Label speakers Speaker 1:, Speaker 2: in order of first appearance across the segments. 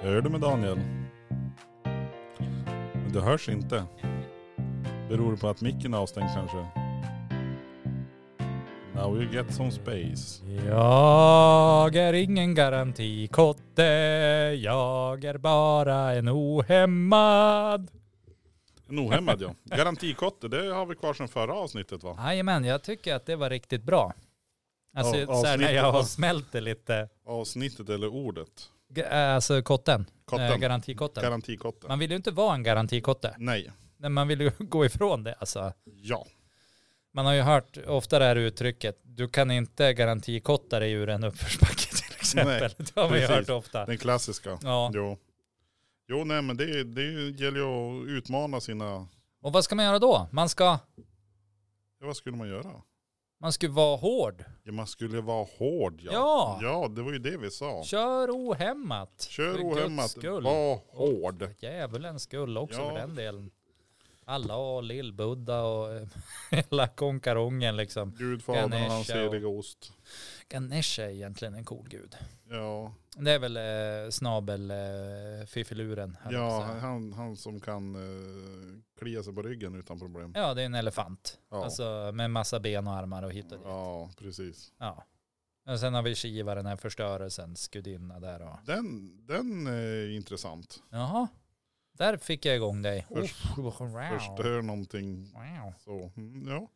Speaker 1: Hur är det med Daniel? Men det hörs inte. Beror det på att micken är avstängd kanske? Now you get some space.
Speaker 2: Jag är ingen garantikotte, jag är bara en ohämmad.
Speaker 1: En ohämmad ja. Garantikotte, det har vi kvar sedan förra avsnittet va?
Speaker 2: Jajamän, jag tycker att det var riktigt bra. Alltså
Speaker 1: Ja,
Speaker 2: så här när
Speaker 1: avsnittet,
Speaker 2: jag
Speaker 1: va?
Speaker 2: har smält det lite.
Speaker 1: Avsnittet eller ordet?
Speaker 2: G- Alltså kotten, Eh,
Speaker 1: Kotten.
Speaker 2: garantikotten.
Speaker 1: Garantikotte.
Speaker 2: man vill ju inte vara en garantikotte.
Speaker 1: Nej.
Speaker 2: Nej, Man vill ju gå ifrån det alltså.
Speaker 1: Ja.
Speaker 2: Man har ju hört ofta det här uttrycket, du kan inte garantikotta dig ur en uppförsbacke till exempel. det har man ju
Speaker 1: precis.
Speaker 2: hört ofta.
Speaker 1: Den klassiska.
Speaker 2: Ja.
Speaker 1: Jo. Jo nej men det, det gäller ju att utmana sina...
Speaker 2: Och vad ska man göra då? Man ska,
Speaker 1: Ja, vad skulle man göra?
Speaker 2: man ska vara hård.
Speaker 1: Ja, man skulle vara hård ja.
Speaker 2: Ja.
Speaker 1: Ja det var ju det vi sa.
Speaker 2: Kör ohämmat.
Speaker 1: Kör
Speaker 2: För Guds
Speaker 1: ohämmat,
Speaker 2: skull.
Speaker 1: var hård.
Speaker 2: Djävulens skull också
Speaker 1: Ja.
Speaker 2: för den delen. Alla och Lill-Buddha och eh, hela konkarongen liksom.
Speaker 1: Gudfadern och hans
Speaker 2: Ganesha och-
Speaker 1: heliga ost.
Speaker 2: Ganesha är egentligen en cool gud.
Speaker 1: Ja,
Speaker 2: Det är väl eh, snabel eh, fiffiluren. höll jag
Speaker 1: ja
Speaker 2: på att säga.
Speaker 1: han, han som kan eh, klia sig på ryggen utan problem.
Speaker 2: ja, det är en elefant.
Speaker 1: Ja,
Speaker 2: Alltså med massa ben och armar och hit och dit.
Speaker 1: ja precis.
Speaker 2: Ja. Och sen har vi Shiva, den här förstörelsens gudinna där. Och...
Speaker 1: Den, den är intressant.
Speaker 2: Jaha, där fick jag igång dig.
Speaker 1: Först-
Speaker 2: Uff, wow.
Speaker 1: Förstör någonting
Speaker 2: Wow.
Speaker 1: så. Mm, ja. Nej,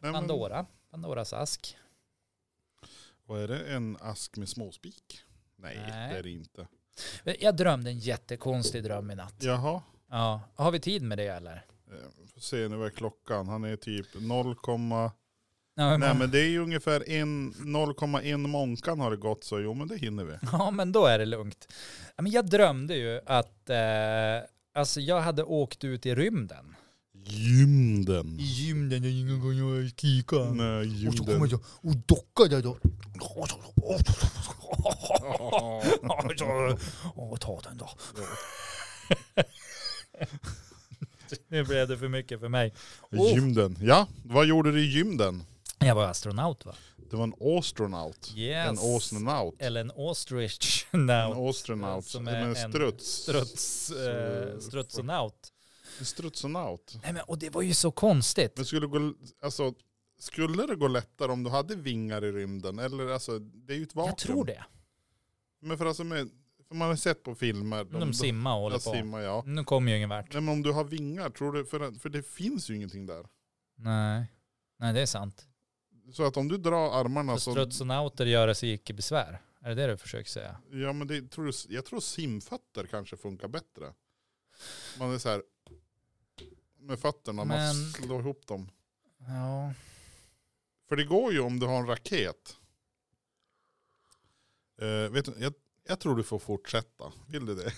Speaker 1: men,
Speaker 2: Pandora, Pandoras ask.
Speaker 1: vad är det? En ask med småspik? Nej,
Speaker 2: Nej.
Speaker 1: det är det inte.
Speaker 2: Eh, Jag drömde en jättekonstig dröm i natt.
Speaker 1: Jaha.
Speaker 2: Ja, har vi tid med det eller?
Speaker 1: Eh, Får se nu vad är klockan. Han är typ 0,
Speaker 2: Ja men,
Speaker 1: nej men det är ju ungefär en- 0,1 månkan har det gått så jo men det hinner vi.
Speaker 2: ja, men då är det lugnt. Ja, men jag drömde ju att eh, alltså jag hade åkt ut i rymden.
Speaker 1: Gymden.
Speaker 2: rymden, jag gick och kikade.
Speaker 1: Nej, gymden.
Speaker 2: jag och dockade då.
Speaker 1: Ja.
Speaker 2: Åh, ta den då. Nu blev det för mycket för mig. Oh.
Speaker 1: Gymden. Ja, vad gjorde du i gymden?
Speaker 2: Jag var astronaut va?
Speaker 1: Det var en astronaut.
Speaker 2: Yes.
Speaker 1: En astronaut.
Speaker 2: Eller en ostrich.
Speaker 1: En
Speaker 2: Now.
Speaker 1: astronaut.
Speaker 2: Som
Speaker 1: Som
Speaker 2: är
Speaker 1: en
Speaker 2: en
Speaker 1: struts.
Speaker 2: Struts, eh, strutsonaut.
Speaker 1: En strutsonaut.
Speaker 2: Nej men och det var ju så konstigt.
Speaker 1: Men skulle, gå, alltså, skulle det gå lättare om du hade vingar i rymden? Eller alltså, det är ju ett vakuum.
Speaker 2: Jag tror det.
Speaker 1: Men för alltså med, för man har ju sett på filmer.
Speaker 2: De, simmar och håller
Speaker 1: ja,
Speaker 2: på.
Speaker 1: simmar, ja.
Speaker 2: Nu kommer ju ingen vart.
Speaker 1: Nej men om du har vingar, tror du, för, för det finns ju ingenting där.
Speaker 2: Nej. Nej det är sant.
Speaker 1: Så att om du drar armarna
Speaker 2: För
Speaker 1: så...
Speaker 2: Strutsonauter göra sig icke besvär. Är det det du försöker säga?
Speaker 1: Ja men det, tror du, jag tror simfötter kanske funkar bättre. Man är så här med fötterna, man
Speaker 2: Men-
Speaker 1: slår ihop dem.
Speaker 2: Ja.
Speaker 1: För det går ju om du har en raket. Eh, vet du, jag, jag tror du får fortsätta. Vill du det?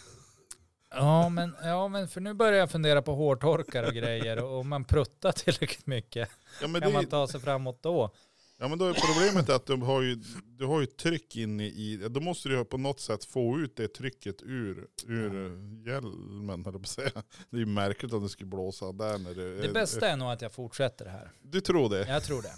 Speaker 2: Ja men, ja men för nu börjar jag fundera på hårtorkar och grejer och om man pruttar tillräckligt mycket
Speaker 1: Ja men, det,
Speaker 2: kan man
Speaker 1: är-
Speaker 2: ta sig framåt då?
Speaker 1: ja, men då är problemet att du har ju, du har ju tryck in i- i... Då måste du ju på något sätt få ut det trycket ur, ur hjälmen, höll jag på att säga. Det är ju märkligt om det skulle blåsa där när det...
Speaker 2: Det bästa är nog att jag fortsätter här.
Speaker 1: Du tror det?
Speaker 2: Jag tror det.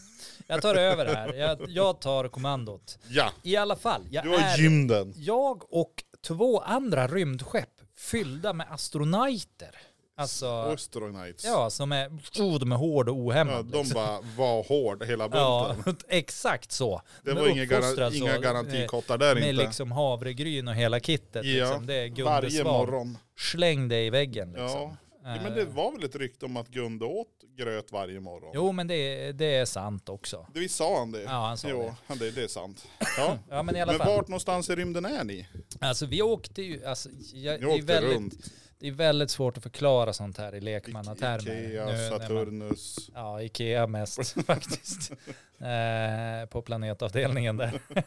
Speaker 2: Jag tar över det här. Jag, jag tar kommandot.
Speaker 1: Ja!
Speaker 2: I alla fall, jag
Speaker 1: Du har
Speaker 2: är
Speaker 1: gymden.
Speaker 2: jag och två andra rymdskepp fyllda med astronauter. Alltså,
Speaker 1: Österonites.
Speaker 2: ja, som är, oh, de är hård och ohämmad.
Speaker 1: Ja, de
Speaker 2: liksom.
Speaker 1: bara var hård hela
Speaker 2: ja,
Speaker 1: bunten.
Speaker 2: exakt så.
Speaker 1: det
Speaker 2: De är
Speaker 1: var inga,
Speaker 2: uppfostrad
Speaker 1: gar-
Speaker 2: så,
Speaker 1: inga
Speaker 2: eh,
Speaker 1: garantikottar där
Speaker 2: Med
Speaker 1: inte.
Speaker 2: liksom havregryn och hela kittet.
Speaker 1: Ja,
Speaker 2: liksom. Det är Gunde
Speaker 1: Varje
Speaker 2: Svan.
Speaker 1: morgon.
Speaker 2: Släng dig i väggen liksom.
Speaker 1: Ja. Ja, men det var väl ett rykte om att Gunde åt gröt varje morgon?
Speaker 2: Jo, men det, det är sant också.
Speaker 1: Det visst sa han det?
Speaker 2: Ja, han sa
Speaker 1: jo,
Speaker 2: det.
Speaker 1: Han, det, det är sant. Ja.
Speaker 2: Ja, men i alla
Speaker 1: men
Speaker 2: fall.
Speaker 1: vart någonstans i rymden är ni?
Speaker 2: Alltså, vi åkte ju... Alltså,
Speaker 1: Ni
Speaker 2: jag, det, är
Speaker 1: åkte
Speaker 2: väldigt,
Speaker 1: runt.
Speaker 2: det är väldigt svårt att förklara sånt här i lekmannatermer.
Speaker 1: Ikea,
Speaker 2: Nu när man-
Speaker 1: Saturnus.
Speaker 2: Ja, Ikea mest faktiskt. Eh, på planetavdelningen där.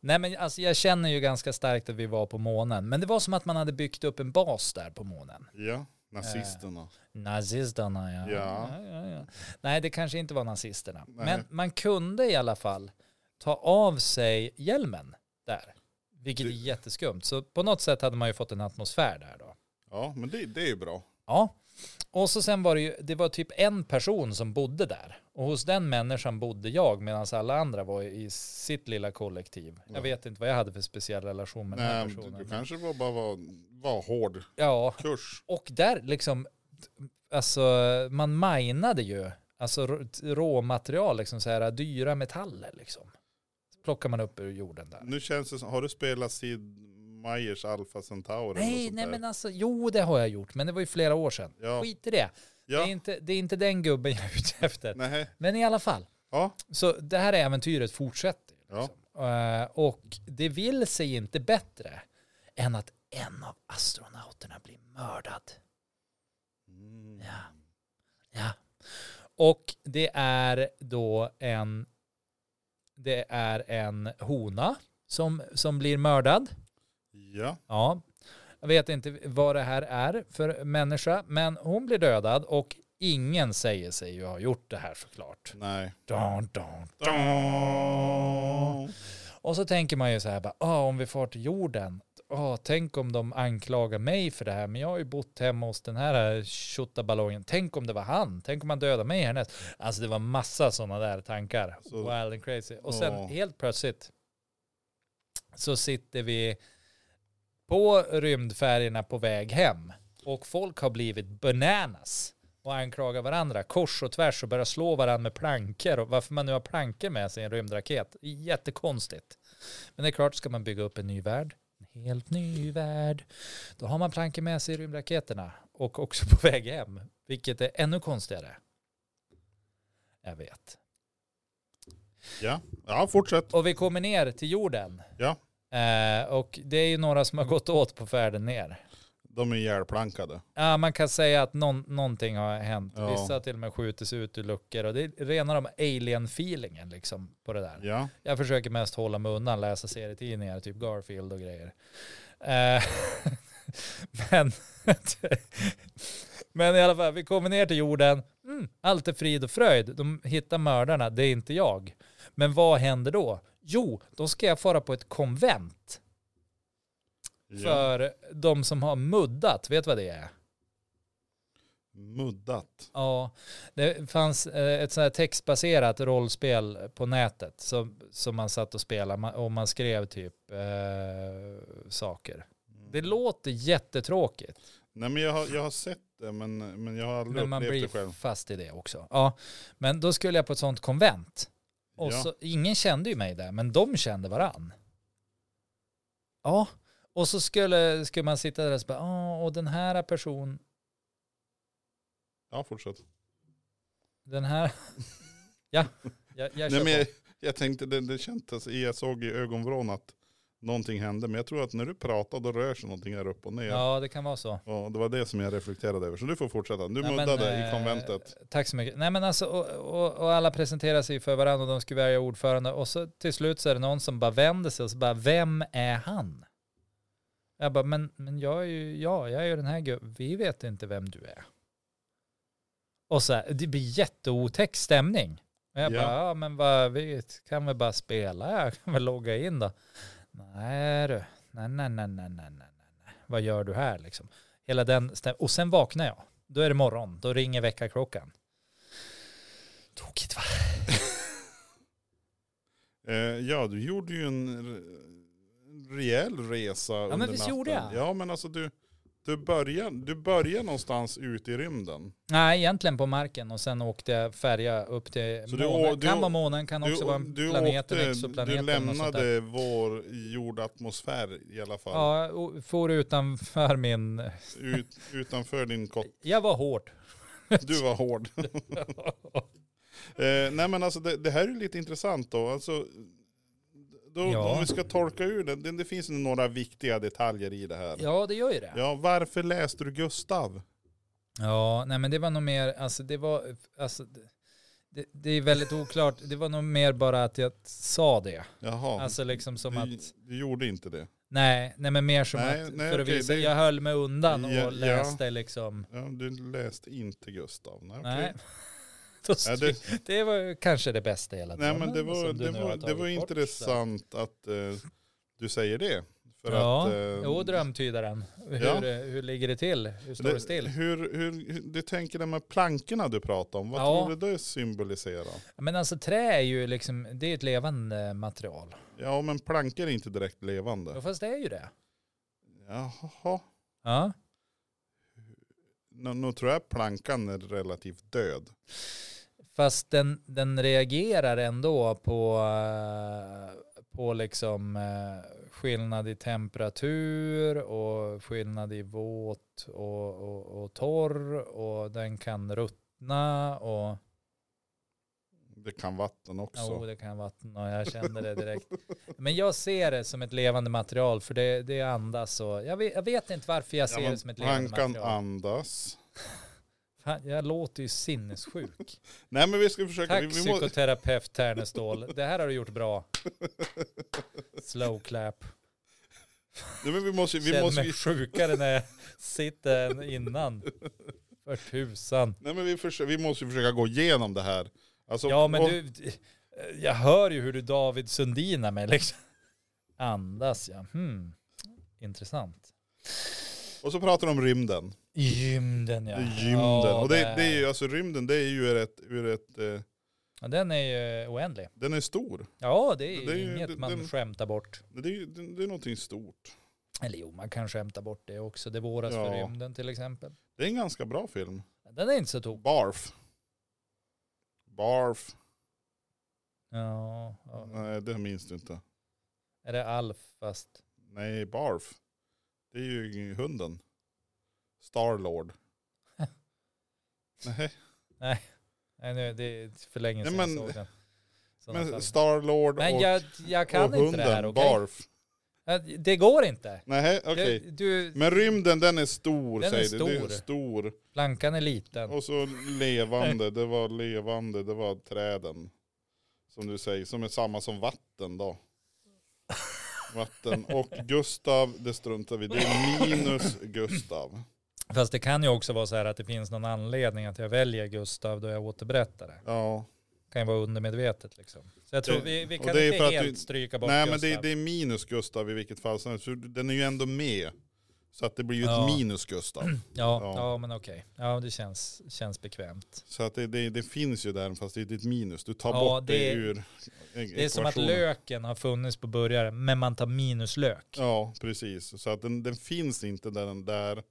Speaker 2: Nej men alltså jag känner ju ganska starkt att vi var på månen. Men det var som att man hade byggt upp en bas där på månen.
Speaker 1: Ja, nazisterna.
Speaker 2: Nazisterna ja.
Speaker 1: Ja.
Speaker 2: ja, ja, ja. Nej det kanske inte var nazisterna.
Speaker 1: Nej.
Speaker 2: Men man kunde i alla fall ta av sig hjälmen där. Vilket
Speaker 1: Det-
Speaker 2: är jätteskumt. Så på något sätt hade man ju fått en atmosfär där då.
Speaker 1: Ja, men det, det är ju bra.
Speaker 2: Ja. Och så sen var det ju, det var typ en person som bodde där. Och hos den människan bodde jag medan alla andra var i sitt lilla kollektiv.
Speaker 1: Ja.
Speaker 2: Jag vet inte vad jag hade för speciell relation med den här
Speaker 1: Nej, du,
Speaker 2: personen.
Speaker 1: Ehm, du kanske var, bara var, var hård.
Speaker 2: Ja,
Speaker 1: Kurs.
Speaker 2: och där liksom, alltså man minade ju, alltså rå- råmaterial, liksom så här dyra metaller liksom. Plockar man upp ur jorden där.
Speaker 1: Nu känns det som, har du spelat Sid Meiers Alpha Centauri? eller något
Speaker 2: Nej,
Speaker 1: sånt
Speaker 2: nej
Speaker 1: där?
Speaker 2: men alltså, jo det har jag gjort, men det var ju flera år sedan.
Speaker 1: Ja.
Speaker 2: Skit i det. Det, är
Speaker 1: Ja,
Speaker 2: inte, det är inte den gubben jag är ute efter.
Speaker 1: nej.
Speaker 2: Men i alla fall,
Speaker 1: Ja,
Speaker 2: så det här äventyret fortsätter. ju,
Speaker 1: Ja.
Speaker 2: Liksom. Eh, och det vill sig inte bättre än att en av astronauterna blir mördad.
Speaker 1: Mm.
Speaker 2: Ja. Ja. Och det är då en det är en hona som, som blir mördad.
Speaker 1: ja.
Speaker 2: Ja. Jag vet inte vad det här är för människa, men hon blir dödad och ingen säger sig ju ha gjort det här såklart.
Speaker 1: nej.
Speaker 2: Dun, dun, Och så tänker man ju så här, bara, ah, om vi far till jorden, ah, tänk om de anklagar mig för det här, men jag har ju bott hemma hos den här eh, tjottaballongen, tänk om det var han, tänk om han dödade mig härnäst. Alltså det var massa sådana där tankar,
Speaker 1: Så-
Speaker 2: wild and crazy. Och sen
Speaker 1: Ja.
Speaker 2: helt plötsligt så sitter vi på rymdfärjorna på väg hem och folk har blivit bananas och anklagar varandra kors och tvärs och börjar slå varandra med plankor och varför man nu har plankor med sig i en rymdraket. Jättekonstigt. Men det är klart, ska man bygga upp en ny värld, en helt ny värld, då har man plankor med sig i rymdraketerna och också på väg hem, vilket är ännu konstigare. Jag vet.
Speaker 1: Ja, ja fortsätt.
Speaker 2: Och vi kommer ner till jorden.
Speaker 1: Ja. Mm.
Speaker 2: Eh, och det är ju några som har gått åt på färden ner.
Speaker 1: De är ihjälplankade.
Speaker 2: Ja, man kan säga att någon, någonting har hänt.
Speaker 1: Ja.
Speaker 2: Vissa har till och med skjutits ut ur luckor och det är rena de alien-feelingen liksom på det där.
Speaker 1: Ja.
Speaker 2: Jag försöker mest hålla mig undan, läsa serietidningar, typ Garfield och grejer. Eh, men, men i alla fall, vi kommer ner till jorden. Mm, allt är frid och fröjd. De hittar mördarna, det är inte jag. Men vad händer då? Jo, då ska jag fara på ett konvent
Speaker 1: ja.
Speaker 2: för de som har muddat. Vet du vad det är?
Speaker 1: Muddat.
Speaker 2: Ja, det fanns eh, ett sånt här textbaserat rollspel på nätet som, som man satt och spelade ma- och man skrev typ eh, saker. Det låter jättetråkigt,
Speaker 1: Mm. Nej men jag har, jag har sett det men, men jag har aldrig
Speaker 2: men man
Speaker 1: upplevt det
Speaker 2: blir
Speaker 1: själv.
Speaker 2: fast i det också. Ja, men då skulle jag på ett sånt konvent. Och
Speaker 1: Ja.
Speaker 2: så, ingen kände ju mig där, men de kände varann. Ja, och så skulle, skulle man sitta där och så bara, "Ah, och den här personen,
Speaker 1: Ja fortsätt.
Speaker 2: den här, ja, jag, jag
Speaker 1: Nej, men
Speaker 2: kör på.
Speaker 1: jag, jag tänkte det, det kändes, jag såg i ögonvrån att någonting hände. Men jag tror att när du pratar då rör sig någonting där upp och ner.
Speaker 2: Ja, det kan vara så.
Speaker 1: Ja, det var det som jag reflekterade över. Så du får fortsätta. Du
Speaker 2: Nej, men,
Speaker 1: muddade i
Speaker 2: eh,
Speaker 1: konventet.
Speaker 2: Tack så mycket. Nej men alltså, och, och, och alla presenterar sig för varandra och de skulle välja ordförande och så till slut så är det någon som bara vänder sig och så bara, vem är han? Jag bara, men, men jag är ju, ja, jag är ju den här gubben, vi vet inte vem du är. Och så här, det blir jätteotäck stämning. Och jag
Speaker 1: Ja.
Speaker 2: bara, ja men vad, vi kan väl bara spela, jag kan väl logga in då. Nej du, nej nej nej nej nej nej. nej. Vad gör du här liksom? Hela den stäm- och sen vaknar jag. Då är det morgon, då ringer väckarklockan. Tokigt va?
Speaker 1: Eh, ja, du gjorde ju en re- en rejäl resa ja, under
Speaker 2: men visst
Speaker 1: natten.
Speaker 2: gjorde jag.
Speaker 1: Ja, men alltså du, du, börjar, du börjar någonstans ute i rymden.
Speaker 2: Nej, egentligen på marken och sen åkte jag färja upp till
Speaker 1: Så du å-
Speaker 2: månen.
Speaker 1: du
Speaker 2: Kan
Speaker 1: å-
Speaker 2: vara månen, kan också vara en planet, en exoplanet.
Speaker 1: du
Speaker 2: eller något sånt där.
Speaker 1: lämnade vår jordatmosfär i alla fall.
Speaker 2: Ja, och for utanför min...
Speaker 1: Ut, utanför din kott.
Speaker 2: Jag var hård.
Speaker 1: Du var hård. Eh, nej men alltså det, det här är ju lite intressant då. Alltså, då
Speaker 2: Ja.
Speaker 1: Om vi ska torka ur det, det, det finns ju några viktiga detaljer i det här.
Speaker 2: ja, det gör ju det.
Speaker 1: Ja, varför läste du Gustav?
Speaker 2: Ja, nej men det var nog mer, alltså det var, alltså det- det, det är väldigt oklart. Det var nog mer bara att jag sa det.
Speaker 1: Jaha,
Speaker 2: Alltså liksom som
Speaker 1: du,
Speaker 2: att,
Speaker 1: du gjorde inte det.
Speaker 2: nej, nej men mer som
Speaker 1: Nej,
Speaker 2: att,
Speaker 1: nej,
Speaker 2: för att
Speaker 1: okej,
Speaker 2: visa,
Speaker 1: det-
Speaker 2: jag höll mig undan och
Speaker 1: Ja, ja.
Speaker 2: läste liksom,
Speaker 1: Ja, du läste inte Gustav. Nej, okej.
Speaker 2: nej. Då
Speaker 1: Ja,
Speaker 2: stry-
Speaker 1: det,
Speaker 2: det... var ju kanske det bästa i hela
Speaker 1: nej
Speaker 2: drömmen
Speaker 1: men det var,
Speaker 2: som du
Speaker 1: det
Speaker 2: nu har
Speaker 1: var, det
Speaker 2: tagit
Speaker 1: var
Speaker 2: bort.
Speaker 1: intressant att eh, du säger det. För För
Speaker 2: ja,
Speaker 1: att, eh,
Speaker 2: jo drömtydaren. Hur,
Speaker 1: Ja.
Speaker 2: eh, hur ligger det till? Hur står det, still?
Speaker 1: Hur, hur, hur, du tänker det med plankorna du pratar om, vad
Speaker 2: Ja.
Speaker 1: tror du det symboliserar?
Speaker 2: Men alltså trä är ju liksom, det är ett levande material.
Speaker 1: Ja men plankor är inte direkt
Speaker 2: Ja,
Speaker 1: levande.
Speaker 2: fast det är ju det.
Speaker 1: Jaha.
Speaker 2: Ja.
Speaker 1: Nu, nu tror jag plankan är relativt död.
Speaker 2: Fast den, den reagerar ändå på, eh, på liksom eh, skillnad i temperatur och skillnad i våt och, och, och torr och den kan ruttna och
Speaker 1: Det kan vatten också.
Speaker 2: jo det kan vattna och jag kände det direkt. Men jag ser det som ett levande material för det, det andas och jag vet, jag vet inte varför jag ser
Speaker 1: men
Speaker 2: det som ett levande
Speaker 1: plankan
Speaker 2: material.
Speaker 1: andas.
Speaker 2: Fan, jag låter ju sinnessjuk.
Speaker 1: Nej men vi ska försöka.
Speaker 2: Tack
Speaker 1: vi, vi må,
Speaker 2: psykoterapeut Ternestål. Det här har du gjort bra. Slow clap.
Speaker 1: nej, men vi måste, vi
Speaker 2: Känner
Speaker 1: måste
Speaker 2: mig sjukare när jag sitter än innan. För tusan.
Speaker 1: Nej men vi, försö- vi måste ju försöka gå igenom det här. Alltså,
Speaker 2: Ja men
Speaker 1: och-
Speaker 2: du, jag hör ju hur du David Sundinar mig liksom. Andas ja. Hmm. Intressant.
Speaker 1: Och så pratar de om rymden.
Speaker 2: Rymden ja.
Speaker 1: Det är Rymden.
Speaker 2: Ja,
Speaker 1: och det, det är ju, alltså rymden det är ju ur ett, ur ett eh,
Speaker 2: Ja, den är ju oändlig.
Speaker 1: den är stor.
Speaker 2: Ja det är,
Speaker 1: Det är ju-
Speaker 2: ju inget
Speaker 1: det-
Speaker 2: man
Speaker 1: den-
Speaker 2: skämtar bort.
Speaker 1: Det är, ju- det, det är någonting stort.
Speaker 2: Eller jo man kan skämta bort det också. Det våras för
Speaker 1: Ja.
Speaker 2: rymden till exempel.
Speaker 1: Det är en ganska bra film.
Speaker 2: Den är inte så tokig.
Speaker 1: Barf. Barf.
Speaker 2: Ja, ja.
Speaker 1: Nej det minns du inte.
Speaker 2: Är det Alf fast?
Speaker 1: Nej Barf. Det är ju hunden. Starlord. Nej
Speaker 2: Nej, nu, det är för länge
Speaker 1: Nej,
Speaker 2: sedan
Speaker 1: men-
Speaker 2: jag såg den. Sådana fall.
Speaker 1: men Starlord och,
Speaker 2: Men jag, jag kan
Speaker 1: och
Speaker 2: inte
Speaker 1: hunden
Speaker 2: det här, okej?
Speaker 1: Barf.
Speaker 2: Ja, Det går inte.
Speaker 1: Nej okej.
Speaker 2: Du, du,
Speaker 1: Men rymden den är stor
Speaker 2: Den är
Speaker 1: säger du. Det är
Speaker 2: stor.
Speaker 1: stor.
Speaker 2: plankan är liten.
Speaker 1: Och så levande, det var levande, det var träden. Som du säger, som är samma som vatten då. Vatten och Gustav, det struntar vi i. Det är minus Gustav.
Speaker 2: Fast det kan ju också vara så här att det finns någon anledning att jag väljer Gustav då jag återberättar det.
Speaker 1: Ja.
Speaker 2: Det kan ju vara undermedvetet liksom. Så jag tror
Speaker 1: Det-
Speaker 2: vi, vi
Speaker 1: och
Speaker 2: kan
Speaker 1: det är
Speaker 2: inte
Speaker 1: för att
Speaker 2: helt
Speaker 1: du-
Speaker 2: stryka bort
Speaker 1: Nej men
Speaker 2: Gustav.
Speaker 1: det, det är minus Gustav i vilket fall som helst. för Den är ju ändå med. Så att det blir ju
Speaker 2: Ja.
Speaker 1: ett minus Gustav.
Speaker 2: ja,
Speaker 1: ja.
Speaker 2: ja. men okej. Ja det känns, känns bekvämt.
Speaker 1: Så att det, det, det finns ju där fast det är ett minus. Du tar
Speaker 2: Ja,
Speaker 1: bort det,
Speaker 2: det-
Speaker 1: ur
Speaker 2: Det är som att löken har funnits på burgaren men man tar minus lök.
Speaker 1: Ja precis. Så att den, den finns inte där den där.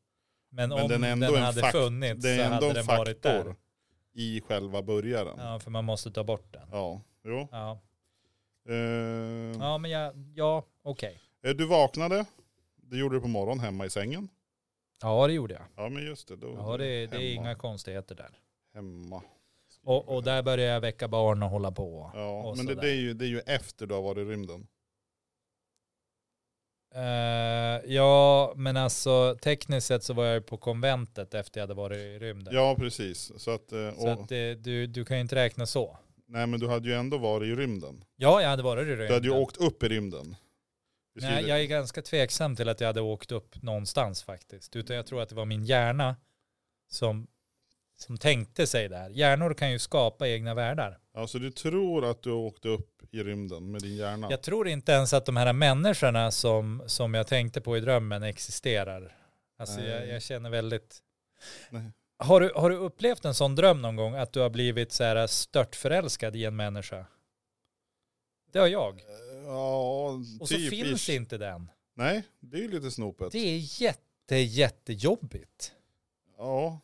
Speaker 2: Men,
Speaker 1: Men
Speaker 2: om
Speaker 1: den
Speaker 2: den,
Speaker 1: är ändå en
Speaker 2: hade
Speaker 1: fakt-
Speaker 2: funnits
Speaker 1: Det
Speaker 2: så
Speaker 1: är ändå
Speaker 2: hade
Speaker 1: en
Speaker 2: den varit där.
Speaker 1: faktor i själva burgaren. Ja.
Speaker 2: Ja, för man måste ta bort den.
Speaker 1: Jo.
Speaker 2: Ja,
Speaker 1: Eh,
Speaker 2: ja men ja, ja okej.
Speaker 1: eh, Du vaknade. Det gjorde du på morgonen hemma i sängen.
Speaker 2: Ja, det gjorde jag.
Speaker 1: Ja men just det. Då,
Speaker 2: Ja, det, det är
Speaker 1: hemma.
Speaker 2: inga konstigheter där.
Speaker 1: Hemma.
Speaker 2: Och, och där började jag väcka barn och hålla på.
Speaker 1: Ja,
Speaker 2: och
Speaker 1: men det,
Speaker 2: sådär.
Speaker 1: det, är ju, det är ju efter du har varit i rymden.
Speaker 2: Eh, ja, men alltså tekniskt sett så var jag ju på konventet efter jag hade varit i rymden.
Speaker 1: Ja precis. Så att, eh,
Speaker 2: Så
Speaker 1: och,
Speaker 2: att det, du, du kan ju inte räkna så.
Speaker 1: nej men du hade ju ändå varit i rymden.
Speaker 2: Ja, jag hade varit i
Speaker 1: Du hade ju
Speaker 2: rymden.
Speaker 1: åkt upp i rymden. Vi ska
Speaker 2: Nej,
Speaker 1: ju-
Speaker 2: jag är ganska tveksam till att jag hade åkt upp någonstans faktiskt. Utan jag tror att det var min hjärna som, som tänkte sig det här. Hjärnor kan ju skapa egna världar.
Speaker 1: Ja, så du tror att du åkte upp i rymden med din hjärna?
Speaker 2: Jag tror inte ens att de här människorna som, som jag tänkte på i drömmen existerar. Alltså
Speaker 1: Nej.
Speaker 2: jag, jag känner väldigt...
Speaker 1: Nej.
Speaker 2: Har du, har du upplevt en sån dröm någon gång att du har blivit så här störtförälskad i en människa? Det har jag.
Speaker 1: Eh, Ja,
Speaker 2: Och så
Speaker 1: typ.
Speaker 2: finns
Speaker 1: ish.
Speaker 2: inte den.
Speaker 1: Nej, det är ju lite snopet.
Speaker 2: Det är jätte, jättejobbigt.
Speaker 1: Ja.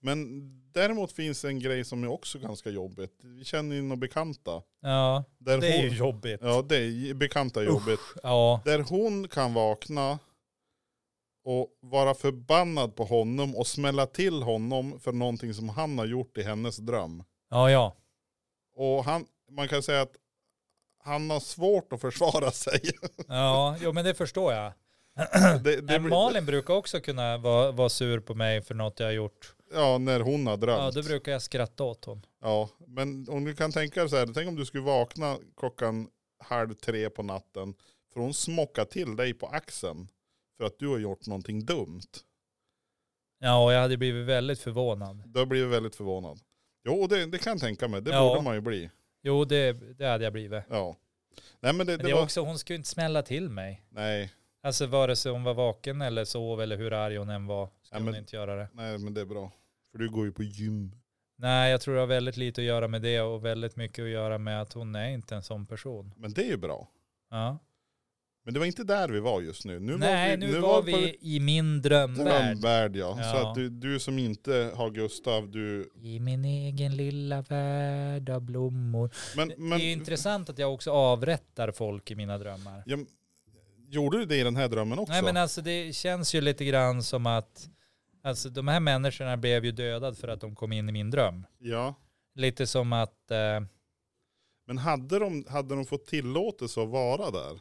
Speaker 1: Men däremot finns en grej som är också ganska jobbigt. Vi känner ju några bekanta.
Speaker 2: Ja,
Speaker 1: Där
Speaker 2: det är ju
Speaker 1: hon...
Speaker 2: jobbigt.
Speaker 1: Ja, det är ju- bekanta är jobbigt.
Speaker 2: Ja,
Speaker 1: Där hon kan vakna och vara förbannad på honom och smälla till honom för någonting som han har gjort i hennes dröm.
Speaker 2: ja, ja.
Speaker 1: Och han, man kan säga att han har svårt att försvara sig.
Speaker 2: ja jo, men det förstår jag.
Speaker 1: Det, det
Speaker 2: Nej,
Speaker 1: blir-
Speaker 2: Malin brukar också kunna vara, vara sur på mig för något jag har gjort.
Speaker 1: Ja, när hon har
Speaker 2: Ja,
Speaker 1: drömt. Ja,
Speaker 2: då brukar jag skratta åt hon.
Speaker 1: men om du kan tänka dig så här, tänk om du skulle vakna klockan halv tre på natten, för hon smockar till dig på axeln för att du har gjort någonting dumt.
Speaker 2: Ja, och jag hade blivit väldigt förvånad.
Speaker 1: Då blir jag väldigt förvånad. Jo, det, det kan jag tänka mig. Det
Speaker 2: Ja.
Speaker 1: borde man ju bli.
Speaker 2: Jo, det, det hade jag blivit.
Speaker 1: Ja. Nej, men det,
Speaker 2: Men
Speaker 1: det,
Speaker 2: det är
Speaker 1: var...
Speaker 2: också, hon skulle inte smälla till mig.
Speaker 1: Nej.
Speaker 2: Alltså vare sig hon var vaken eller sov eller hur arg hon än var. Skulle
Speaker 1: Ja, men-
Speaker 2: hon inte göra det.
Speaker 1: Nej men det är bra. För du går ju på gym.
Speaker 2: Nej, jag tror det har väldigt lite att göra med det och väldigt mycket att göra med att hon är inte en sån person.
Speaker 1: Men det är ju bra.
Speaker 2: Ja.
Speaker 1: Men det var inte där vi var just nu. nu
Speaker 2: Nej,
Speaker 1: var vi,
Speaker 2: nu, var
Speaker 1: på
Speaker 2: vi i min drömvärld.
Speaker 1: Drömvärld ja. Så
Speaker 2: Ja.
Speaker 1: att du, du som inte har Gustav, du...
Speaker 2: I min egen lilla värld av blommor.
Speaker 1: Men,
Speaker 2: Det är ju
Speaker 1: men,
Speaker 2: intressant att jag också avrättar folk i mina drömmar.
Speaker 1: ja, men- gjorde du det i den här drömmen också?
Speaker 2: Nej men alltså det känns ju lite grann som att alltså, de här människorna blev ju dödade för att de kom in i min dröm.
Speaker 1: Ja.
Speaker 2: Lite som att eh,
Speaker 1: Men hade de, hade de fått tillåtelse att vara där?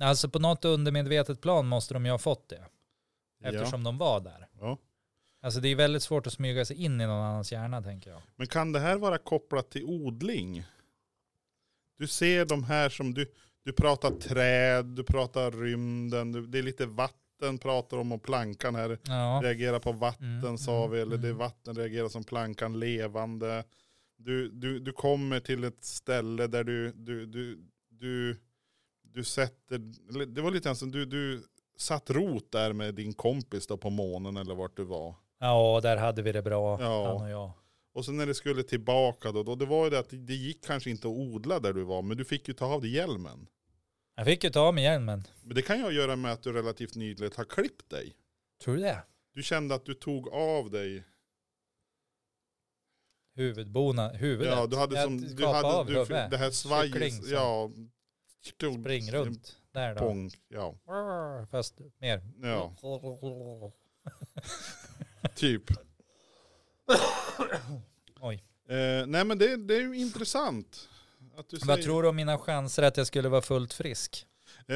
Speaker 2: Alltså på något undermedvetet plan måste de ju ha fått det. Eftersom de var där.
Speaker 1: Ja.
Speaker 2: Alltså det är väldigt svårt att smyga sig in i någon annans hjärna tänker jag.
Speaker 1: Men kan det här vara kopplat till odling? Du ser de här som du, du pratar träd, du pratar rymden, du, det är lite vatten pratar om och plankan här
Speaker 2: Ja,
Speaker 1: reagerar på vatten
Speaker 2: Mm,
Speaker 1: sa vi,
Speaker 2: mm,
Speaker 1: eller det är
Speaker 2: mm.
Speaker 1: vatten reagerar som plankan levande. Du, du, du kommer till ett ställe där du, du, du, du, du sätter, eller det var lite grann som du, du satt rot där med din kompis då på månen eller vart du var.
Speaker 2: ja där hade vi det bra
Speaker 1: Ja.
Speaker 2: han och jag.
Speaker 1: Och sen när det skulle tillbaka då, då det var ju det att det gick kanske inte att odla där du var, men du fick ju ta av dig hjälmen.
Speaker 2: Jag fick ju ta av mig hjälmen.
Speaker 1: Men det kan ju ha att göra med att du relativt nyligen har klippt dig.
Speaker 2: Tror du det?
Speaker 1: Du kände att du tog av dig,
Speaker 2: Huvudbona, huvudet.
Speaker 1: ja du hade
Speaker 2: Jag
Speaker 1: som, du
Speaker 2: kapade
Speaker 1: hade,
Speaker 2: av
Speaker 1: du,
Speaker 2: huvudet.
Speaker 1: det här
Speaker 2: Kyckling
Speaker 1: svajet,
Speaker 2: som
Speaker 1: ja.
Speaker 2: Spring runt. Där då.
Speaker 1: Pong, ja.
Speaker 2: Brr, Fast mer.
Speaker 1: Ja, typ.
Speaker 2: Oj.
Speaker 1: Eh, nej men det, det är ju intressant. Att du
Speaker 2: Vad
Speaker 1: säger,
Speaker 2: tror du om mina chanser att jag skulle vara fullt frisk?
Speaker 1: eh,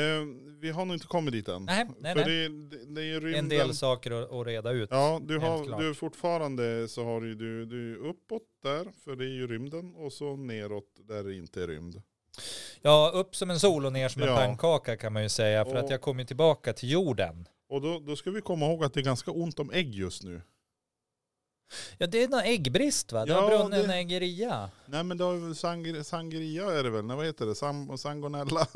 Speaker 1: vi har nog inte kommit dit än.
Speaker 2: Nej, nej,
Speaker 1: För
Speaker 2: nej.
Speaker 1: Det, det, det är ju
Speaker 2: Det är
Speaker 1: rymden.
Speaker 2: en del saker att, att reda ut.
Speaker 1: Ja, du
Speaker 2: Helt
Speaker 1: har
Speaker 2: klart.
Speaker 1: du är fortfarande så har ju du, du är uppåt där, för det är ju rymden, och så neråt där det inte är rymd.
Speaker 2: Ja, upp som en sol och ner som en
Speaker 1: Ja.
Speaker 2: pannkaka kan man ju säga. För att
Speaker 1: Och-
Speaker 2: jag kom ju tillbaka till jorden.
Speaker 1: Och då, då ska vi komma ihåg att det är ganska ont om ägg just nu.
Speaker 2: Ja, det är någon äggbrist va? Det har
Speaker 1: Ja,
Speaker 2: brunnit
Speaker 1: det-
Speaker 2: en ägg i ria.
Speaker 1: Nej men det har ju sangri, sangria är det väl, nej vad heter det, Sam, sangonella?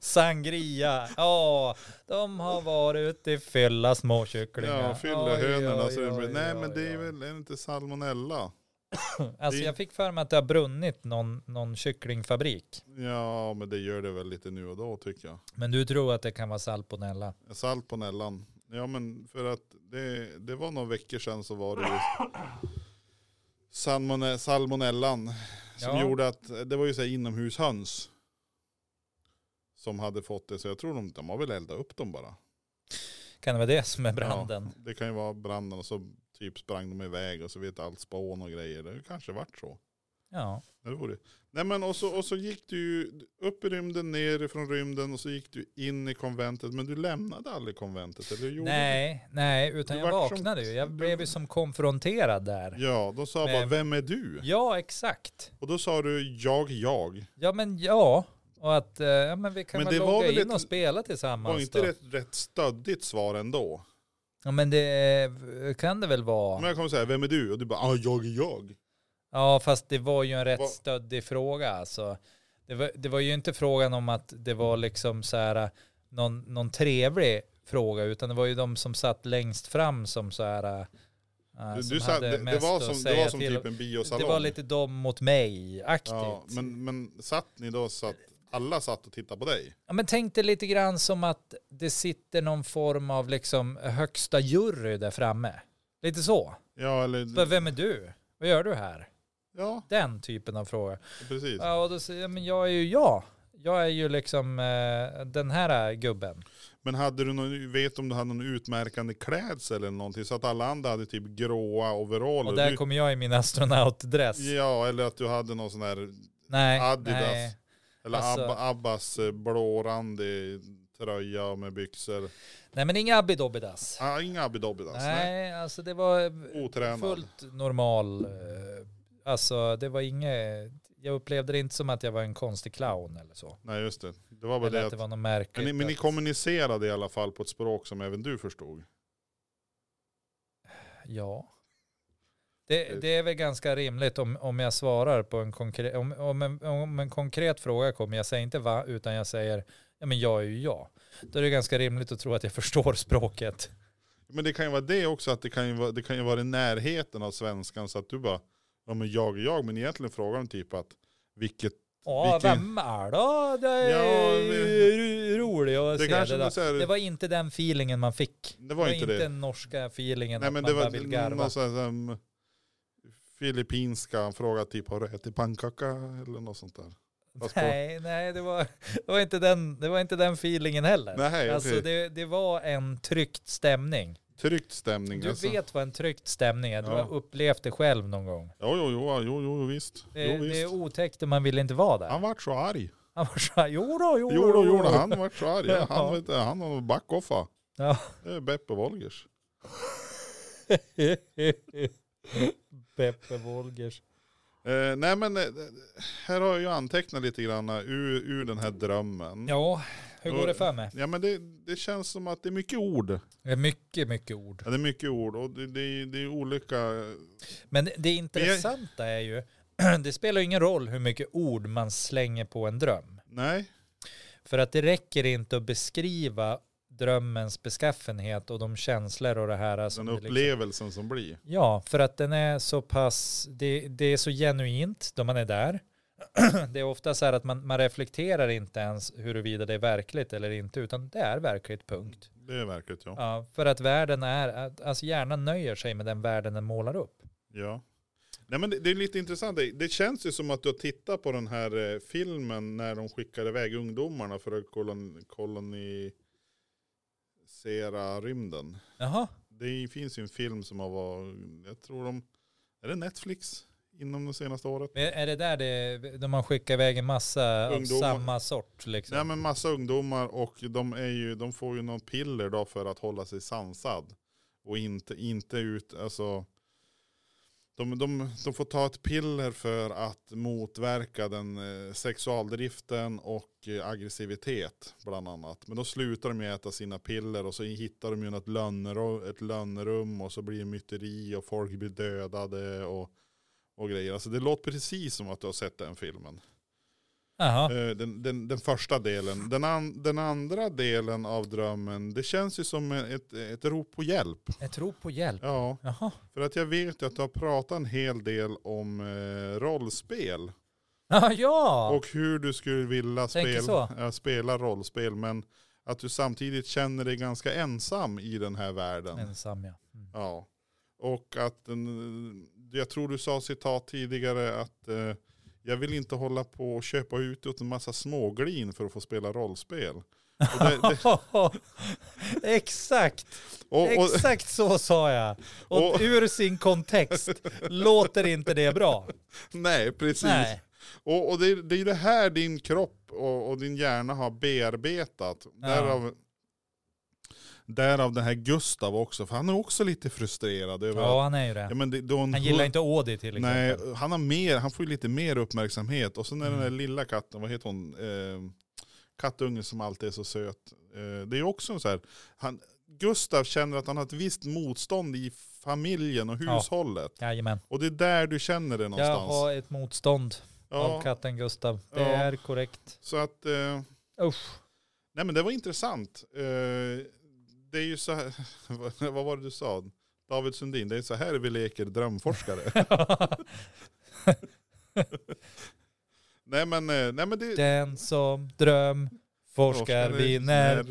Speaker 2: Sangria. Ja, de har varit ute i fylla små kycklingar.
Speaker 1: ja, fyllehönorna. så det blir-
Speaker 2: oj,
Speaker 1: Nej men
Speaker 2: oj,
Speaker 1: det är
Speaker 2: oj.
Speaker 1: väl är det inte salmonella?
Speaker 2: Alltså
Speaker 1: det-
Speaker 2: jag fick för mig att det har brunnit någon, någon kycklingfabrik.
Speaker 1: Ja men det gör det väl lite nu och då tycker jag.
Speaker 2: Men du tror att det kan vara salponella.
Speaker 1: Salponellan. Ja men för att det, det var några veckor sedan så var det ju salmone, salmonellan som
Speaker 2: Ja.
Speaker 1: gjorde att det var ju så här inomhushöns som hade fått det. Så jag tror de, de har väl eldat upp dem bara.
Speaker 2: Kan det vara det som är branden?
Speaker 1: Ja, det kan ju vara branden och så typ sprang de iväg och så vet allt spån och grejer. Det kanske vart så.
Speaker 2: Ja.
Speaker 1: Ja, Det vore. det. Nej men och så, och så gick du ju upp i rymden, ner från rymden och så gick du in i konventet. Men du lämnade aldrig konventet eller hur gjorde du?
Speaker 2: Nej, nej, utan
Speaker 1: Du
Speaker 2: jag
Speaker 1: vart som-
Speaker 2: vaknade ju. Jag
Speaker 1: du-
Speaker 2: blev ju som konfronterad där.
Speaker 1: Ja, de sa
Speaker 2: Men-
Speaker 1: bara vem är du?
Speaker 2: Ja, exakt.
Speaker 1: Och då sa du jag, jag.
Speaker 2: Ja men ja, och att eh, ja, men vi kan
Speaker 1: Men
Speaker 2: väl
Speaker 1: det var
Speaker 2: logga
Speaker 1: väl
Speaker 2: in
Speaker 1: ett-
Speaker 2: och spela
Speaker 1: Var
Speaker 2: tillsammans
Speaker 1: inte
Speaker 2: då.
Speaker 1: det ett rätt stöddigt svar ändå?
Speaker 2: Ja men det eh, kan det väl vara.
Speaker 1: Men jag kommer säga vem är du? Och du bara ah, jag, jag.
Speaker 2: Ja fast det var ju en rätt
Speaker 1: Vad-
Speaker 2: stöddig fråga alltså. Det var, det var ju inte frågan om att det var liksom så här eh, någon, någon trevlig fråga utan det var ju de som satt längst fram som så här eh,
Speaker 1: Du,
Speaker 2: som
Speaker 1: du sa,
Speaker 2: hade
Speaker 1: det, det
Speaker 2: mest
Speaker 1: var
Speaker 2: att
Speaker 1: som, det
Speaker 2: säga
Speaker 1: var som
Speaker 2: till.
Speaker 1: typ en biosalong.
Speaker 2: Det var lite de mot mig-aktigt.
Speaker 1: ja, men, men satt ni då så att alla satt och tittade på dig?
Speaker 2: Ja, men tänk dig lite grann som att det sitter någon form av liksom högsta jury där framme. Lite så.
Speaker 1: Ja, eller,
Speaker 2: Bara, Vem är du? Vad gör du här?
Speaker 1: ja
Speaker 2: Den typen av frågor.
Speaker 1: precis.
Speaker 2: Ja, och då säger jag, men jag är ju jag. Jag är ju liksom eh, den här gubben.
Speaker 1: Men hade du någon, vet om du hade någon utmärkande klädsel eller någonting? Så att alla andra hade typ gråa overaller.
Speaker 2: Och där
Speaker 1: Du-
Speaker 2: kommer jag i min astronautdress.
Speaker 1: Ja, eller att du hade någon sån här
Speaker 2: Nej,
Speaker 1: Adidas.
Speaker 2: nej.
Speaker 1: Eller
Speaker 2: Alltså-
Speaker 1: Abba, Abbas eh, blårandig tröja med byxor.
Speaker 2: nej, men inga abidobbidas.
Speaker 1: Ah, inga abidobidas. Nej.
Speaker 2: Nej, alltså det var
Speaker 1: Otränad.
Speaker 2: fullt normal. eh, Alltså det var inget, jag upplevde det inte som att jag var en konstig clown eller så.
Speaker 1: Nej, just det. Det var bara
Speaker 2: Eller
Speaker 1: det
Speaker 2: att det
Speaker 1: att...
Speaker 2: var något märkligt.
Speaker 1: Men ni, men ni
Speaker 2: att-
Speaker 1: kommunicerade i alla fall på ett språk som även du förstod.
Speaker 2: Ja. Det, det är väl ganska rimligt om, om jag svarar på en konkret, om, om, en, om en konkret fråga kommer, jag säger inte va, utan jag säger, ja men jag är ju jag. Då är det ganska rimligt att tro att jag förstår språket.
Speaker 1: Men det kan ju vara det också, att det kan ju vara, det kan ju vara i närheten av svenskan så att du bara, ja men jag är jag, men egentligen frågar de typ att vilket
Speaker 2: Ja,
Speaker 1: Vilken-
Speaker 2: vem är då? Det är
Speaker 1: Ja,
Speaker 2: ju roligt att
Speaker 1: det
Speaker 2: se
Speaker 1: kanske
Speaker 2: det där.
Speaker 1: var så här-
Speaker 2: Det var inte den feelingen man fick.
Speaker 1: Det var inte det.
Speaker 2: den norska feelingen
Speaker 1: Nej
Speaker 2: att
Speaker 1: men
Speaker 2: man
Speaker 1: det
Speaker 2: bara vill
Speaker 1: var
Speaker 2: garva.
Speaker 1: någon sån här um, filippinska, han frågade typ har du ätit pannkaka eller något sånt där. Fast på-
Speaker 2: Nej, nej det, var, det, var inte den, det var inte den feelingen heller.
Speaker 1: Nej,
Speaker 2: alltså
Speaker 1: okej.
Speaker 2: det, det var en tryckt stämning.
Speaker 1: Tryckt stämning.
Speaker 2: Du
Speaker 1: alltså.
Speaker 2: vet vad en tryckt stämning är, du
Speaker 1: Ja.
Speaker 2: har upplevt det själv någon gång.
Speaker 1: Jo, jo, jo, jo, jo visst.
Speaker 2: Det,
Speaker 1: jo,
Speaker 2: det
Speaker 1: visst.
Speaker 2: är otäckt och man vill inte vara där.
Speaker 1: Han vart så arg.
Speaker 2: Han var så här, jodå, jodå.
Speaker 1: Jo, då, jo, då, han vart så arg. Ja,
Speaker 2: Ja.
Speaker 1: han, vet, du, han har backoffa.
Speaker 2: Ja.
Speaker 1: Det är Beppe Wolgers.
Speaker 2: Beppe Wolgers.
Speaker 1: Eh, nej men eh, här har jag ju antecknat lite grann eh, ur, ur den här drömmen.
Speaker 2: Ja, hur går det för mig?
Speaker 1: Ja, men det, det känns som att det är mycket ord.
Speaker 2: Det är mycket, mycket ord.
Speaker 1: Ja, det är mycket ord och det, det, är- det är olika.
Speaker 2: Men det- det intressanta är ju, det spelar ju ingen roll hur mycket ord man slänger på en dröm.
Speaker 1: Nej,
Speaker 2: För att det räcker inte att beskriva drömmens beskaffenhet och de känslor och det här. som
Speaker 1: den
Speaker 2: det liksom-
Speaker 1: upplevelsen som blir.
Speaker 2: Ja, för att den är så pass, det, det är så genuint då man är där. Det är ofta så här att man, man reflekterar inte ens huruvida det är verkligt eller inte, utan det är verkligt, punkt.
Speaker 1: Det är verkligt ja.
Speaker 2: Ja, för att världen är, att- alltså hjärnan nöjer sig med den världen den målar upp.
Speaker 1: ja. Nej men det, det är lite intressant. Det, det känns ju som att du har tittat på den här eh, filmen när de skickade iväg ungdomarna för att kolon, kolonisera rymden.
Speaker 2: Jaha,
Speaker 1: Det finns ju en film som har varit, jag tror de, är det Netflix inom det senaste året?
Speaker 2: Men är det där det, de har skickat iväg en massa
Speaker 1: Ungdomar.
Speaker 2: av samma sort liksom?
Speaker 1: Nej men massa ungdomar och de, är ju, de får ju någon piller då för att hålla sig sansad. Och inte, inte ut, alltså. De, de, de får ta ett piller för att motverka den eh, sexualdriften och eh, aggressivitet bland annat. Men då slutar de ju äta sina piller och så hittar de ju något lönnrum, ett lönnrum och så blir det myteri och folk blir dödade och, och grejer. Alltså det låter precis som att du har sett den filmen.
Speaker 2: Jaha.
Speaker 1: Eh, Den, den, den första delen. Den, an, den andra delen av drömmen, det känns ju som ett, ett rop på hjälp.
Speaker 2: Jag tror på hjälp.
Speaker 1: Ja,
Speaker 2: Jaha.
Speaker 1: för att jag vet ju att du har pratat en hel del om eh, rollspel.
Speaker 2: Ah, ja,
Speaker 1: Och hur du skulle vilja
Speaker 2: Tänker
Speaker 1: spel,
Speaker 2: så.
Speaker 1: eh, spela rollspel. Men att du samtidigt känner dig ganska ensam i den här världen.
Speaker 2: ensam ja. Mm.
Speaker 1: Ja. Och att, den, jag tror du sa citat tidigare att eh, jag vill inte hålla på och köpa ut åt en massa småglin för att få spela rollspel. Och det, det,
Speaker 2: exakt,
Speaker 1: och, och,
Speaker 2: exakt så sa jag. Och,
Speaker 1: Och-
Speaker 2: ur sin kontext låter inte det bra.
Speaker 1: nej, precis.
Speaker 2: Nej.
Speaker 1: Och, och det, är- det är det här din kropp och, och din hjärna har bearbetat. Därav, därav den här Gustav också, för han är också lite frustrerad över
Speaker 2: Ja,
Speaker 1: att-
Speaker 2: han är ju det.
Speaker 1: ja, men det, då en
Speaker 2: Han
Speaker 1: hund-
Speaker 2: gillar inte Audi till
Speaker 1: Nej,
Speaker 2: exempel.
Speaker 1: han, har mer, han får ju lite mer uppmärksamhet. Och sen är den
Speaker 2: Mm.
Speaker 1: där lilla katten, vad heter hon? Eh, kattungen som alltid är så söt. Eh, det är också en så här, han, Gustav känner att han har ett visst motstånd i familjen och
Speaker 2: Ja.
Speaker 1: hushållet.
Speaker 2: Jajamän.
Speaker 1: Och det är där du känner det
Speaker 2: Jag
Speaker 1: någonstans.
Speaker 2: har ett motstånd av
Speaker 1: ja,
Speaker 2: katten Gustav. Det
Speaker 1: Ja.
Speaker 2: är korrekt.
Speaker 1: så att, eh,
Speaker 2: Usch.
Speaker 1: nej men det var intressant. Eh, det är ju så här, vad var det du sa? David Sundin, det är så här vi leker drömforskare. nej men, eh, nej men det...
Speaker 2: Den som dröm forskar vinner.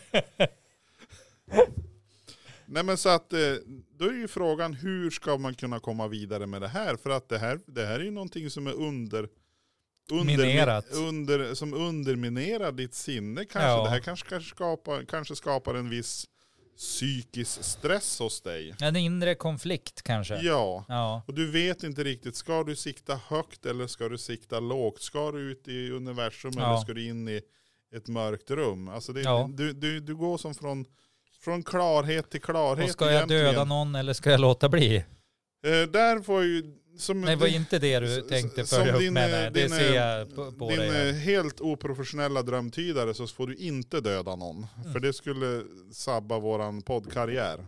Speaker 1: Nej men så att eh, då är ju frågan hur ska man kunna komma vidare med det här? För att det här, det här är ju någonting som är under,
Speaker 2: Minerat.
Speaker 1: under, som underminerar ditt sinne kanske.
Speaker 2: Ja.
Speaker 1: Det här kanske, kanske, skapar, kanske skapar en viss psykisk stress hos dig.
Speaker 2: En inre konflikt kanske.
Speaker 1: Ja.
Speaker 2: Ja.
Speaker 1: Och du vet inte riktigt, ska du sikta högt eller ska du sikta lågt? Ska du ut i universum eller
Speaker 2: Ja.
Speaker 1: ska du in i ett mörkt rum? Alltså det,
Speaker 2: Ja.
Speaker 1: du, du, du går som från, från klarhet till klarhet.
Speaker 2: Och ska jag döda
Speaker 1: egentligen.
Speaker 2: någon eller ska jag låta bli?
Speaker 1: Eh, där får ju... Som,
Speaker 2: Nej, det var inte det du
Speaker 1: s-
Speaker 2: tänkte
Speaker 1: som
Speaker 2: följa upp
Speaker 1: din,
Speaker 2: med.
Speaker 1: eh,
Speaker 2: Nej, det
Speaker 1: din,
Speaker 2: ser
Speaker 1: eh,
Speaker 2: jag på, på
Speaker 1: din eh,
Speaker 2: dig.
Speaker 1: helt oprofessionella drömtydare så får du inte döda
Speaker 2: Mm.
Speaker 1: någon. För det skulle sabba våran poddkarriär.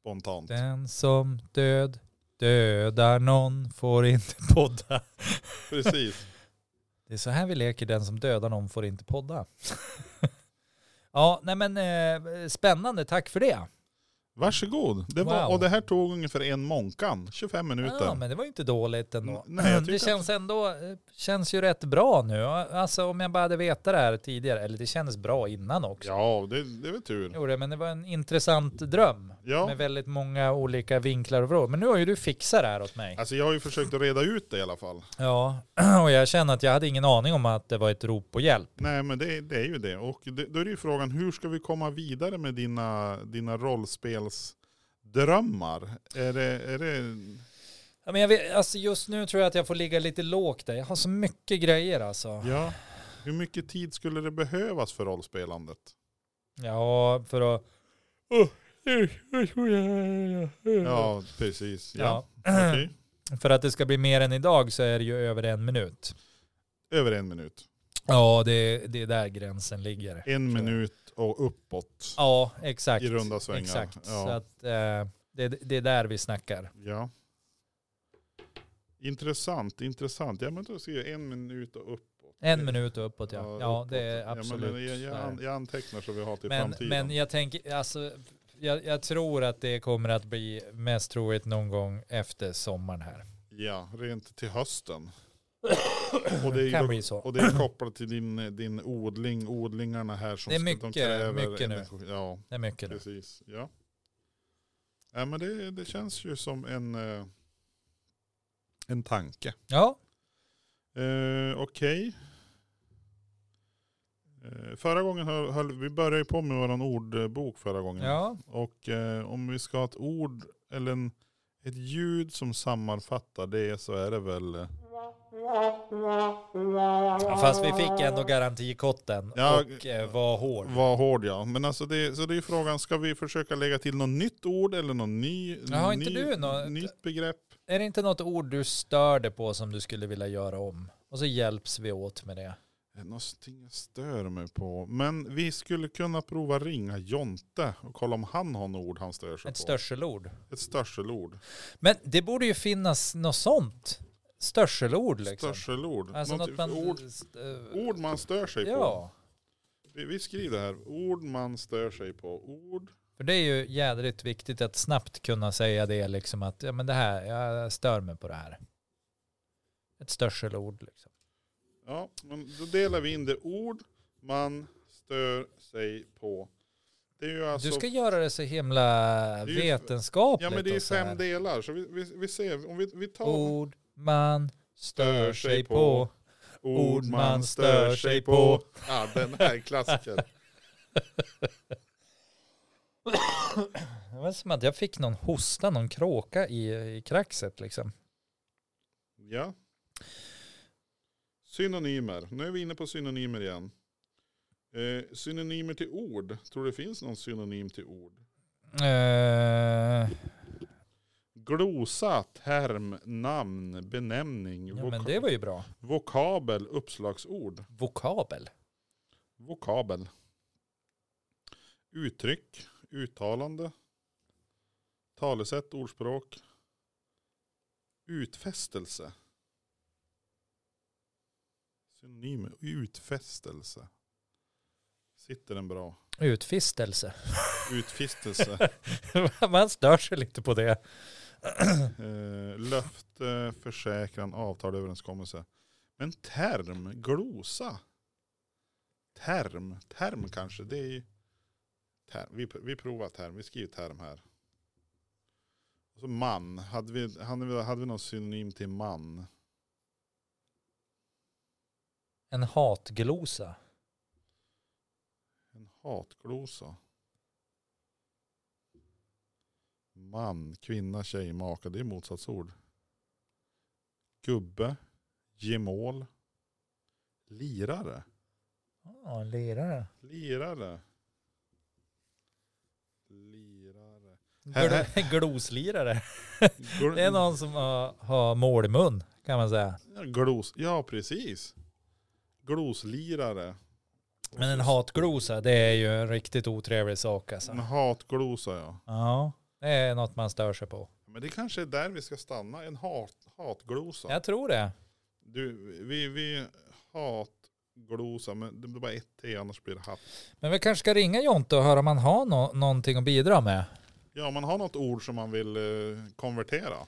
Speaker 1: spontant.
Speaker 2: Den som död dödar någon får inte podda.
Speaker 1: Precis.
Speaker 2: Det är så här vi leker, den som dödar någon får inte podda. ja, nej men eh, spännande, tack för det.
Speaker 1: Varsågod. Det var,
Speaker 2: Wow.
Speaker 1: Och det här tog ungefär en månkan, 25 minuter.
Speaker 2: Ja, men det var ju inte dåligt ändå.
Speaker 1: N- Mm, nej, jag tyckte
Speaker 2: det känns ändå, eh, känns ju rätt bra nu. Alltså om jag bara hade vetat det här tidigare, eller det kändes bra innan också.
Speaker 1: Ja, det, det är väl tur.
Speaker 2: Jo, det, men det var en intressant dröm
Speaker 1: Ja.
Speaker 2: med väldigt många olika vinklar och vrår. Men nu har ju du fixat det här åt mig.
Speaker 1: Alltså jag har ju försökt att reda ut det i alla fall.
Speaker 2: Ja, och jag känner att jag hade ingen aning om att det var ett rop på hjälp.
Speaker 1: Nej men det, det är ju det. Och det, då är det ju frågan, hur ska vi komma vidare med dina, dina rollspelsdrömmar? Är det, är det...
Speaker 2: Ja, men jag vet, alltså just nu tror jag att jag får ligga lite lågt där. Jag har så mycket grejer alltså.
Speaker 1: Ja. Hur mycket tid skulle det behövas för rollspelandet?
Speaker 2: Ja, för att...
Speaker 1: Ja, precis. Ja.
Speaker 2: Mm. Ja.
Speaker 1: Okej.
Speaker 2: För att det ska bli mer än idag så är det ju över en minut.
Speaker 1: Över en minut.
Speaker 2: Ja, det, det är där gränsen ligger.
Speaker 1: En
Speaker 2: Så.
Speaker 1: minut och uppåt
Speaker 2: Ja, exakt.
Speaker 1: i runda svängar.
Speaker 2: Exakt. Så
Speaker 1: Ja.
Speaker 2: att eh, det, det är där vi snackar.
Speaker 1: ja. Intressant, intressant. Ja men då ska jag en minut och uppåt.
Speaker 2: En minut och uppåt ja.
Speaker 1: Ja,
Speaker 2: Ja,
Speaker 1: uppåt.
Speaker 2: det är
Speaker 1: Ja, men
Speaker 2: absolut.
Speaker 1: jag, jag,
Speaker 2: där.
Speaker 1: an, jag antecknar så vi har till
Speaker 2: men,
Speaker 1: framtiden.
Speaker 2: men jag tänker, alltså, jag, jag tror att det kommer att bli mest troligt någon gång efter sommaren här.
Speaker 1: Ja, rent till hösten. Och det är,
Speaker 2: kan
Speaker 1: ju-
Speaker 2: bli så.
Speaker 1: och det är kopplat till din, din odling, odlingarna här som
Speaker 2: Det är
Speaker 1: ska-
Speaker 2: mycket- mycket nu.
Speaker 1: energi. Ja,
Speaker 2: Det är mycket nu.
Speaker 1: precis. Ja. Ja, men det, det känns ju som en, eh, en tanke.
Speaker 2: Ja,
Speaker 1: Eh, Okej. Eh, förra gången höll, höll vi började ju på med vår ordbok förra gången.
Speaker 2: ja.
Speaker 1: Och eh, om vi ska ha ett ord eller en, ett ljud som sammanfattar det så är det väl eh,
Speaker 2: ja. Fast vi fick ändå garantikotten
Speaker 1: Ja.
Speaker 2: och eh, var hård.
Speaker 1: Vad hård ja. Men alltså det, så det är ju frågan, ska vi försöka lägga till något nytt ord eller något ny,
Speaker 2: Ja, har
Speaker 1: ny,
Speaker 2: inte du något?
Speaker 1: nytt begrepp?
Speaker 2: Är det inte något ord du störde på som du skulle vilja göra om? Och så hjälps vi åt med det.
Speaker 1: Eh, Någonting jag stör mig på. Men vi skulle kunna prova ringa Jonte och kolla om han har något ord han stör sig
Speaker 2: Ett
Speaker 1: på.
Speaker 2: störselord.
Speaker 1: Ett störselord.
Speaker 2: Men det borde ju finnas något sånt. Störselord liksom.
Speaker 1: Störselord.
Speaker 2: Alltså
Speaker 1: något
Speaker 2: något man...
Speaker 1: ord,
Speaker 2: st-
Speaker 1: ord man stör sig på.
Speaker 2: Ja.
Speaker 1: Vi, vi skriver det här. Ord man stör sig på. Ord.
Speaker 2: För det är ju jädrigt viktigt att snabbt kunna säga det liksom att ja men det här, jag stör mig på det här. Ett störselord liksom.
Speaker 1: Ja, men då delar vi in det. Ord man stör sig på. Det är ju alltså...
Speaker 2: du ska göra det så himla
Speaker 1: Det är ju- Ja
Speaker 2: vetenskapligt.
Speaker 1: men det är
Speaker 2: och så här.
Speaker 1: fem delar, så vi, vi, vi ser, om vi, vi tar
Speaker 2: Ord man stör sig på. ord man stör sig på.
Speaker 1: Ja den här är klassiker.
Speaker 2: Det var som att jag fick någon hosta, någon kråka i, i kraxet liksom.
Speaker 1: Ja. Synonymer, nu är vi inne på synonymer igen. Eh, synonymer till ord, tror det finns någon synonym till ord?
Speaker 2: Eh,
Speaker 1: Glosa, term, namn, benämning,
Speaker 2: ja men
Speaker 1: voka-
Speaker 2: det var ju bra.
Speaker 1: vokabel, uppslagsord,
Speaker 2: Vokabel.
Speaker 1: vokabel. Uttryck, uttalande, talesätt, ordspråk, utfästelse. Synonym, utfästelse. Sitter den bra?
Speaker 2: Utfistelse.
Speaker 1: Utfästelse.
Speaker 2: man stör sig lite på det.
Speaker 1: Eh, löfte, försäkran, avtal, överenskommelse. Men term, glosa. Term, term kanske. Det är ju term. Vi, vi provar term, vi skriver term här. Och så man, hade vi, hade, vi, hade vi någon synonym till man?
Speaker 2: En hatglosa.
Speaker 1: En hatglosa. Man, kvinna, tjej, maka. Det är motsatsord. Gubbe, gemål, lirare.
Speaker 2: Ja, en lirare.
Speaker 1: Lirare. Lirare.
Speaker 2: Gl- Gloslirare.
Speaker 1: Gl-
Speaker 2: Det är någon som har, har målmun kan man säga.
Speaker 1: Ja, Glos. Ja, precis. Gloslirare.
Speaker 2: Men
Speaker 1: Mm.
Speaker 2: en hatglosa det är ju en riktigt otrevlig sak alltså.
Speaker 1: En hatglosa ja.
Speaker 2: Ja. Det är något man stör sig på.
Speaker 1: Men det kanske är där vi ska stanna, en hat, hatglosa.
Speaker 2: Jag tror det.
Speaker 1: Du, vi, vi hatglosa, men det blir bara ett T annars blir det hatt.
Speaker 2: Men vi kanske ska ringa Jonte och höra om han har nå- någonting att bidra med.
Speaker 1: Ja, om man har något ord som man vill eh, konvertera.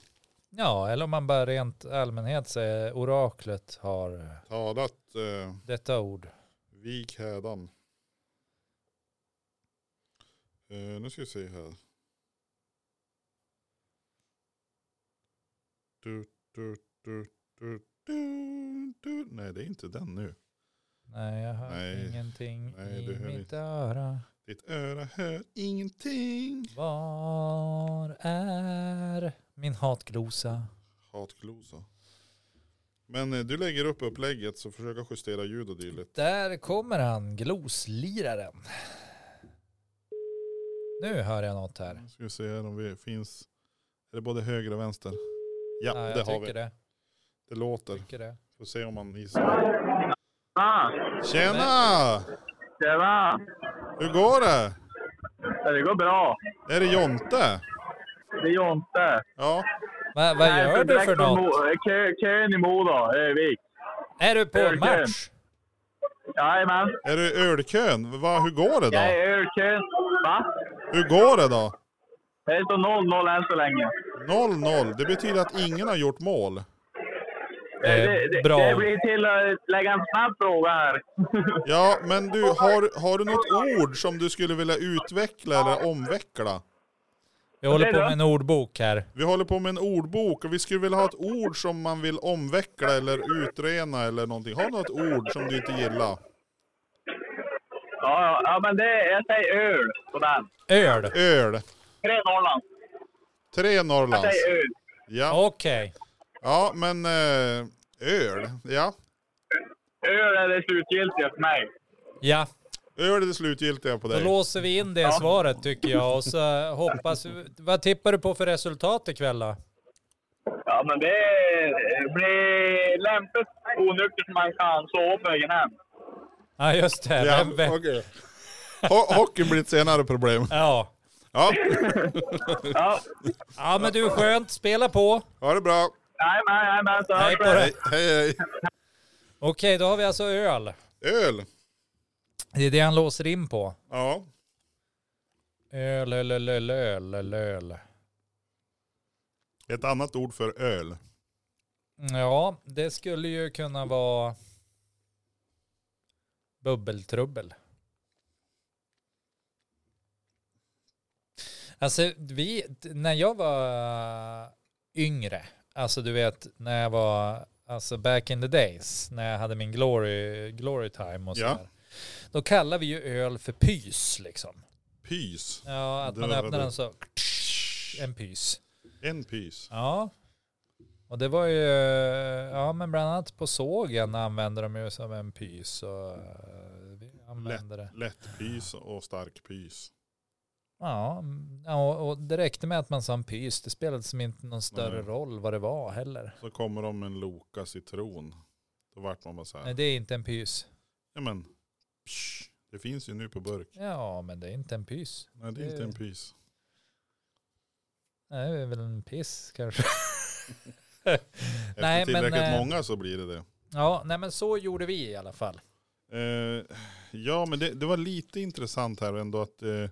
Speaker 2: Ja, eller om man bara rent allmänhet säger oraklet har
Speaker 1: Talat, eh,
Speaker 2: detta ord.
Speaker 1: vik hädan. Eh, nu ska vi se här. Du, du, du, du, du, du. Nej, det är inte den nu.
Speaker 2: Nej, jag hör
Speaker 1: Nej.
Speaker 2: ingenting
Speaker 1: Nej,
Speaker 2: i
Speaker 1: du hör
Speaker 2: mitt
Speaker 1: inte.
Speaker 2: öra.
Speaker 1: Ditt öra hör ingenting.
Speaker 2: Var är min hatglosa?
Speaker 1: Hatglosa. Men eh, du lägger upp upplägget så försöka justera ljud och dylikt.
Speaker 2: Där kommer han, glosliraren. Nu hör jag något här.
Speaker 1: Nu ska vi se här om vi finns. Är det både höger och vänster? Ja,
Speaker 2: Ja, jag
Speaker 1: det har
Speaker 2: tycker
Speaker 1: vi. Det,
Speaker 2: det.
Speaker 1: låter.
Speaker 2: Tycker det.
Speaker 1: Får se om man gissar.
Speaker 3: Ah,
Speaker 1: Tjena!
Speaker 3: tjena!
Speaker 1: Hur går det?
Speaker 3: Det går bra.
Speaker 1: Är det Jonte?
Speaker 3: Det är Jonte.
Speaker 1: Ja.
Speaker 2: Va, vad gör du för något?
Speaker 3: eh, Kö, kön i Modo, Övik.
Speaker 2: Är du på
Speaker 3: Ölkön.
Speaker 2: match?
Speaker 3: Jajamän.
Speaker 1: Är du i ölkön? Va, hur går det
Speaker 3: Jag
Speaker 1: då?
Speaker 3: är ölkön. Va?
Speaker 1: Hur går det då?
Speaker 3: Det står 0-0 än så länge.
Speaker 1: 0-0. Det betyder att ingen har gjort mål.
Speaker 2: Eh, bra.
Speaker 3: det blir till att lägga en snabb fråga här.
Speaker 1: Ja, men du, har, har du något ord som du skulle vilja utveckla eller omveckla?
Speaker 2: Vi håller
Speaker 3: det
Speaker 2: på
Speaker 3: då?
Speaker 2: med en ordbok här.
Speaker 1: Vi håller på med en ordbok och vi skulle vilja ha ett ord som man vill omveckla eller utrena eller någonting. Har du något ord som du inte gillar?
Speaker 3: ja, ja, ja, men det, jag säger öl på den.
Speaker 2: Öl.
Speaker 1: Öl.
Speaker 3: Tre Norrland.
Speaker 1: Tre Norrlands.
Speaker 3: Säg
Speaker 2: Alltså.
Speaker 3: öl.
Speaker 1: Ja,
Speaker 2: Okej.
Speaker 1: ja men eh, öl. Ja.
Speaker 3: Öl är det slutgiltiga för mig.
Speaker 2: Ja,
Speaker 1: Öl är det slutgiltiga på
Speaker 2: då
Speaker 1: dig.
Speaker 2: låser vi in det svaret tycker jag. Och så hoppas vi... Vad tippar du på för resultat ikväll då?
Speaker 3: Ja, men det blir lämpligt onykter som man kan sova på vägen hem.
Speaker 2: Ja, just det.
Speaker 1: Ja,
Speaker 2: Vem, vem?
Speaker 1: okej. Ho- Hockeyn blir ett senare problem.
Speaker 2: Ja.
Speaker 1: Ja,
Speaker 3: Ja,
Speaker 2: ja, men du skönt. Spela på.
Speaker 1: ha det bra.
Speaker 3: jajamän, jajamän. så
Speaker 2: Hej
Speaker 3: hörs
Speaker 2: på
Speaker 3: vi.
Speaker 2: dig.
Speaker 1: Hej, hej, hej.
Speaker 2: Okej, då har vi alltså öl.
Speaker 1: Öl.
Speaker 2: Det är det han låser in på.
Speaker 1: Ja.
Speaker 2: Öl, öl, öl, öl, öl, öl, öl.
Speaker 1: Ett annat ord för öl.
Speaker 2: Ja, det skulle ju kunna vara bubbeltrubbel. Alltså vi, när jag var yngre, alltså du vet när jag var, alltså back in the days, när jag hade min glory, glory time och
Speaker 1: Ja.
Speaker 2: sådär. Då kallar vi ju öl för pys liksom.
Speaker 1: Pys.
Speaker 2: Ja, att
Speaker 1: Det
Speaker 2: man
Speaker 1: var
Speaker 2: öppnar
Speaker 1: det.
Speaker 2: den så, en pys.
Speaker 1: En pys.
Speaker 2: Ja. Och det var ju, eh, ja men bland annat på sågen använde de ju som en pys och eh, vi använde det.
Speaker 1: Lätt pys och stark pys.
Speaker 2: Ja, mm, ja, och- och det räckte med att man sa en pys, det spelade som inte någon
Speaker 1: Nej.
Speaker 2: större roll vad det var heller.
Speaker 1: Så kommer de med en Loka citron. Då vart man bara så här.
Speaker 2: Nej, det är inte en pys.
Speaker 1: Ja men, psh, det finns ju nu på burk.
Speaker 2: Ja, men det är inte en pys.
Speaker 1: Nej det är inte en pys.
Speaker 2: Nej, det är väl en piss kanske.
Speaker 1: Efter
Speaker 2: Nej, men,
Speaker 1: tillräckligt
Speaker 2: eh,
Speaker 1: många så blir det det.
Speaker 2: Ja, nej men så gjorde vi i alla fall.
Speaker 1: Eh, ja men det, det var lite intressant här ändå att eh,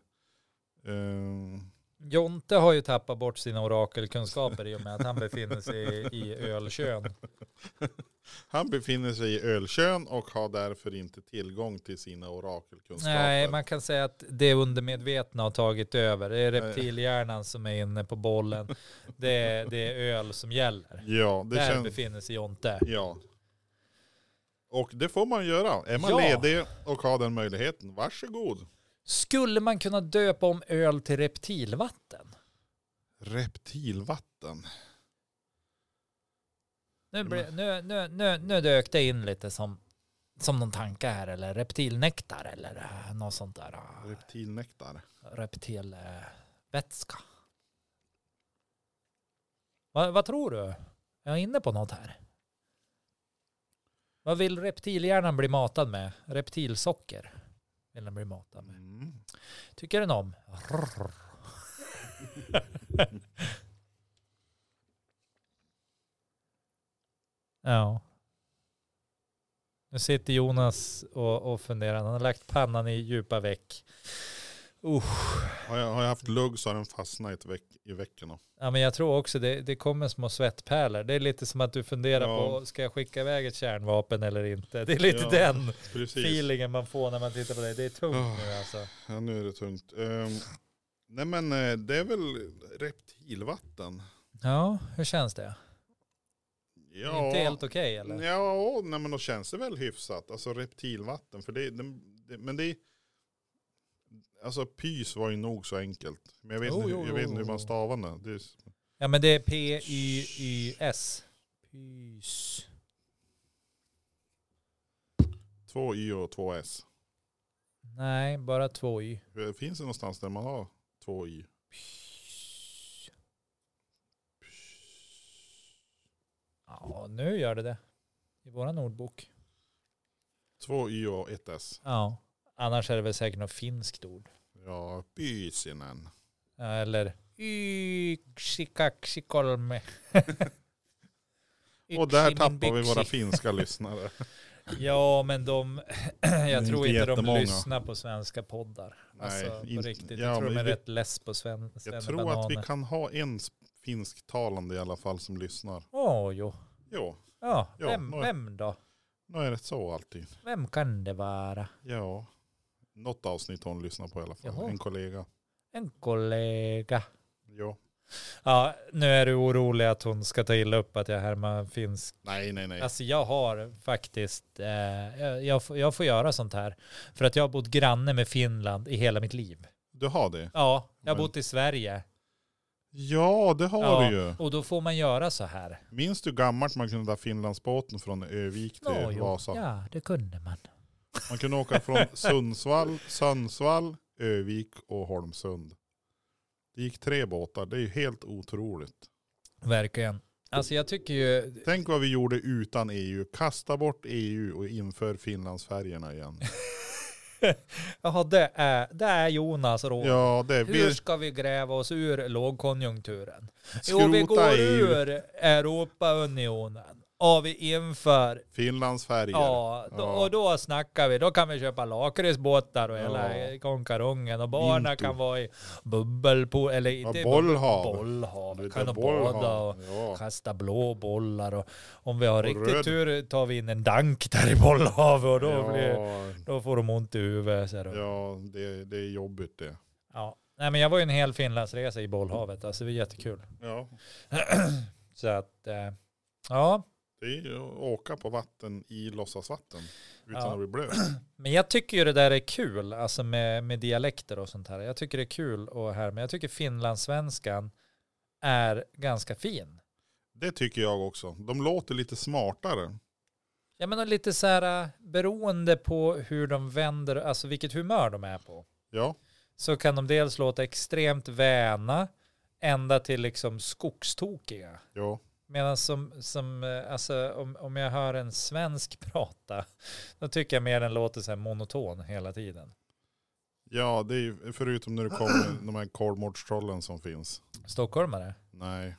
Speaker 1: eh,
Speaker 2: Jonte har ju tappat bort sina orakelkunskaper i och med att han befinner sig i, i ölkön.
Speaker 1: han befinner sig i ölkön och har därför inte tillgång till sina orakelkunskaper.
Speaker 2: Nej, man kan säga att det undermedvetna har tagit över. Det är reptilhjärnan som är inne på bollen. Det är, det är öl som gäller.
Speaker 1: Ja, det
Speaker 2: Där
Speaker 1: känns...
Speaker 2: befinner sig Jonte.
Speaker 1: Ja. Och det får man göra. Är man
Speaker 2: Ja.
Speaker 1: ledig och har den möjligheten, varsågod.
Speaker 2: Skulle man kunna döpa om öl till reptilvatten?
Speaker 1: Reptilvatten. Mm.
Speaker 2: Nu, blir- nu, nu, nu, nu dök det in lite som, som någon tanke här, eller reptilnektar eller eh, något sånt där. eh,
Speaker 1: Reptilnektar.
Speaker 2: Reptilvätska. Va, vad tror du? Är jag inne på något här? Vad vill reptilhjärnan bli matad med? Reptilsocker vill den bli matad med.
Speaker 1: Mm.
Speaker 2: Tycker den om? Ja. Nu sitter Jonas och, och funderar. Han har lagt pannan i djupa väck. Usch.
Speaker 1: Har jag, har jag haft lugg så har den fastnat i ett veck, i veckorna.
Speaker 2: Ja, men jag tror också det, det kommer små svettpärlor. Det är lite som att du funderar
Speaker 1: Ja.
Speaker 2: på, ska jag skicka iväg ett kärnvapen eller inte? Det är lite
Speaker 1: Ja,
Speaker 2: den
Speaker 1: Precis.
Speaker 2: feelingen man får när man tittar på dig. Det är tungt
Speaker 1: Ah.
Speaker 2: nu alltså.
Speaker 1: Ja, nu är det tungt. Ehm, nej men eh, det är väl reptilvatten.
Speaker 2: Ja, hur känns det? Det är
Speaker 1: Ja,
Speaker 2: Inte helt okej eller?
Speaker 1: ja nej, men då känns det väl hyfsat. Alltså reptilvatten. För det, den- det, men det är... Alltså pys var ju nog så enkelt. Men jag vet,
Speaker 2: Jo,
Speaker 1: inte,
Speaker 2: jo,
Speaker 1: jag
Speaker 2: jo,
Speaker 1: vet inte
Speaker 2: jo.
Speaker 1: hur man stavar det. det är, s-
Speaker 2: Ja, men det är P-Y-Y-S. Pys.
Speaker 1: två y och två s.
Speaker 2: Nej, bara två Y.
Speaker 1: Hur- Finns det någonstans där man har två y?
Speaker 2: Pys. Ja, nu gör det det. I våran ordbok.
Speaker 1: Två y och ett s.
Speaker 2: Ja. Annars är det väl säkert något finskt ord.
Speaker 1: Ja, pysinen.
Speaker 2: Ja, Eh, Eller yxikaxikolme.
Speaker 1: Och där
Speaker 2: Yximin
Speaker 1: tappar vi
Speaker 2: byxi.
Speaker 1: våra finska lyssnare.
Speaker 2: Ja, men de... jag
Speaker 1: inte
Speaker 2: tror inte de
Speaker 1: jättemånga.
Speaker 2: lyssnar på svenska poddar. Alltså,
Speaker 1: Nej,
Speaker 2: på
Speaker 1: inte-
Speaker 2: riktigt.
Speaker 1: ja,
Speaker 2: jag tror de är
Speaker 1: men vi-
Speaker 2: rätt less på sven,
Speaker 1: Jag tror att vi kan ha en s- finsktalande i alla fall som lyssnar.
Speaker 2: Åh, jo.
Speaker 1: Jo,
Speaker 2: Ja,
Speaker 1: Ja,
Speaker 2: vem,
Speaker 1: några-
Speaker 2: vem då?
Speaker 1: nu är det så alltid.
Speaker 2: Vem kan det vara?
Speaker 1: Ja, något avsnitt hon lyssnar på i alla fall.
Speaker 2: Jaha.
Speaker 1: En kollega.
Speaker 2: En kollega.
Speaker 1: Ja.
Speaker 2: Ja, nu är du orolig att hon ska ta illa upp att jag härmar finsk.
Speaker 1: Nej, nej, nej.
Speaker 2: Alltså jag har faktiskt, eh, jag, jag, får, jag får göra sånt här. För att jag har bott granne med Finland i hela mitt liv.
Speaker 1: Du har det?
Speaker 2: Ja, jag har
Speaker 1: Men-
Speaker 2: bott i Sverige.
Speaker 1: Ja, det har
Speaker 2: Ja,
Speaker 1: du ju.
Speaker 2: och då får man göra så här.
Speaker 1: Minns du gammalt man kunde ta Finlandsbåten från Övik till
Speaker 2: Ja, jo.
Speaker 1: Vasa?
Speaker 2: ja, det kunde man.
Speaker 1: Man kunde åka från Sundsvall, Sundsvall, Övik och Holmsund. Det gick tre båtar. Det är ju helt otroligt.
Speaker 2: Verkligen. Alltså jag tycker ju,
Speaker 1: Tänk vad vi gjorde utan EU. Kasta bort EU och inför Finlandsfärgerna igen.
Speaker 2: jaha det är, det är Jonas råd.
Speaker 1: Ja, det är
Speaker 2: Hur
Speaker 1: vi.
Speaker 2: ska vi gräva oss ur lågkonjunkturen? Jo, vi går
Speaker 1: Skrota EU.
Speaker 2: ur Europaunionen och vi inför,
Speaker 1: Finlands färger.
Speaker 2: ja, då,
Speaker 1: Ja.
Speaker 2: och då snackar vi, då kan vi köpa lakritsbåtar och hela
Speaker 1: Ja.
Speaker 2: konkarongen och barnen
Speaker 1: Vinto.
Speaker 2: kan vara i bubbelpool, eller
Speaker 1: Ja,
Speaker 2: inte i
Speaker 1: bollhav.
Speaker 2: bollhav,
Speaker 1: Lite
Speaker 2: kan de
Speaker 1: bollhav.
Speaker 2: bada och
Speaker 1: Ja.
Speaker 2: kasta blåbollar och om vi har riktigt
Speaker 1: röd.
Speaker 2: tur tar vi in en dank där i bollhavet och då, blir,
Speaker 1: ja,
Speaker 2: då får de ont i huvudet. så här.
Speaker 1: ja det, det är jobbigt det.
Speaker 2: Ja. Nej, men jag var ju en hel Finlandsresa i bollhavet, alltså det var jättekul.
Speaker 1: Ja.
Speaker 2: Så att, eh, ja.
Speaker 1: Det är ju att åka på vatten i låtsasvatten utan
Speaker 2: Ja.
Speaker 1: att bli blöt.
Speaker 2: Men jag tycker ju det där är kul, alltså med, med dialekter och sånt här. Jag tycker det är kul och här, men jag tycker finlandssvenskan är ganska fin.
Speaker 1: Det tycker jag också. De låter lite smartare.
Speaker 2: Jag menar lite så här, äh, beroende på hur de vänder, alltså vilket humör de är på,
Speaker 1: Ja,
Speaker 2: så kan de dels låta extremt väna, ända till liksom skogstokiga.
Speaker 1: ja.
Speaker 2: Medan som, som eh, alltså om, om jag hör en svensk prata, då tycker jag mer den låter så här monoton hela tiden.
Speaker 1: ja det är ju förutom när det kommer de här kolmårdstrollen som finns.
Speaker 2: Stockholmare,
Speaker 1: Nej,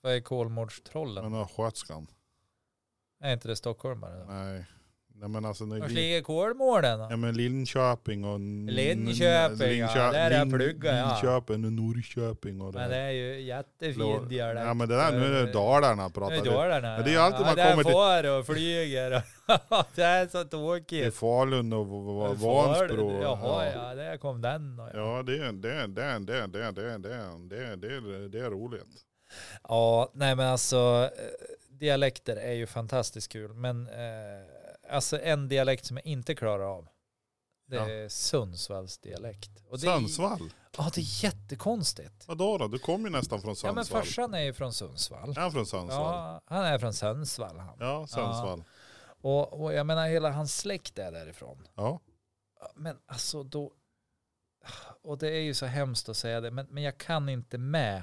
Speaker 2: vad är Kolmårdstrollen?
Speaker 1: men den skötskan.
Speaker 2: Är inte det stockholmare då?
Speaker 1: Nej. Nej men alltså. När
Speaker 2: Vart
Speaker 1: li-
Speaker 2: ligger Kolmården då?
Speaker 1: ja, men Linköping och...
Speaker 2: Linköping, ja. Där jag pluggar, ja.
Speaker 1: Linköping och Norrköping och det
Speaker 2: Men
Speaker 1: här.
Speaker 2: det är ju jättefin
Speaker 1: Blå-
Speaker 2: dialekt.
Speaker 1: Ja men det där, nu är det Dalarna
Speaker 2: Nu är
Speaker 1: pratar
Speaker 2: det
Speaker 1: vi.
Speaker 2: Dalarna.
Speaker 1: Men det är ju alltid
Speaker 2: ja,
Speaker 1: man
Speaker 2: där
Speaker 1: kommer till-
Speaker 2: far och flyger. och- det är så tråkigt.
Speaker 1: Det är Falun och v- v- Vansbro.
Speaker 2: Jaha, ja. Där kom den. då, Ja.
Speaker 1: Ja, det är det, det, det, det, det, det, det, det, det är roligt.
Speaker 2: ja, nej men alltså eh, dialekter är ju fantastiskt kul. Men eh, alltså en dialekt som jag inte klarar av. Det
Speaker 1: Ja.
Speaker 2: är Sundsvalls dialekt. Och det är-
Speaker 1: Sundsvall?
Speaker 2: Ja, det är jättekonstigt.
Speaker 1: Vadå då? Du kommer ju nästan från
Speaker 2: Ja, men
Speaker 1: Sundsvall.
Speaker 2: farsan är ju från Sundsvall.
Speaker 1: Är han från Sundsvall?
Speaker 2: Ja, han är från Sundsvall. Han.
Speaker 1: Ja, Sundsvall.
Speaker 2: Och, och jag menar hela hans släkt är därifrån.
Speaker 1: Ja.
Speaker 2: Men alltså då, och det är ju så hemskt att säga det, men, men jag kan inte med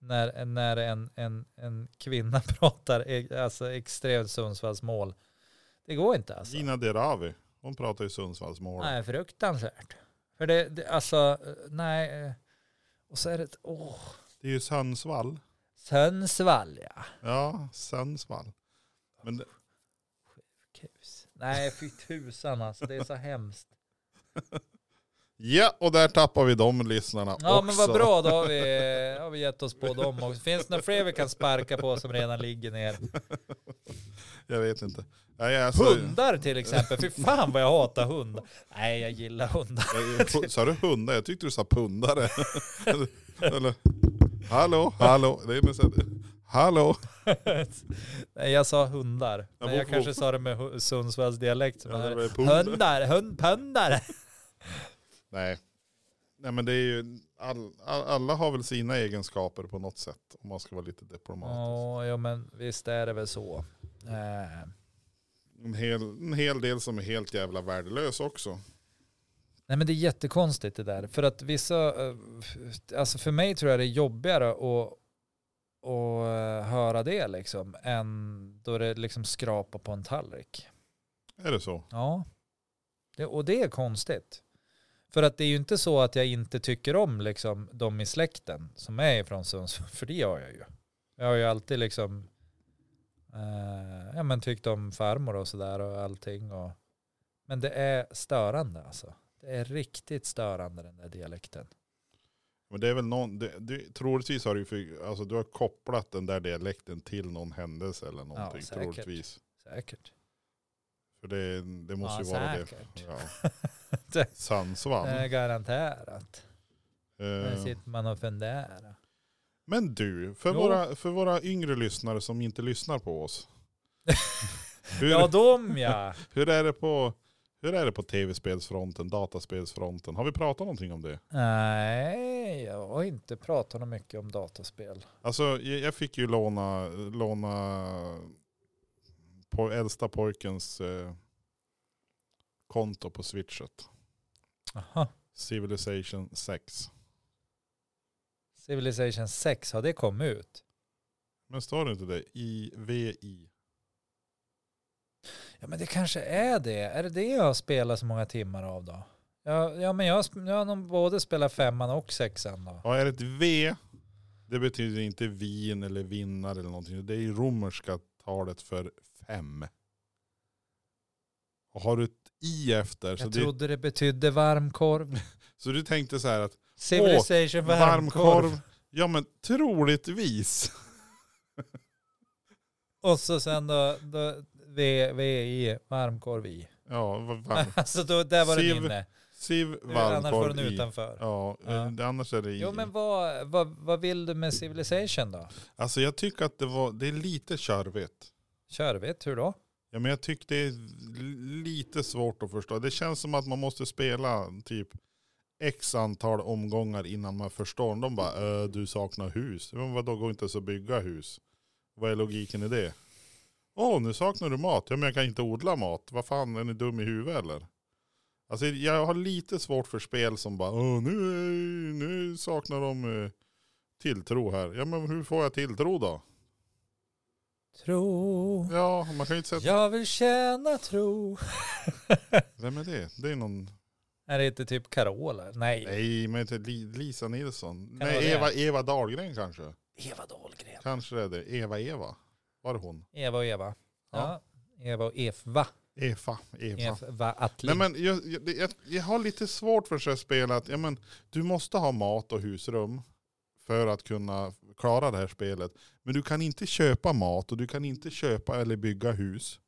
Speaker 2: när, när en, en, en kvinna pratar e- alltså extremt Sundsvallsmål. Det går inte alltså.
Speaker 1: Gina Dirawi. Hon pratar ju Sundsvallsmål.
Speaker 2: Nej, fruktansvärt. För det, det alltså, eh, nej. eh, Och så är det ett, åh,
Speaker 1: Det är ju Sundsvall.
Speaker 2: Sundsvall ja.
Speaker 1: Ja, Sundsvall. Men det,
Speaker 2: Kus. Nej, fy tusan alltså, det är så hemskt.
Speaker 1: ja, och där tappar vi de lyssnarna
Speaker 2: Ja
Speaker 1: också.
Speaker 2: men vad bra, då har vi, har vi gett oss på dem också. Finns det några fler vi kan sparka på som redan ligger ner?
Speaker 1: Jag vet inte. Nej, alltså,
Speaker 2: Hundar till exempel, fy fan vad jag hatar hundar. Nej jag gillar hundar.
Speaker 1: jag- pu- Sa du hundar? Jag tyckte du sa pundare. Eller- Eller, hallå, hallå. Det är nästan, hallå.
Speaker 2: Nej jag sa hundar. Men
Speaker 1: Ja,
Speaker 2: jag
Speaker 1: bo-
Speaker 2: kanske sa det med hu- Sundsvalls dialekt. Som
Speaker 1: Ja, det
Speaker 2: är
Speaker 1: var ju pundar.
Speaker 2: hundar, hundpundare.
Speaker 1: Nej. Nej men det är ju, all, all, alla har väl sina egenskaper på något sätt. Om man ska vara lite diplomatisk.
Speaker 2: Oh, ja men visst är det väl så. Eh,
Speaker 1: En, hel, en hel del som är helt jävla värdelös också.
Speaker 2: Nej men det är jättekonstigt det där. För att vissa, eh, f- alltså för mig tror jag det är jobbigare att, att eh, höra det liksom än då det liksom skrapar på en tallrik.
Speaker 1: Är det så?
Speaker 2: Ja, det, och det är konstigt. För att det är ju inte så att jag inte tycker om liksom de i släkten som är från Sundsvall, för det gör jag ju. Jag har ju alltid liksom eh, ja, men tyckt om farmor och sådär och allting. Och, men det är störande alltså. Det är riktigt störande den där dialekten.
Speaker 1: Men det är väl någon, det, det, troligtvis har du, ju för, alltså, du har kopplat den där dialekten till någon händelse eller någonting.
Speaker 2: säkert.
Speaker 1: troligtvis.
Speaker 2: Säkert.
Speaker 1: För det, det måste
Speaker 2: Ja,
Speaker 1: ju vara
Speaker 2: säkert.
Speaker 1: det. Ja.
Speaker 2: Det-
Speaker 1: Sundsvall.
Speaker 2: Eh, garanterat. Där
Speaker 1: Eh,
Speaker 2: sitter man och funderar.
Speaker 1: men du, för
Speaker 2: Jo.
Speaker 1: våra, för våra yngre lyssnare som inte lyssnar på oss. hur,
Speaker 2: Ja, de ja.
Speaker 1: hur, är det på, hur är det på tv-spelsfronten, dataspelsfronten? Har vi pratat någonting om det?
Speaker 2: Nej, jag har inte pratat mycket om dataspel.
Speaker 1: Alltså jag jag fick ju låna, låna på äldsta pojkens eh, konto på switchet.
Speaker 2: Aha.
Speaker 1: Civilization 6.
Speaker 2: Civilization 6, har det kommit ut?
Speaker 1: Men står det inte det? I-V-I.
Speaker 2: Ja men det kanske är det. Är det det jag har spelat så många timmar av då? Ja, ja men jag, har sp- jag har nog både spelat femman och sexan då.
Speaker 1: Ja är det ett V, det betyder inte vin eller vinnare eller någonting. Det är ju romerska talet för fem. Och har du ett I efter så,
Speaker 2: Jag
Speaker 1: det,
Speaker 2: trodde det betydde varmkorv.
Speaker 1: så du tänkte så här att
Speaker 2: Civilization varmkorv.
Speaker 1: varmkorv, ja men troligtvis.
Speaker 2: Och så sen då, då v, VI, varmkorv i.
Speaker 1: Ja, vad varm,
Speaker 2: Alltså då, där var
Speaker 1: Civ-
Speaker 2: den inne.
Speaker 1: Siv,
Speaker 2: Nu- Annars var
Speaker 1: varmkorv
Speaker 2: den
Speaker 1: i.
Speaker 2: utanför.
Speaker 1: Ja,
Speaker 2: Ja.
Speaker 1: eh, det- annars är det i.
Speaker 2: Jo men vad, vad, vad vill du med Civilization då?
Speaker 1: Alltså jag tycker att det, var, det är lite körvigt.
Speaker 2: Körvigt, hur då?
Speaker 1: Ja, men jag tycker det är l- lite svårt att förstå. Det känns som att man måste spela typ x antal omgångar innan man förstår. De bara, äh, du saknar hus. Men vadå, går inte ens att bygga hus? Vad är logiken i det? Åh, nu saknar du mat. Ja, men jag kan inte odla mat. Vad fan, är ni dum i huvudet eller? Alltså jag har lite svårt för spel som bara, Åh, nu, är- nu saknar de eh, tilltro här. Ja, men hur får jag tilltro då?
Speaker 2: Tro.
Speaker 1: Ja, man kan ju inte säga,
Speaker 2: Jag vill känna tro.
Speaker 1: vem är det? Det är någon
Speaker 2: Är det inte typ Carola? Nej.
Speaker 1: Nej, men inte Li- Lisa Nilsson.
Speaker 2: det vara
Speaker 1: Nej,
Speaker 2: det?
Speaker 1: Eva, Eva Dahlgren kanske.
Speaker 2: Eva Dahlgren.
Speaker 1: Kanske det är det. Eva Eva. Var det hon?
Speaker 2: Eva och Eva. Ja. Eva och Eva.
Speaker 1: Eva. Eva.
Speaker 2: Eva Attling.
Speaker 1: Nej men jag, jag, det- jag, jag har lite svårt för så här spel att ja, men, du måste ha mat och husrum för att kunna klara det här spelet. Men du kan inte köpa mat och du kan inte köpa eller bygga hus.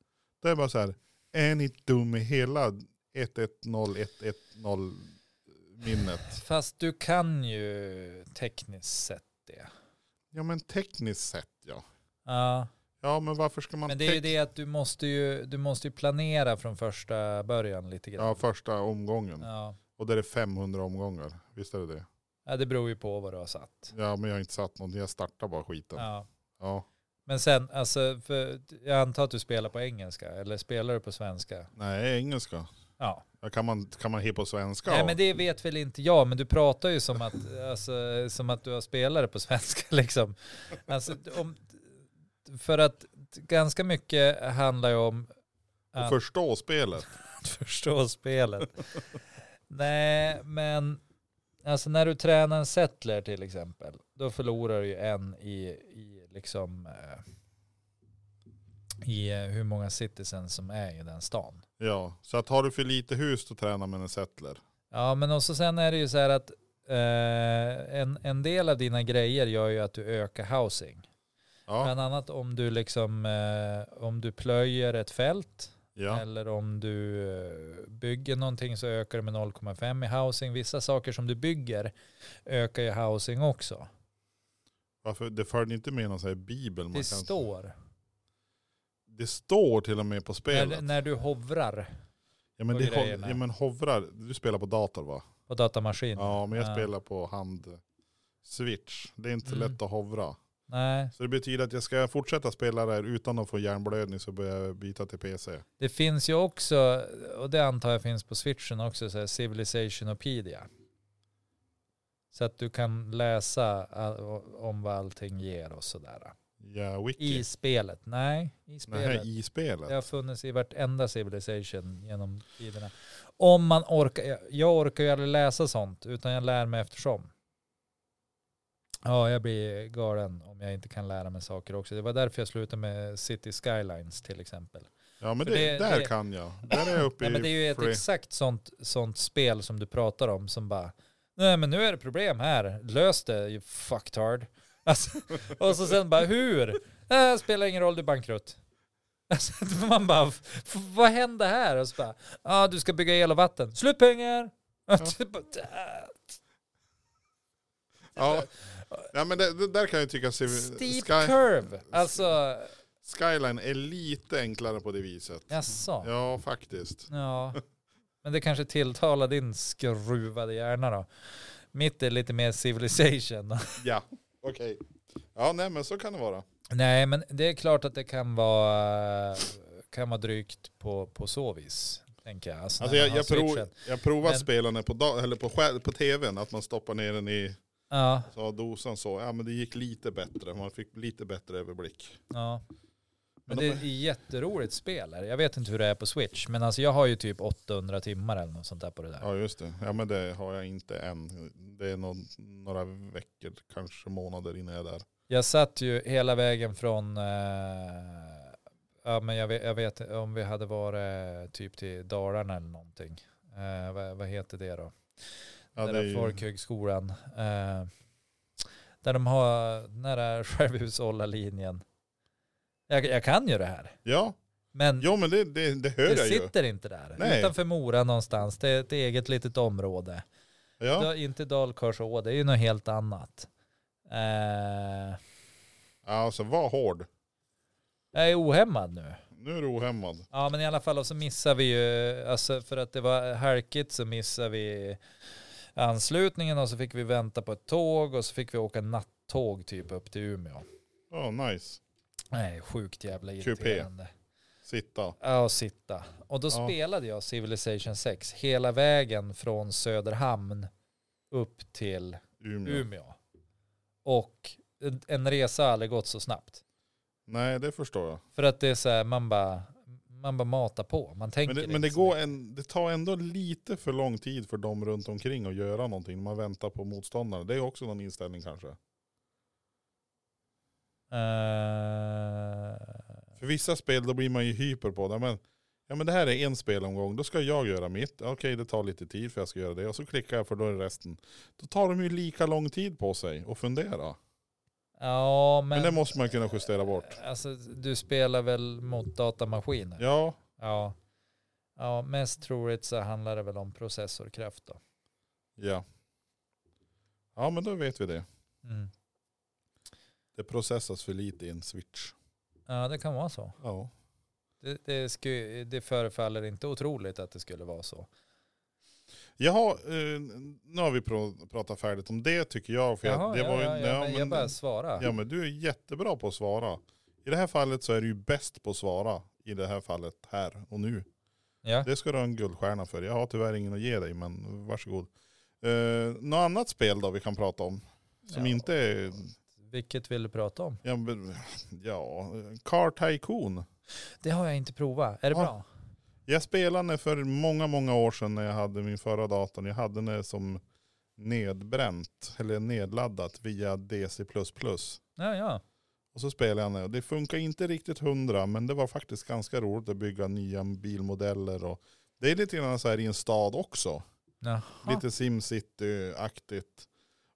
Speaker 1: Det är bara så här, är ni dum i hela 110110 minnet?
Speaker 2: Fast du kan ju tekniskt sett det.
Speaker 1: Ja men tekniskt sett ja.
Speaker 2: Ja,
Speaker 1: Ja men varför ska man
Speaker 2: men det är ju
Speaker 1: tek-
Speaker 2: det att du måste ju, du måste ju planera från första början lite
Speaker 1: Ja,
Speaker 2: grann.
Speaker 1: första omgången.
Speaker 2: Ja.
Speaker 1: Och där är 500 omgångar. Visst är det det?
Speaker 2: ja, det beror ju på vad du har satt.
Speaker 1: Ja, men jag har inte satt någonting. Jag startar bara skiten. Ja.
Speaker 2: Ja. Men sen, alltså, för jag antar att du spelar på engelska, eller spelar du på svenska?
Speaker 1: Nej, engelska.
Speaker 2: Ja.
Speaker 1: Ja, Kan man, kan man he på svenska?
Speaker 2: Nej
Speaker 1: och-
Speaker 2: men det vet väl inte jag, men du pratar ju som att, alltså, som att du har spelare på svenska liksom. Alltså, om, för att ganska mycket handlar ju om
Speaker 1: och
Speaker 2: att
Speaker 1: förstå spelet.
Speaker 2: förstå spelet. Nej men Alltså när du tränar en settler till exempel, då förlorar du ju en i, i liksom eh, i eh, hur många citizens som är i den stan.
Speaker 1: Ja, så att har du för lite hus då tränar med en settler.
Speaker 2: Ja, men också sen är det ju så här att eh, en, en del av dina grejer gör ju att du ökar housing.
Speaker 1: Ja,
Speaker 2: Bland annat om du liksom, eh, om du plöjer ett fält
Speaker 1: ja,
Speaker 2: eller om du eh, bygger någonting så ökar det med 0,5 i housing. Vissa saker som du bygger ökar ju housing också.
Speaker 1: varför? Det förde inte med någon sån här bibel. Man
Speaker 2: Det
Speaker 1: kan-
Speaker 2: står
Speaker 1: det står till och med på
Speaker 2: när,
Speaker 1: spelet.
Speaker 2: när du hovrar
Speaker 1: Ja men,
Speaker 2: på
Speaker 1: det ho-
Speaker 2: grejerna.
Speaker 1: ja men hovrar, du spelar på dator va?
Speaker 2: på datamaskinen.
Speaker 1: Ja men jag
Speaker 2: Ja.
Speaker 1: spelar på hand switch. Det är inte
Speaker 2: Mm.
Speaker 1: lätt att hovra.
Speaker 2: Nej,
Speaker 1: Så det betyder att jag ska fortsätta spela där utan att få hjärnblödning så börjar jag byta till PC.
Speaker 2: det finns ju också, och det antar jag finns på switchen också, så här Civilizationopedia. Så att du kan läsa all, om vad allting ger och sådär.
Speaker 1: Ja, wiki.
Speaker 2: I spelet? Nej, i spelet.
Speaker 1: Nej, i spelet.
Speaker 2: Det har funnits i vartenda Civilization genom tiderna. Om man orkar, jag- jag orkar ju aldrig läsa sånt utan jag lär mig eftersom. Ja, jag blir galen om jag inte kan lära mig saker också. Det var därför jag slutade med City Skylines till exempel.
Speaker 1: Ja men
Speaker 2: För
Speaker 1: det,
Speaker 2: det-
Speaker 1: där
Speaker 2: det-
Speaker 1: kan jag. Där är jag uppe
Speaker 2: Nej, men det är ju
Speaker 1: i
Speaker 2: ett
Speaker 1: free.
Speaker 2: exakt sånt, sånt spel som du pratar om som bara, nej men nu är det problem här, lös det you fucktard. Alltså, och så sen bara, hur? Äh, spelar ingen roll, du är bankrutt. Alltså, man bara, "F- vad hände här? Och så bara, ja ah, du ska bygga el och vatten, slut pengar. Typ "Äh,
Speaker 1: Ja. ja men det, det där kan jag tycka civi-
Speaker 2: Steep
Speaker 1: Sky,
Speaker 2: curve. Alltså,
Speaker 1: Skyline är lite enklare på det viset.
Speaker 2: jaså.
Speaker 1: Ja faktiskt.
Speaker 2: Ja, men det kanske tilltalar din skruvade hjärna då. Mitt är lite mer civilization.
Speaker 1: Ja okej. Ja nej men så kan det vara.
Speaker 2: Nej, men det är klart att det kan vara, kan vara drygt på, på så vis. Tänker jag. Alltså,
Speaker 1: Alltså
Speaker 2: när
Speaker 1: jag,
Speaker 2: man har
Speaker 1: jag, prov,
Speaker 2: switchen.
Speaker 1: jag provar
Speaker 2: Men-
Speaker 1: spelarna på, da- eller på, skär- på tvn, att man stoppar ner den i
Speaker 2: Ja,
Speaker 1: så har dosan så. Ja men det gick lite bättre, man fick lite bättre överblick.
Speaker 2: ja. Men
Speaker 1: Men
Speaker 2: det
Speaker 1: de
Speaker 2: är ett jätteroligt spel. Här. Jag vet inte hur det är på Switch, men alltså jag har ju typ 800 timmar eller något sånt där på det där.
Speaker 1: Ja just det, ja men det har jag inte än. Det är någon, några veckor, kanske månader innan jag är där.
Speaker 2: Jag satt ju hela vägen från, eh, ja men jag vet, jag vet om vi hade varit typ till Dalarna eller någonting. Eh, vad, vad heter det då?
Speaker 1: Ja,
Speaker 2: nära
Speaker 1: det är ju-
Speaker 2: folkhögskolan. Eh, där de har nära självhushållarlinjen. Jag, jag kan ju det här.
Speaker 1: Ja,
Speaker 2: Men
Speaker 1: jo men det, det, det hör
Speaker 2: det
Speaker 1: jag ju.
Speaker 2: sitter inte där.
Speaker 1: Nej.
Speaker 2: Utanför Mora någonstans. Det är ett eget litet område.
Speaker 1: Ja.
Speaker 2: Det är inte Dalkarså, det är ju något helt annat. Eh,
Speaker 1: Alltså var hård.
Speaker 2: jag är ohämmad nu.
Speaker 1: Nu är du ohämmad.
Speaker 2: Ja men i alla fall och så missar vi ju, alltså för att det var halkigt så missar vi anslutningen och så fick vi vänta på ett tåg och så fick vi åka nattåg typ upp till Umeå.
Speaker 1: Ja, nice.
Speaker 2: Nej, sjukt jävla
Speaker 1: Kupé.
Speaker 2: irriterande.
Speaker 1: Sitta.
Speaker 2: Ja, och sitta. Och då
Speaker 1: Ja.
Speaker 2: spelade jag Civilization 6 hela vägen från Söderhamn upp till
Speaker 1: Umeå.
Speaker 2: Umeå. Och en resa har aldrig gått så snabbt.
Speaker 1: Nej, det förstår jag.
Speaker 2: För att det är så här, man bara, man bara matar på. Man tänker
Speaker 1: Men det,
Speaker 2: liksom
Speaker 1: men det,
Speaker 2: inte så
Speaker 1: går en, det tar ändå lite för lång tid för dem runt omkring att göra någonting. Man väntar på motståndaren. Det är också någon inställning kanske.
Speaker 2: Eh,
Speaker 1: För vissa spel då blir man ju hyper på det. Men, ja men det här är en spelomgång, då ska jag göra mitt. Okej det tar lite tid för jag ska göra det. Och så klickar jag för då är det resten. Då tar de ju lika lång tid på sig att fundera.
Speaker 2: ja, men,
Speaker 1: Men, det måste man kunna justera bort.
Speaker 2: Alltså, du spelar väl mot datamaskiner?
Speaker 1: Ja,
Speaker 2: Ja. Ja, mest troligt så handlar det väl om processorkraft då.
Speaker 1: ja. Ja men då vet vi det.
Speaker 2: Mm.
Speaker 1: Det processas för lite i en switch.
Speaker 2: Ja, det kan vara så.
Speaker 1: Ja.
Speaker 2: Det, det, sku, det förefaller inte otroligt att det skulle vara så.
Speaker 1: Jaha, eh, nu har vi pr- pratat färdigt om det tycker jag. För
Speaker 2: Jaha,
Speaker 1: jag, det
Speaker 2: ja,
Speaker 1: var ju,
Speaker 2: ja, ja, men jag bara
Speaker 1: men,
Speaker 2: svarar.
Speaker 1: ja men du är jättebra på att svara. I det här fallet så är du ju bäst på att svara. I det här fallet här och nu.
Speaker 2: Ja.
Speaker 1: Det ska du ha en guldstjärna för. Jag har tyvärr ingen att ge dig men varsågod. Eh, något annat spel då vi kan prata om? Som
Speaker 2: Ja.
Speaker 1: inte är...
Speaker 2: Vilket vill du prata om?
Speaker 1: Ja, men- ja, Car Tycoon.
Speaker 2: Det har jag inte provat. Är det
Speaker 1: Ja.
Speaker 2: bra?
Speaker 1: Jag spelade för många, många år sedan när jag hade min förra datorn. Jag hade den som nedbränt eller nedladdat via DC++.
Speaker 2: Ja, ja.
Speaker 1: Och så spelade jag den. Det funkar inte riktigt hundra men det var faktiskt ganska roligt att bygga nya bilmodeller. Och det är lite grann så här i en stad också.
Speaker 2: Jaha.
Speaker 1: Lite SimCity-aktigt.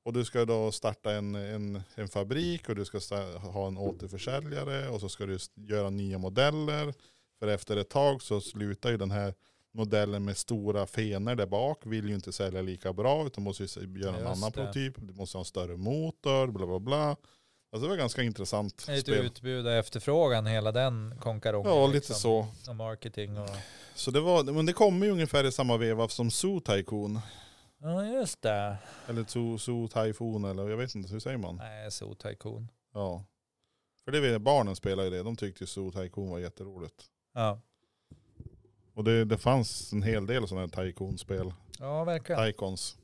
Speaker 1: Och du ska då starta en, en, en fabrik och du ska sta- ha en återförsäljare och så ska du s- göra nya modeller. För efter ett tag så slutar ju den här modellen med stora fenor där bak. Vill ju inte sälja lika bra utan måste ju se- göra en
Speaker 2: Just
Speaker 1: annan
Speaker 2: det.
Speaker 1: prototyp. Du måste ha en större motor, bla bla bla. Alltså det var ganska intressant
Speaker 2: Lite
Speaker 1: spel.
Speaker 2: utbud och efterfrågan, hela den konkarongen.
Speaker 1: Ja, lite
Speaker 2: liksom.
Speaker 1: så.
Speaker 2: Och marketing och...
Speaker 1: Så det var, men det kommer ju ungefär i samma veva som Zoo Tycoon.
Speaker 2: Ja, just det.
Speaker 1: Eller Zoo, Zoo Typhoon eller jag vet inte, hur säger man?
Speaker 2: Nej, så tycoon.
Speaker 1: Ja. För det vet barnen spelar ju det. De tyckte ju Zoo Tycoon var jätteroligt.
Speaker 2: Ja,
Speaker 1: Och det, det fanns en hel del sådana här Tycoon-spel.
Speaker 2: ja verkligen.
Speaker 1: Tycons.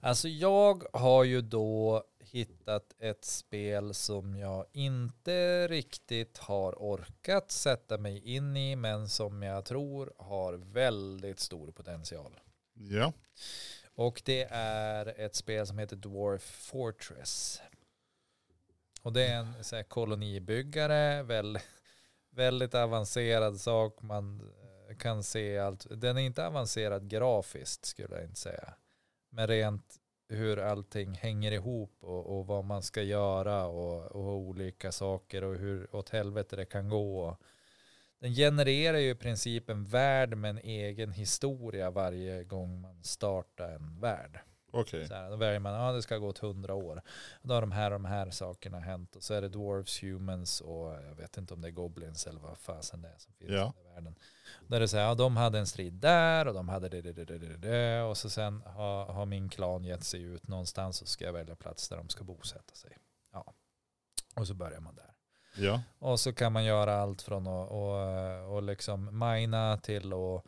Speaker 2: Alltså jag har ju då hittat ett spel som jag inte riktigt har orkat sätta mig in i men som jag tror har väldigt stor potential.
Speaker 1: Ja.
Speaker 2: Och det är ett spel som heter Dwarf Fortress. Och det är en så här, kolonibyggare, väldigt, väldigt avancerad sak. Man eh, kan se allt. Den är inte avancerad grafiskt skulle jag inte säga. Men rent hur allting hänger ihop och, och vad man ska göra och, och olika saker och hur åt helvete det kan gå. Den genererar ju i princip en värld med en egen historia varje gång man startar en värld.
Speaker 1: Okej.
Speaker 2: Så här, då väljer man, ja det ska gå åt hundra år. Då har de här och de här sakerna hänt. Och så är det dwarves, humans och jag vet inte om det är goblins eller vad fasen det är som finns
Speaker 1: Ja.
Speaker 2: i världen. Där det är så här, ja, de hade en strid där och de hade det, det, det, det, det, det. Och så sen har, har min klan gett sig ut någonstans och ska jag välja plats där de ska bosätta sig. Ja. Och så börjar man där.
Speaker 1: Ja.
Speaker 2: Och så kan man göra allt från att och, och liksom mina till att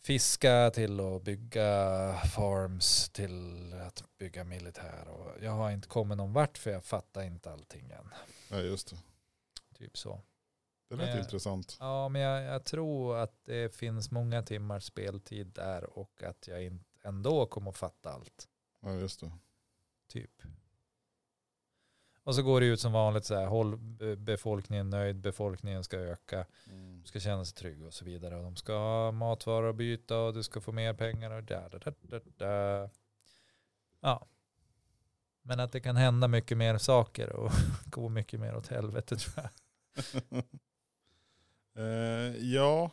Speaker 2: fiska, till att bygga farms, till att bygga militär. Och jag har inte kommit någon vart för jag fattar inte allting än.
Speaker 1: ja, just det.
Speaker 2: Typ så.
Speaker 1: Det lät
Speaker 2: Eh.
Speaker 1: intressant.
Speaker 2: Ja, men jag, jag tror att det finns många timmars speltid där och att jag inte ändå kommer att fatta allt.
Speaker 1: Ja, just det.
Speaker 2: Typ. Och så går det ut som vanligt så här, håll be- befolkningen nöjd, befolkningen ska öka.
Speaker 1: Mm.
Speaker 2: ska känna sig trygg och så vidare. Och de ska ha matvaror att byta och du ska få mer pengar och där, där, där, där, där. Ja. Men att det kan hända mycket mer saker och gå mycket mer åt helvete tror jag.
Speaker 1: Eh, ja.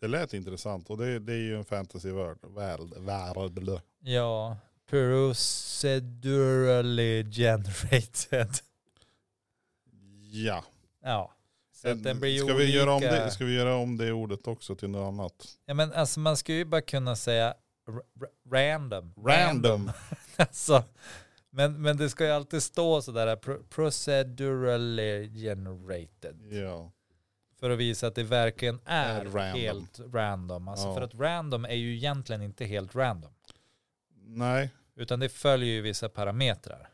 Speaker 1: Det lät intressant. Och det, det är ju en fantasy world. Värld. Värld.
Speaker 2: Ja, procedurally generated.
Speaker 1: Ja.
Speaker 2: Ja. Så att den blir ju
Speaker 1: ska, vi göra om
Speaker 2: olika.
Speaker 1: det, ska vi göra om det ordet också till något annat?
Speaker 2: Ja men alltså man ska ju bara kunna säga r- r- random.
Speaker 1: Random.
Speaker 2: Alltså, men, men det ska ju alltid stå sådär pro- procedurally generated.
Speaker 1: Ja.
Speaker 2: För att visa att det verkligen är,
Speaker 1: Är random.
Speaker 2: helt random. Alltså
Speaker 1: Ja.
Speaker 2: För att random är ju egentligen inte helt random.
Speaker 1: Nej.
Speaker 2: Utan det följer ju vissa parametrar.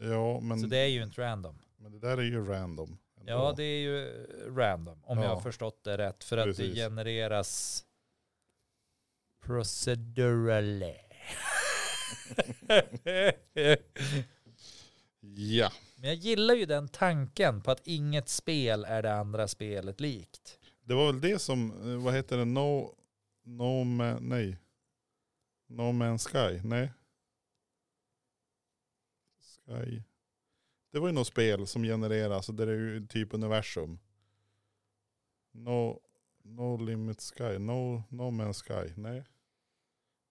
Speaker 1: Ja, men,
Speaker 2: Så det är ju inte random.
Speaker 1: men det där är ju random. ändå.
Speaker 2: Ja, det är ju random. Om jag
Speaker 1: Ja.
Speaker 2: har förstått det rätt. För att det
Speaker 1: Precis.
Speaker 2: genereras procedurally.
Speaker 1: Ja.
Speaker 2: Men jag gillar ju den tanken på att inget spel är det andra spelet likt.
Speaker 1: Det var väl det som, eh, vad heter det, No, no man, nej. No Man's Sky, nej. Sky. Det var ju något spel som genereras, och det är ju typ universum. No, no Limit Sky, no, no Man's Sky, nej.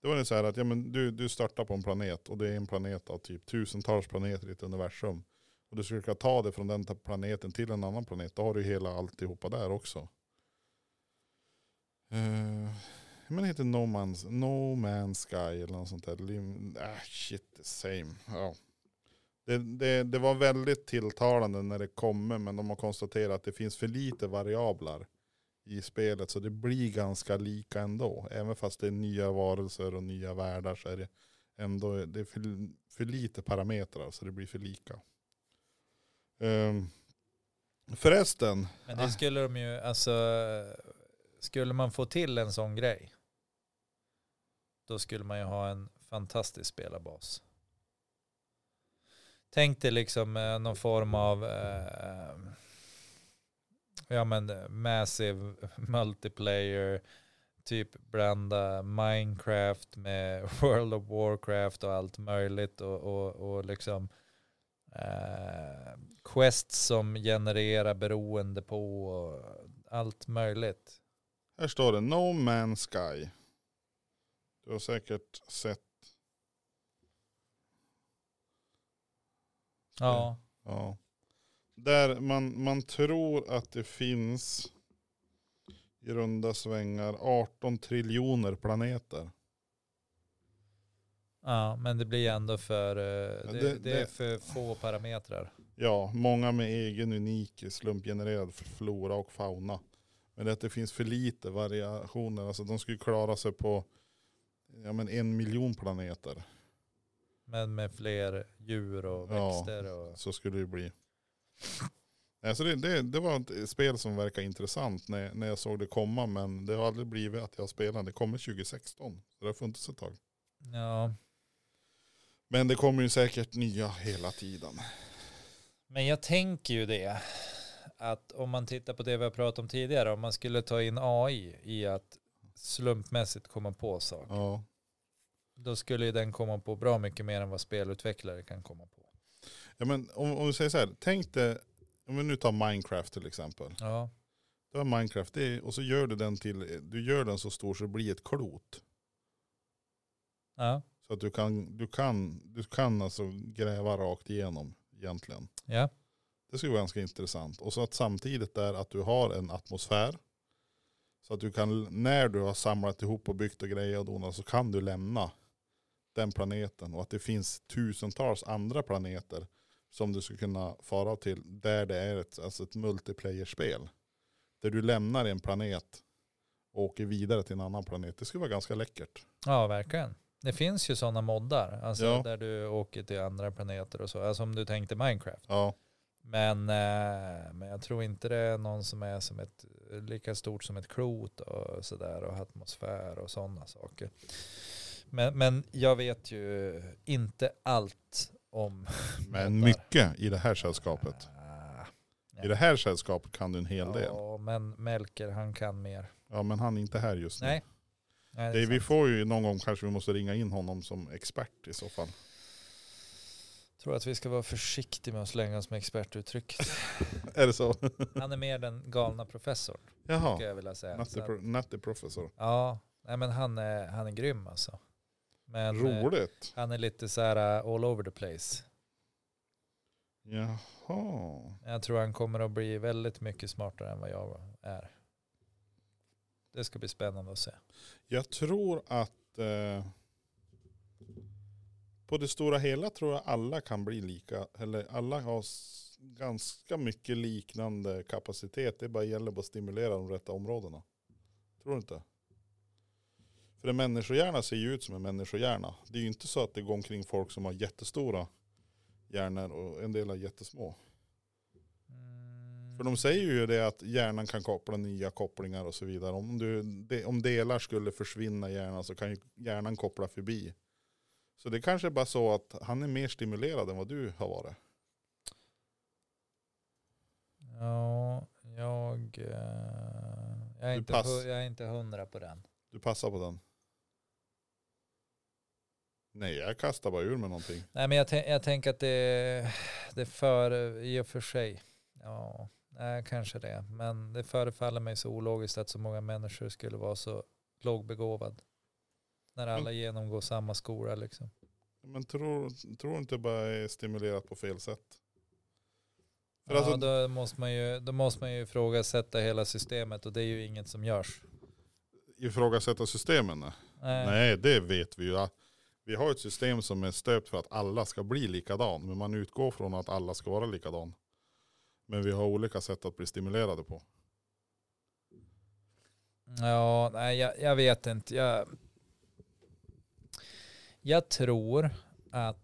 Speaker 1: Det var ju så här att ja, men du, du startar på en planet och det är en planet av typ tusentals planeter i ett universum. Och du skulle kunna ta det från den ta- planeten till en annan planet. Då har du ju hela alltihopa där också. Eh, men det heter No Man's, no Man's Sky eller något sånt där. Lim, ah, shit, the same. Ja. Det, det, det var väldigt tilltalande när det kommer men de har konstaterat att det finns för lite variabler i spelet så det blir ganska lika ändå. Även fast det är nya varelser och nya världar så är det ändå det är för, för lite parametrar så det blir för lika. Ehm, förresten,
Speaker 2: Men det
Speaker 1: Ah.
Speaker 2: skulle de ju, alltså, skulle man få till en sån grej Då skulle man ju ha en fantastisk spelarbas. Tänk dig liksom eh, någon form av eh, ja men eh, massive multiplayer typ blanda Minecraft med World of Warcraft och allt möjligt och, och, och liksom eh, quests som genererar beroende på och allt möjligt.
Speaker 1: Här står det No Man's Sky. Du har säkert sett.
Speaker 2: Ja,
Speaker 1: Ja. Där man, man tror att det finns i runda svängar 18 triljoner planeter.
Speaker 2: ja men det blir ändå för, eh,
Speaker 1: Ja,
Speaker 2: det,
Speaker 1: det-
Speaker 2: det, är
Speaker 1: det-
Speaker 2: för få parametrar.
Speaker 1: Ja, många med egen unik slumpgenererad flora och fauna. Men det är att det finns för lite variationer. Alltså de skulle klara sig på ja, men en miljon planeter.
Speaker 2: Men med fler djur och
Speaker 1: Ja.
Speaker 2: växter och...
Speaker 1: Så skulle det bli. Alltså det, det, det var ett spel som verkar intressant när, när jag såg det komma. Men det har aldrig blivit att jag spelar. Det kommer 2016. Så det har funnits ett tag.
Speaker 2: Ja.
Speaker 1: Men det kommer ju säkert nya hela tiden.
Speaker 2: Men jag tänker ju det, att om man tittar på det vi har pratat om tidigare, om man skulle ta in AI i att slumpmässigt komma på saker,
Speaker 1: Ja.
Speaker 2: då skulle ju den komma på bra mycket mer än vad spelutvecklare kan komma på.
Speaker 1: Ja, men om, om vi säger så här. Tänk dig, om vi nu tar Minecraft till exempel.
Speaker 2: Ja,
Speaker 1: Det var Minecraft. Det är, och så gör du den till, du gör den så stor så det blir ett klot.
Speaker 2: ja,
Speaker 1: Så att du kan, du kan, du kan alltså gräva rakt igenom egentligen.
Speaker 2: ja.
Speaker 1: Det skulle vara ganska intressant. Och så att samtidigt där att du har en atmosfär. Så att du kan, när du har samlat ihop och byggt och grejer och donat så kan du lämna den planeten. Och att det finns tusentals andra planeter som du skulle kunna fara till där det är ett, alltså ett multiplayer-spel. Där du lämnar en planet och åker vidare till en annan planet. Det skulle vara ganska läckert.
Speaker 2: ja verkligen. Det finns ju sådana moddar, alltså
Speaker 1: Ja.
Speaker 2: där du åker till andra planeter och så, alltså om du tänkte Minecraft.
Speaker 1: Ja,
Speaker 2: Men, eh, men jag tror inte det är någon som är som ett, lika stort som ett klot och sådär och atmosfär och sådana saker. Men, men jag vet ju inte allt om...
Speaker 1: men
Speaker 2: moddar.
Speaker 1: mycket i det här sällskapet.
Speaker 2: Ah,
Speaker 1: I det här sällskapet kan du en hel del.
Speaker 2: Ja, men Melker han kan mer.
Speaker 1: Ja, men han är inte här just nu.
Speaker 2: Nej. Nej, det
Speaker 1: Det,
Speaker 2: är
Speaker 1: vi
Speaker 2: sant.
Speaker 1: får ju någon gång kanske vi måste ringa in honom som expert i så fall.
Speaker 2: tror att vi ska vara försiktiga med att slänga oss med expertuttrycket.
Speaker 1: Är det så?
Speaker 2: Han är mer den galna professorn,
Speaker 1: Jaha.
Speaker 2: skulle jag vilja säga.
Speaker 1: Natte,
Speaker 2: Så att-
Speaker 1: pro- Natte professor.
Speaker 2: Ja, nej, men han är, han är grym alltså. Men, eh,
Speaker 1: Roligt.
Speaker 2: Han är lite så här uh, all over the place.
Speaker 1: Jaha.
Speaker 2: Jag tror han kommer att bli väldigt mycket smartare än vad jag är. Det ska bli spännande att se.
Speaker 1: Jag tror att eh, på det stora hela tror jag alla kan bli lika. Eller alla har s- ganska mycket liknande kapacitet. Det bara gäller bara att stimulera de rätta områdena. Tror du inte? För en människohjärna ser ju ut som en människohjärna. Det är ju inte så att det går omkring folk som har jättestora hjärnor och en del har jättesmå. För de säger ju det att hjärnan kan koppla nya kopplingar och så vidare. Om, du, de, om delar skulle försvinna i hjärnan så kan ju hjärnan koppla förbi. Så det kanske är bara så att han är mer stimulerad än vad du har varit.
Speaker 2: Ja, jag, eh, jag, är
Speaker 1: Du
Speaker 2: inte,
Speaker 1: pass.
Speaker 2: hu- jag är inte hundra på den.
Speaker 1: Du passar på den. Nej, jag kastar bara ur med någonting.
Speaker 2: Nej, men jag, tän- jag tänker att det, det är för, i och för sig, ja, nej, kanske det. Men det förefaller mig så ologiskt att så många människor skulle vara så lågbegåvad. När
Speaker 1: Mm.
Speaker 2: alla genomgår samma skola liksom.
Speaker 1: Men tror, tror inte bara är stimulerat på fel sätt? För
Speaker 2: ja,
Speaker 1: alltså-
Speaker 2: då, måste man ju, då måste man ju ifrågasätta hela systemet och det är ju inget som görs.
Speaker 1: Ifrågasätta systemen? Nej.
Speaker 2: Nej.
Speaker 1: Nej, det vet vi ju. att Vi har ett system som är stöpt för att alla ska bli likadan. Men man utgår från att alla ska vara likadan. Men vi har olika sätt att bli stimulerade på.
Speaker 2: Ja, nej, jag, jag vet inte. Jag, jag tror att,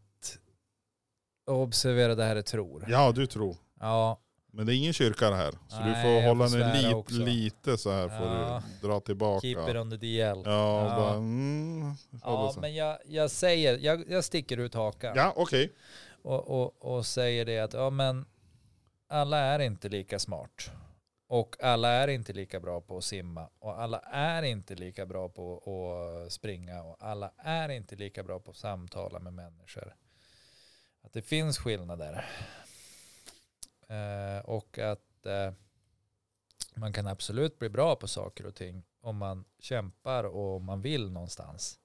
Speaker 2: observera det här är tror.
Speaker 1: Ja, du tror.
Speaker 2: Ja,
Speaker 1: Men det är ingen kyrka det här. Så du
Speaker 2: Nej,
Speaker 1: får
Speaker 2: jag
Speaker 1: hålla
Speaker 2: får
Speaker 1: dig
Speaker 2: svära
Speaker 1: lite,
Speaker 2: också.
Speaker 1: lite så här får
Speaker 2: Ja.
Speaker 1: du dra tillbaka.
Speaker 2: Keep it
Speaker 1: Ja,
Speaker 2: on the DL. Ja,
Speaker 1: och
Speaker 2: Ja.
Speaker 1: bara mm. Ja,
Speaker 2: men jag, jag säger, jag, jag sticker ut hakan
Speaker 1: ja okej.
Speaker 2: och, och, och säger det att ja, men alla är inte lika smart. Och alla är inte lika bra på att simma. Och alla är inte lika bra på att springa. Och alla är inte lika bra på att samtala med människor. Att det finns skillnader. Eh, och att eh, man kan absolut bli bra på saker och ting om man kämpar och om man vill någonstans.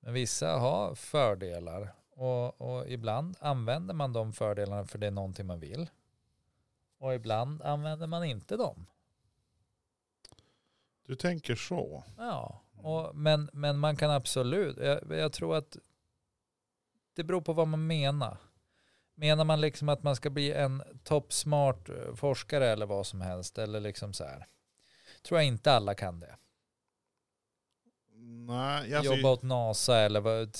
Speaker 2: Men vissa har fördelar och, och ibland använder man de fördelarna för det är någonting man vill. Och ibland använder man inte dem.
Speaker 1: Du tänker så.
Speaker 2: Ja, och, men, men man kan absolut, jag, jag tror att det beror på vad man menar. Menar man liksom att man ska bli en toppsmart eh, forskare eller vad som helst eller liksom så här. Tror jag inte alla kan det.
Speaker 1: Nej, alltså,
Speaker 2: Jobba åt NASA eller vad,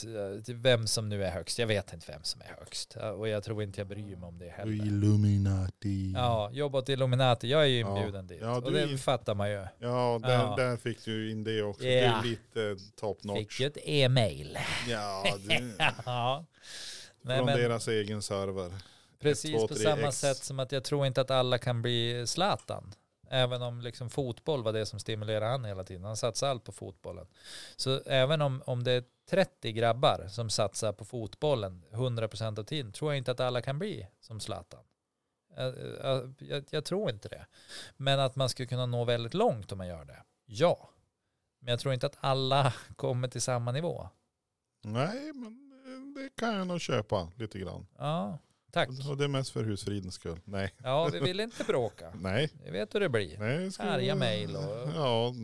Speaker 2: till vem som nu är högst. Jag vet inte vem som är högst Ja, och jag tror inte jag bryr mig om det heller.
Speaker 1: Illuminati.
Speaker 2: Ja, jobba åt Illuminati. Jag är ju inbjuden dit.
Speaker 1: Ja,
Speaker 2: och
Speaker 1: du
Speaker 2: det
Speaker 1: är ju-
Speaker 2: fattar man ju.
Speaker 1: Ja, där,
Speaker 2: Ja.
Speaker 1: där fick du in det också.
Speaker 2: Ja.
Speaker 1: Det är lite top
Speaker 2: Fick
Speaker 1: notch.
Speaker 2: ju ett e-mail.
Speaker 1: Ja, det,
Speaker 2: Ja. Nej,
Speaker 1: från
Speaker 2: men
Speaker 1: deras egen server.
Speaker 2: precis
Speaker 1: 1, 2,
Speaker 2: på
Speaker 1: 3,
Speaker 2: samma
Speaker 1: X.
Speaker 2: sätt som att jag tror inte att alla kan bli Zlatan. Även om liksom fotboll var det som stimulerade han hela tiden. Han satsade allt på fotbollen. Så även om, om det är 30 grabbar som satsar på fotbollen 100% av tiden tror jag inte att alla kan bli som Zlatan. Jag, jag- jag, jag tror inte det. Men att man skulle kunna nå väldigt långt om man gör det. Ja. Men jag tror inte att alla kommer till samma nivå.
Speaker 1: Nej, men det kan jag nog köpa lite grann.
Speaker 2: Ja, tack.
Speaker 1: Och det är mest för husfridens skull. Nej,
Speaker 2: Ja, vi vill inte bråka.
Speaker 1: nej.
Speaker 2: Vi vet hur det blir.
Speaker 1: nej ska
Speaker 2: Arga mejl och-
Speaker 1: Ja.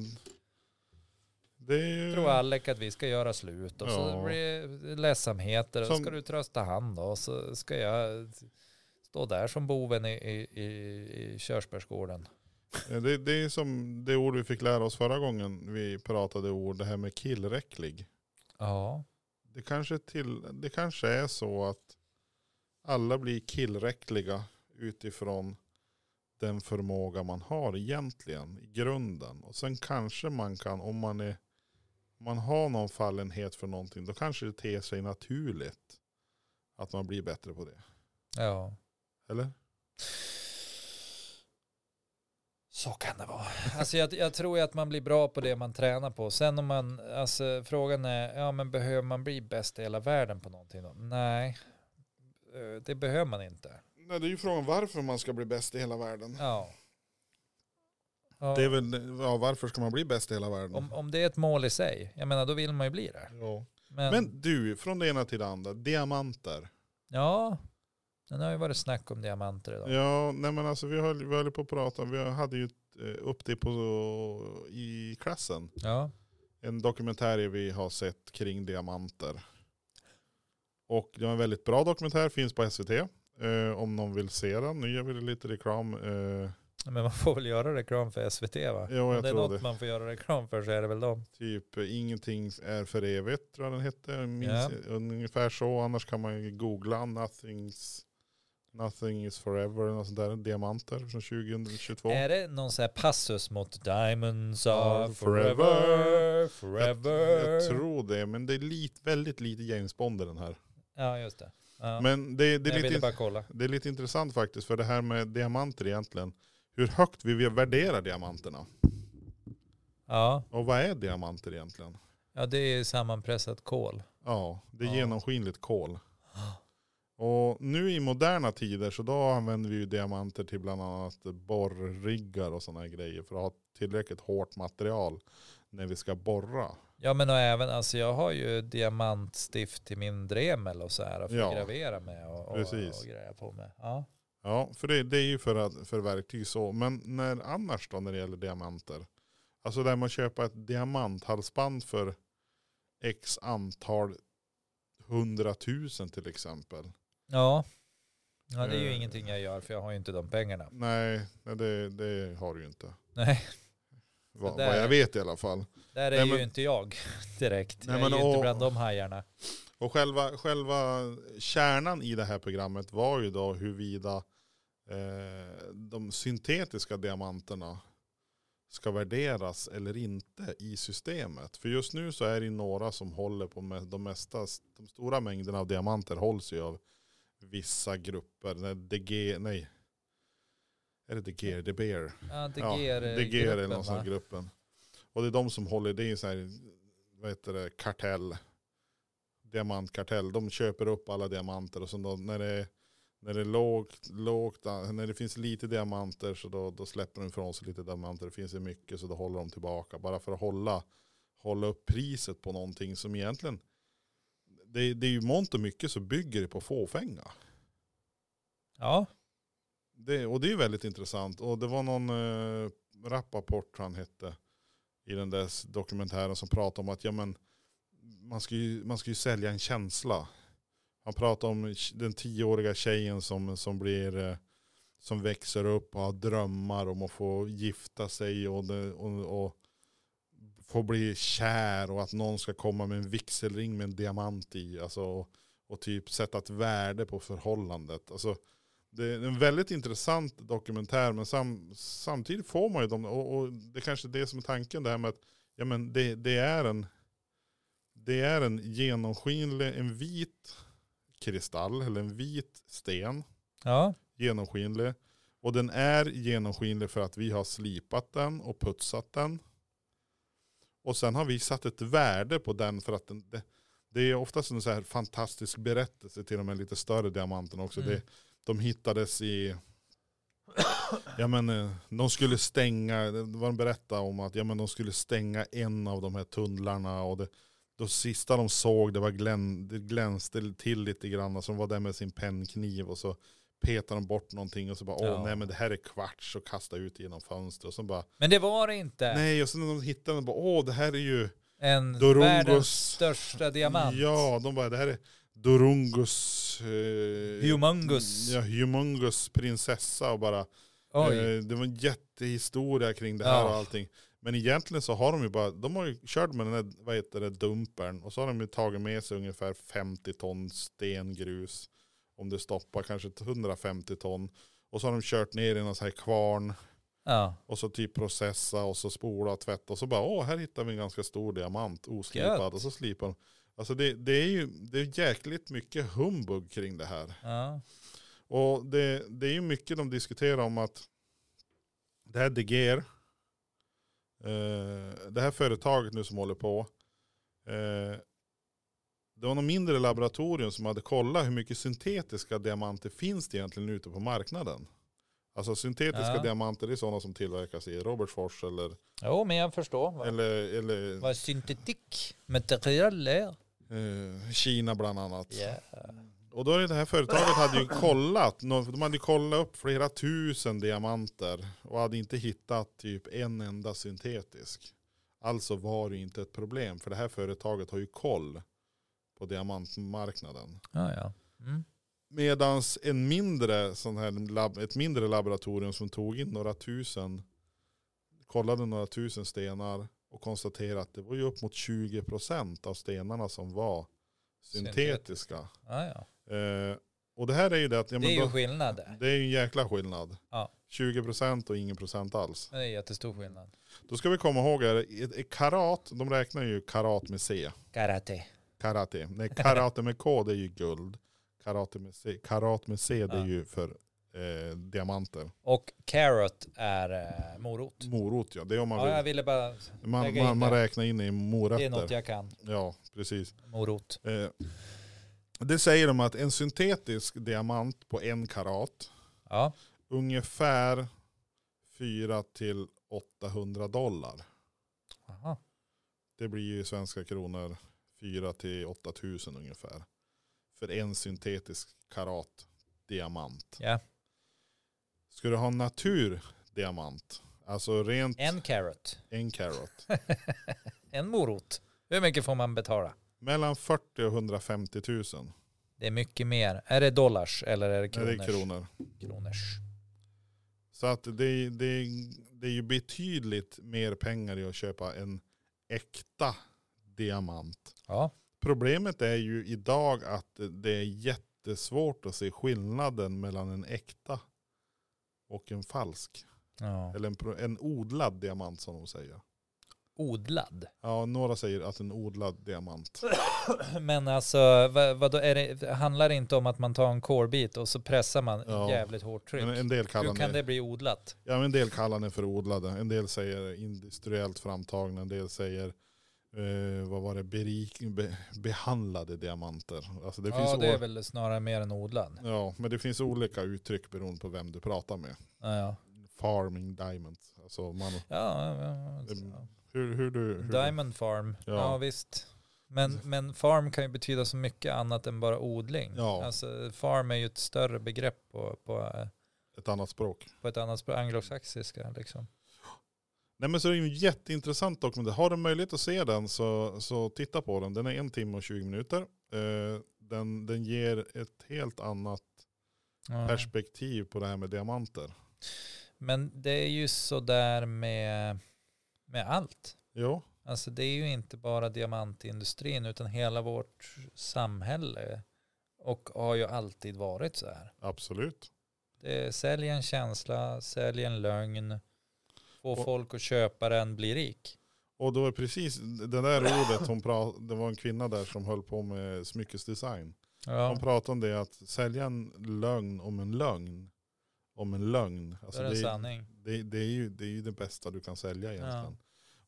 Speaker 1: Det är ju...
Speaker 2: Jag tror Alec att vi ska göra slut och
Speaker 1: Mm. Ja.
Speaker 2: så blir det ledsamheter och så
Speaker 1: Som-
Speaker 2: ska du trösta han då och så ska jag stå där som boven i, i, i, i körsbärsgården.
Speaker 1: Det, det är som det ord vi fick lära oss förra gången vi pratade ord, det här med killräcklig.
Speaker 2: Ja,
Speaker 1: Det kanske, till, det kanske är så att alla blir killräckliga utifrån den förmåga man har egentligen i grunden. Och sen kanske man kan, om man, är, om man har någon fallenhet för någonting, då kanske det ter sig naturligt att man blir bättre på det.
Speaker 2: ja.
Speaker 1: Eller?
Speaker 2: Så kan det vara. Alltså jag, jag tror ju att man blir bra på det man tränar på. Sen om man, alltså frågan är, ja men behöver man bli bäst i hela världen på någonting då? Nej, Eh, det behöver man inte.
Speaker 1: Nej, det är ju frågan varför man ska bli bäst i hela världen.
Speaker 2: Ja. Ja,
Speaker 1: Det är väl, ja, varför ska man bli bäst i hela världen?
Speaker 2: om, om det är ett mål i sig, jag menar då vill man ju bli det.
Speaker 1: Ja. Men du, från det ena till det andra, diamanter.
Speaker 2: Ja, men det har ju varit snack om diamanter idag.
Speaker 1: Ja, nej men alltså vi höll, vi höll på att prata, vi hade ju eh, upp det på, i klassen.
Speaker 2: Ja,
Speaker 1: En dokumentär vi har sett kring diamanter. Och det var en väldigt bra dokumentär, finns på SVT. Eh, om någon vill se den, nu gör vi lite reklam. Eh,
Speaker 2: men man får väl göra reklam för SVT va?
Speaker 1: Jo, jag
Speaker 2: Om det är
Speaker 1: tror
Speaker 2: något
Speaker 1: det.
Speaker 2: man får göra reklam för så är det väl dem.
Speaker 1: typ eh, Ingenting är för evigt, tror jag den hette. Jag Minns,
Speaker 2: Ja.
Speaker 1: Ungefär så, annars kan man ju googla Nothing's, Nothing is forever, eller något sånt där. Diamanter från 2022.
Speaker 2: Är det någon sån här passus mot Diamonds
Speaker 1: Ja,
Speaker 2: are
Speaker 1: forever,
Speaker 2: forever,
Speaker 1: Jag,
Speaker 2: forever?
Speaker 1: jag tror det, men det är lite, väldigt lite James Bond i den här.
Speaker 2: Ja, just det. Ja.
Speaker 1: Men det, det,
Speaker 2: jag
Speaker 1: är
Speaker 2: ville
Speaker 1: lite,
Speaker 2: bara kolla.
Speaker 1: det är lite intressant faktiskt, för det här med diamanter egentligen. Hur högt vi vill värdera diamanterna.
Speaker 2: Ja.
Speaker 1: Och vad är diamanter egentligen?
Speaker 2: ja, det är ju sammanpressat kol.
Speaker 1: Ja, det är
Speaker 2: Ja.
Speaker 1: genomskinligt kol. Och nu i moderna tider så då använder vi ju diamanter till bland annat borrriggar och sådana grejer för att ha tillräckligt hårt material när vi ska borra.
Speaker 2: Ja, men och även, alltså jag har ju diamantstift till min Dremel och så här och får
Speaker 1: Ja.
Speaker 2: gravera med och, och,
Speaker 1: Precis.
Speaker 2: och greja på med. Ja.
Speaker 1: Ja, för det, det är ju för, att, för verktyg så. Men när annars då när det gäller diamanter? Alltså där man köper ett diamanthalsband för x antal hundratusen till exempel.
Speaker 2: Ja. ja, det är ju
Speaker 1: Eh.
Speaker 2: ingenting jag gör för jag har ju inte de pengarna.
Speaker 1: Nej, nej det, det har du ju inte.
Speaker 2: Nej,
Speaker 1: Va,
Speaker 2: Så
Speaker 1: vad
Speaker 2: där-
Speaker 1: jag vet i alla fall.
Speaker 2: där är
Speaker 1: Nej,
Speaker 2: ju
Speaker 1: men-
Speaker 2: inte jag direkt.
Speaker 1: Nej,
Speaker 2: jag är
Speaker 1: men
Speaker 2: ju inte
Speaker 1: och-
Speaker 2: bland de hajarna.
Speaker 1: Och själva, själva kärnan i det här programmet var ju då huruvida eh, de syntetiska diamanterna ska värderas eller inte i systemet. För just nu så är det ju några som håller på med de mesta, de stora mängderna av diamanter hålls ju av vissa grupper. Nej, DG, nej. Är det DG? De Beer?
Speaker 2: Ja, det
Speaker 1: Ja,
Speaker 2: ger, eh,
Speaker 1: det ger eller någon sån gruppen. Och det är de som håller, det är en sån här, vad heter det, kartell. Diamantkartell. De köper upp alla diamanter och sen då när det, när det är lågt, lågt, eh, när det finns lite diamanter så då, då släpper de ifrån sig lite diamanter. Det finns det mycket så då håller de tillbaka. Bara för att hålla, hålla upp priset på någonting som egentligen, det, det är ju mångt och mycket så bygger det på fåfänga.
Speaker 2: Ja,
Speaker 1: Det, och det är väldigt intressant. Och det var någon eh, rappaport han hette i den där s- dokumentären som pratade om att ja, men, man, ska ju, man ska ju sälja en känsla. Han pratade om tj- den tioåriga tjejen som, som blir eh, som växer upp och har drömmar om att få gifta sig och, det, och, och få bli kär och att någon ska komma med en vigselring med en diamant i. Alltså, och, och typ sätta ett värde på förhållandet. Alltså, det är en väldigt intressant dokumentär men sam, samtidigt får man ju dem och, och det kanske är det som är tanken det här med att ja, men det, det är en det är en genomskinlig, en vit kristall eller en vit sten,
Speaker 2: ja,
Speaker 1: genomskinlig. Och den är genomskinlig för att vi har slipat den och putsat den. Och sen har vi satt ett värde på den för att den, det, det är oftast en så här fantastisk berättelse till de här lite större diamanterna också.
Speaker 2: Mm.
Speaker 1: Det, de hittades i, ja men eh, de skulle stänga, det var de berättade om att ja men de skulle stänga en av de här tunnlarna och det, de sista de såg det var glän, det glänste till lite grann och så de var där med sin pennkniv och så petade de bort någonting och så bara åh
Speaker 2: Ja.
Speaker 1: nej men det här är kvarts och kastade ut genom fönstret och så bara
Speaker 2: men det var det inte.
Speaker 1: nej och sen när de hittade den bara åh det här är ju
Speaker 2: En
Speaker 1: Dorungos-
Speaker 2: världens största diamant.
Speaker 1: Ja, de bara det här är Dorungus... Eh,
Speaker 2: Humongous.
Speaker 1: Ja, Humongous prinsessa och bara.
Speaker 2: Oj,
Speaker 1: Eh, det var en jättehistoria kring det här
Speaker 2: Ja.
Speaker 1: och allting. Men egentligen så har de ju bara, de har ju kört med den här, vad heter det, dumpern. Och så har de ju tagit med sig ungefär 50 ton stengrus. Om det stoppar kanske 150 ton. Och så har de kört ner i någon sån här kvarn.
Speaker 2: ja.
Speaker 1: Och så typ processa och så spola och tvätta. Och så bara, åh, här hittar vi en ganska stor diamant oslipad.
Speaker 2: Gött.
Speaker 1: Och så slipar de. Alltså det, det är ju det är jäkligt mycket humbug kring det här.
Speaker 2: ja.
Speaker 1: Och det, det är ju mycket de diskuterar om att det här Deger, eh, det här företaget nu som håller på, eh, det var något mindre laboratorium som hade kollat hur mycket syntetiska diamanter finns det egentligen ute på marknaden. Alltså syntetiska
Speaker 2: Ja.
Speaker 1: diamanter det är sådana som tillverkas i Robertsfors eller,
Speaker 2: Jo, men jag förstår. Vad,
Speaker 1: eller, eller
Speaker 2: vad syntetik material är.
Speaker 1: eh, Kina bland annat.
Speaker 2: Ja.
Speaker 1: Och då är det det här företaget hade ju kollat, nå- de hade ju kollat upp flera tusen diamanter och hade inte hittat typ en enda syntetisk. Alltså var det ju inte ett problem, för det här företaget har ju koll på diamantmarknaden.
Speaker 2: Ja, ja. Mm.
Speaker 1: Medan en mindre sån här lab, ett mindre laboratorium som tog in några tusen, kollade några tusen stenar och konstaterade att det var ju upp mot 20% av stenarna som var syntetiska.
Speaker 2: Ja, ja.
Speaker 1: Eh, och det här är ju det att, ja,
Speaker 2: Det
Speaker 1: men
Speaker 2: är ju
Speaker 1: då,
Speaker 2: skillnad. där.
Speaker 1: det är ju en jäkla skillnad.
Speaker 2: Ja.
Speaker 1: 20% och ingen procent alls.
Speaker 2: Det är jättestor skillnad.
Speaker 1: Då ska vi komma ihåg här, i- i karat, de räknar ju karat med C.
Speaker 2: Karate.
Speaker 1: Karate. Nej, karate med K det är ju guld. Karate med C, karat med C det är
Speaker 2: Ja.
Speaker 1: ju för eh, diamanter.
Speaker 2: Och carrot är eh, morot.
Speaker 1: Morot ja, det är om man
Speaker 2: Ja, jag
Speaker 1: vill.
Speaker 2: ville bara,
Speaker 1: Man,
Speaker 2: lägga in
Speaker 1: man, man
Speaker 2: det.
Speaker 1: räknar in i
Speaker 2: det är något
Speaker 1: morötter.
Speaker 2: jag kan.
Speaker 1: Ja, precis.
Speaker 2: Morot.
Speaker 1: Eh, det säger de att en syntetisk diamant på en karat
Speaker 2: Ja,
Speaker 1: ungefär 4 till 800 dollar.
Speaker 2: Aha.
Speaker 1: Det blir ju i svenska kronor 4 till 8000 ungefär. För en syntetisk karat diamant.
Speaker 2: Ja.
Speaker 1: Ska du ha en naturdiamant, alltså rent en,
Speaker 2: en carrot.
Speaker 1: karat,
Speaker 2: En morot. Hur mycket får man betala?
Speaker 1: mellan 40 och 150 000.
Speaker 2: Det är mycket mer. Är det dollars eller är det
Speaker 1: Nej,
Speaker 2: kronors?
Speaker 1: det är kronor.
Speaker 2: Kronors.
Speaker 1: Så att det, det, det är ju betydligt mer pengar i att köpa en äkta diamant
Speaker 2: Ja,
Speaker 1: Problemet är ju idag att det är jättesvårt att se skillnaden mellan en äkta och en falsk.
Speaker 2: Ja.
Speaker 1: Eller en, pro- en odlad diamant som de säger.
Speaker 2: Odlad.
Speaker 1: Ja, några säger att en odlad diamant.
Speaker 2: Men alltså, vad, vadå, är det, handlar det inte om att man tar en corebit och så pressar man
Speaker 1: Ja.
Speaker 2: jävligt hårt tryck?
Speaker 1: En, en, del
Speaker 2: Hur
Speaker 1: kallar
Speaker 2: kan
Speaker 1: den,
Speaker 2: det bli odlat?
Speaker 1: ja, men en del kallar den för odlade. En del säger industriellt framtagna. En del säger, eh, vad var det, berik, be, behandlade diamanter. Alltså det
Speaker 2: ja,
Speaker 1: finns
Speaker 2: det är
Speaker 1: o-
Speaker 2: väl snarare mer än odlad.
Speaker 1: Ja, men det finns olika uttryck beroende på vem du pratar med.
Speaker 2: Ja, ja.
Speaker 1: Farming diamonds. Alltså man,
Speaker 2: ja, ja, Alltså, ja.
Speaker 1: Mm. hur, hur du... Hur du
Speaker 2: Diamond farm, ja,
Speaker 1: Ja.
Speaker 2: visst. Men, men farm kan ju betyda så mycket annat än bara odling.
Speaker 1: Ja.
Speaker 2: Alltså, farm är ju ett större begrepp på, på,
Speaker 1: ett annat språk.
Speaker 2: på ett annat språk, anglosaxiska liksom.
Speaker 1: Nej men så det är ju en jätteintressant dokumentär. Har du möjlighet att se den så, så titta på den. Den är en timme och 20 minuter. Eh, den, den ger ett helt annat
Speaker 2: Ja.
Speaker 1: perspektiv på det här med diamanter.
Speaker 2: Men det är ju sådär med, med allt.
Speaker 1: Jo,
Speaker 2: Alltså det är ju inte bara diamantindustrin utan hela vårt samhälle. Och har ju alltid varit så här.
Speaker 1: absolut.
Speaker 2: Det, sälj en känsla, sälj en lögn. Få
Speaker 1: Och-
Speaker 2: folk att köpa den, bli rik.
Speaker 1: Och då är precis det där ordet hon pratade, det var en kvinna där som höll på med smyckesdesign.
Speaker 2: Ja,
Speaker 1: Hon pratade om det att sälja en lögn om en lögn. Om en lögn.
Speaker 2: det
Speaker 1: Alltså
Speaker 2: är en
Speaker 1: det, är-
Speaker 2: sanning.
Speaker 1: det, det, är ju, det är ju det bästa du kan sälja egentligen.
Speaker 2: Ja.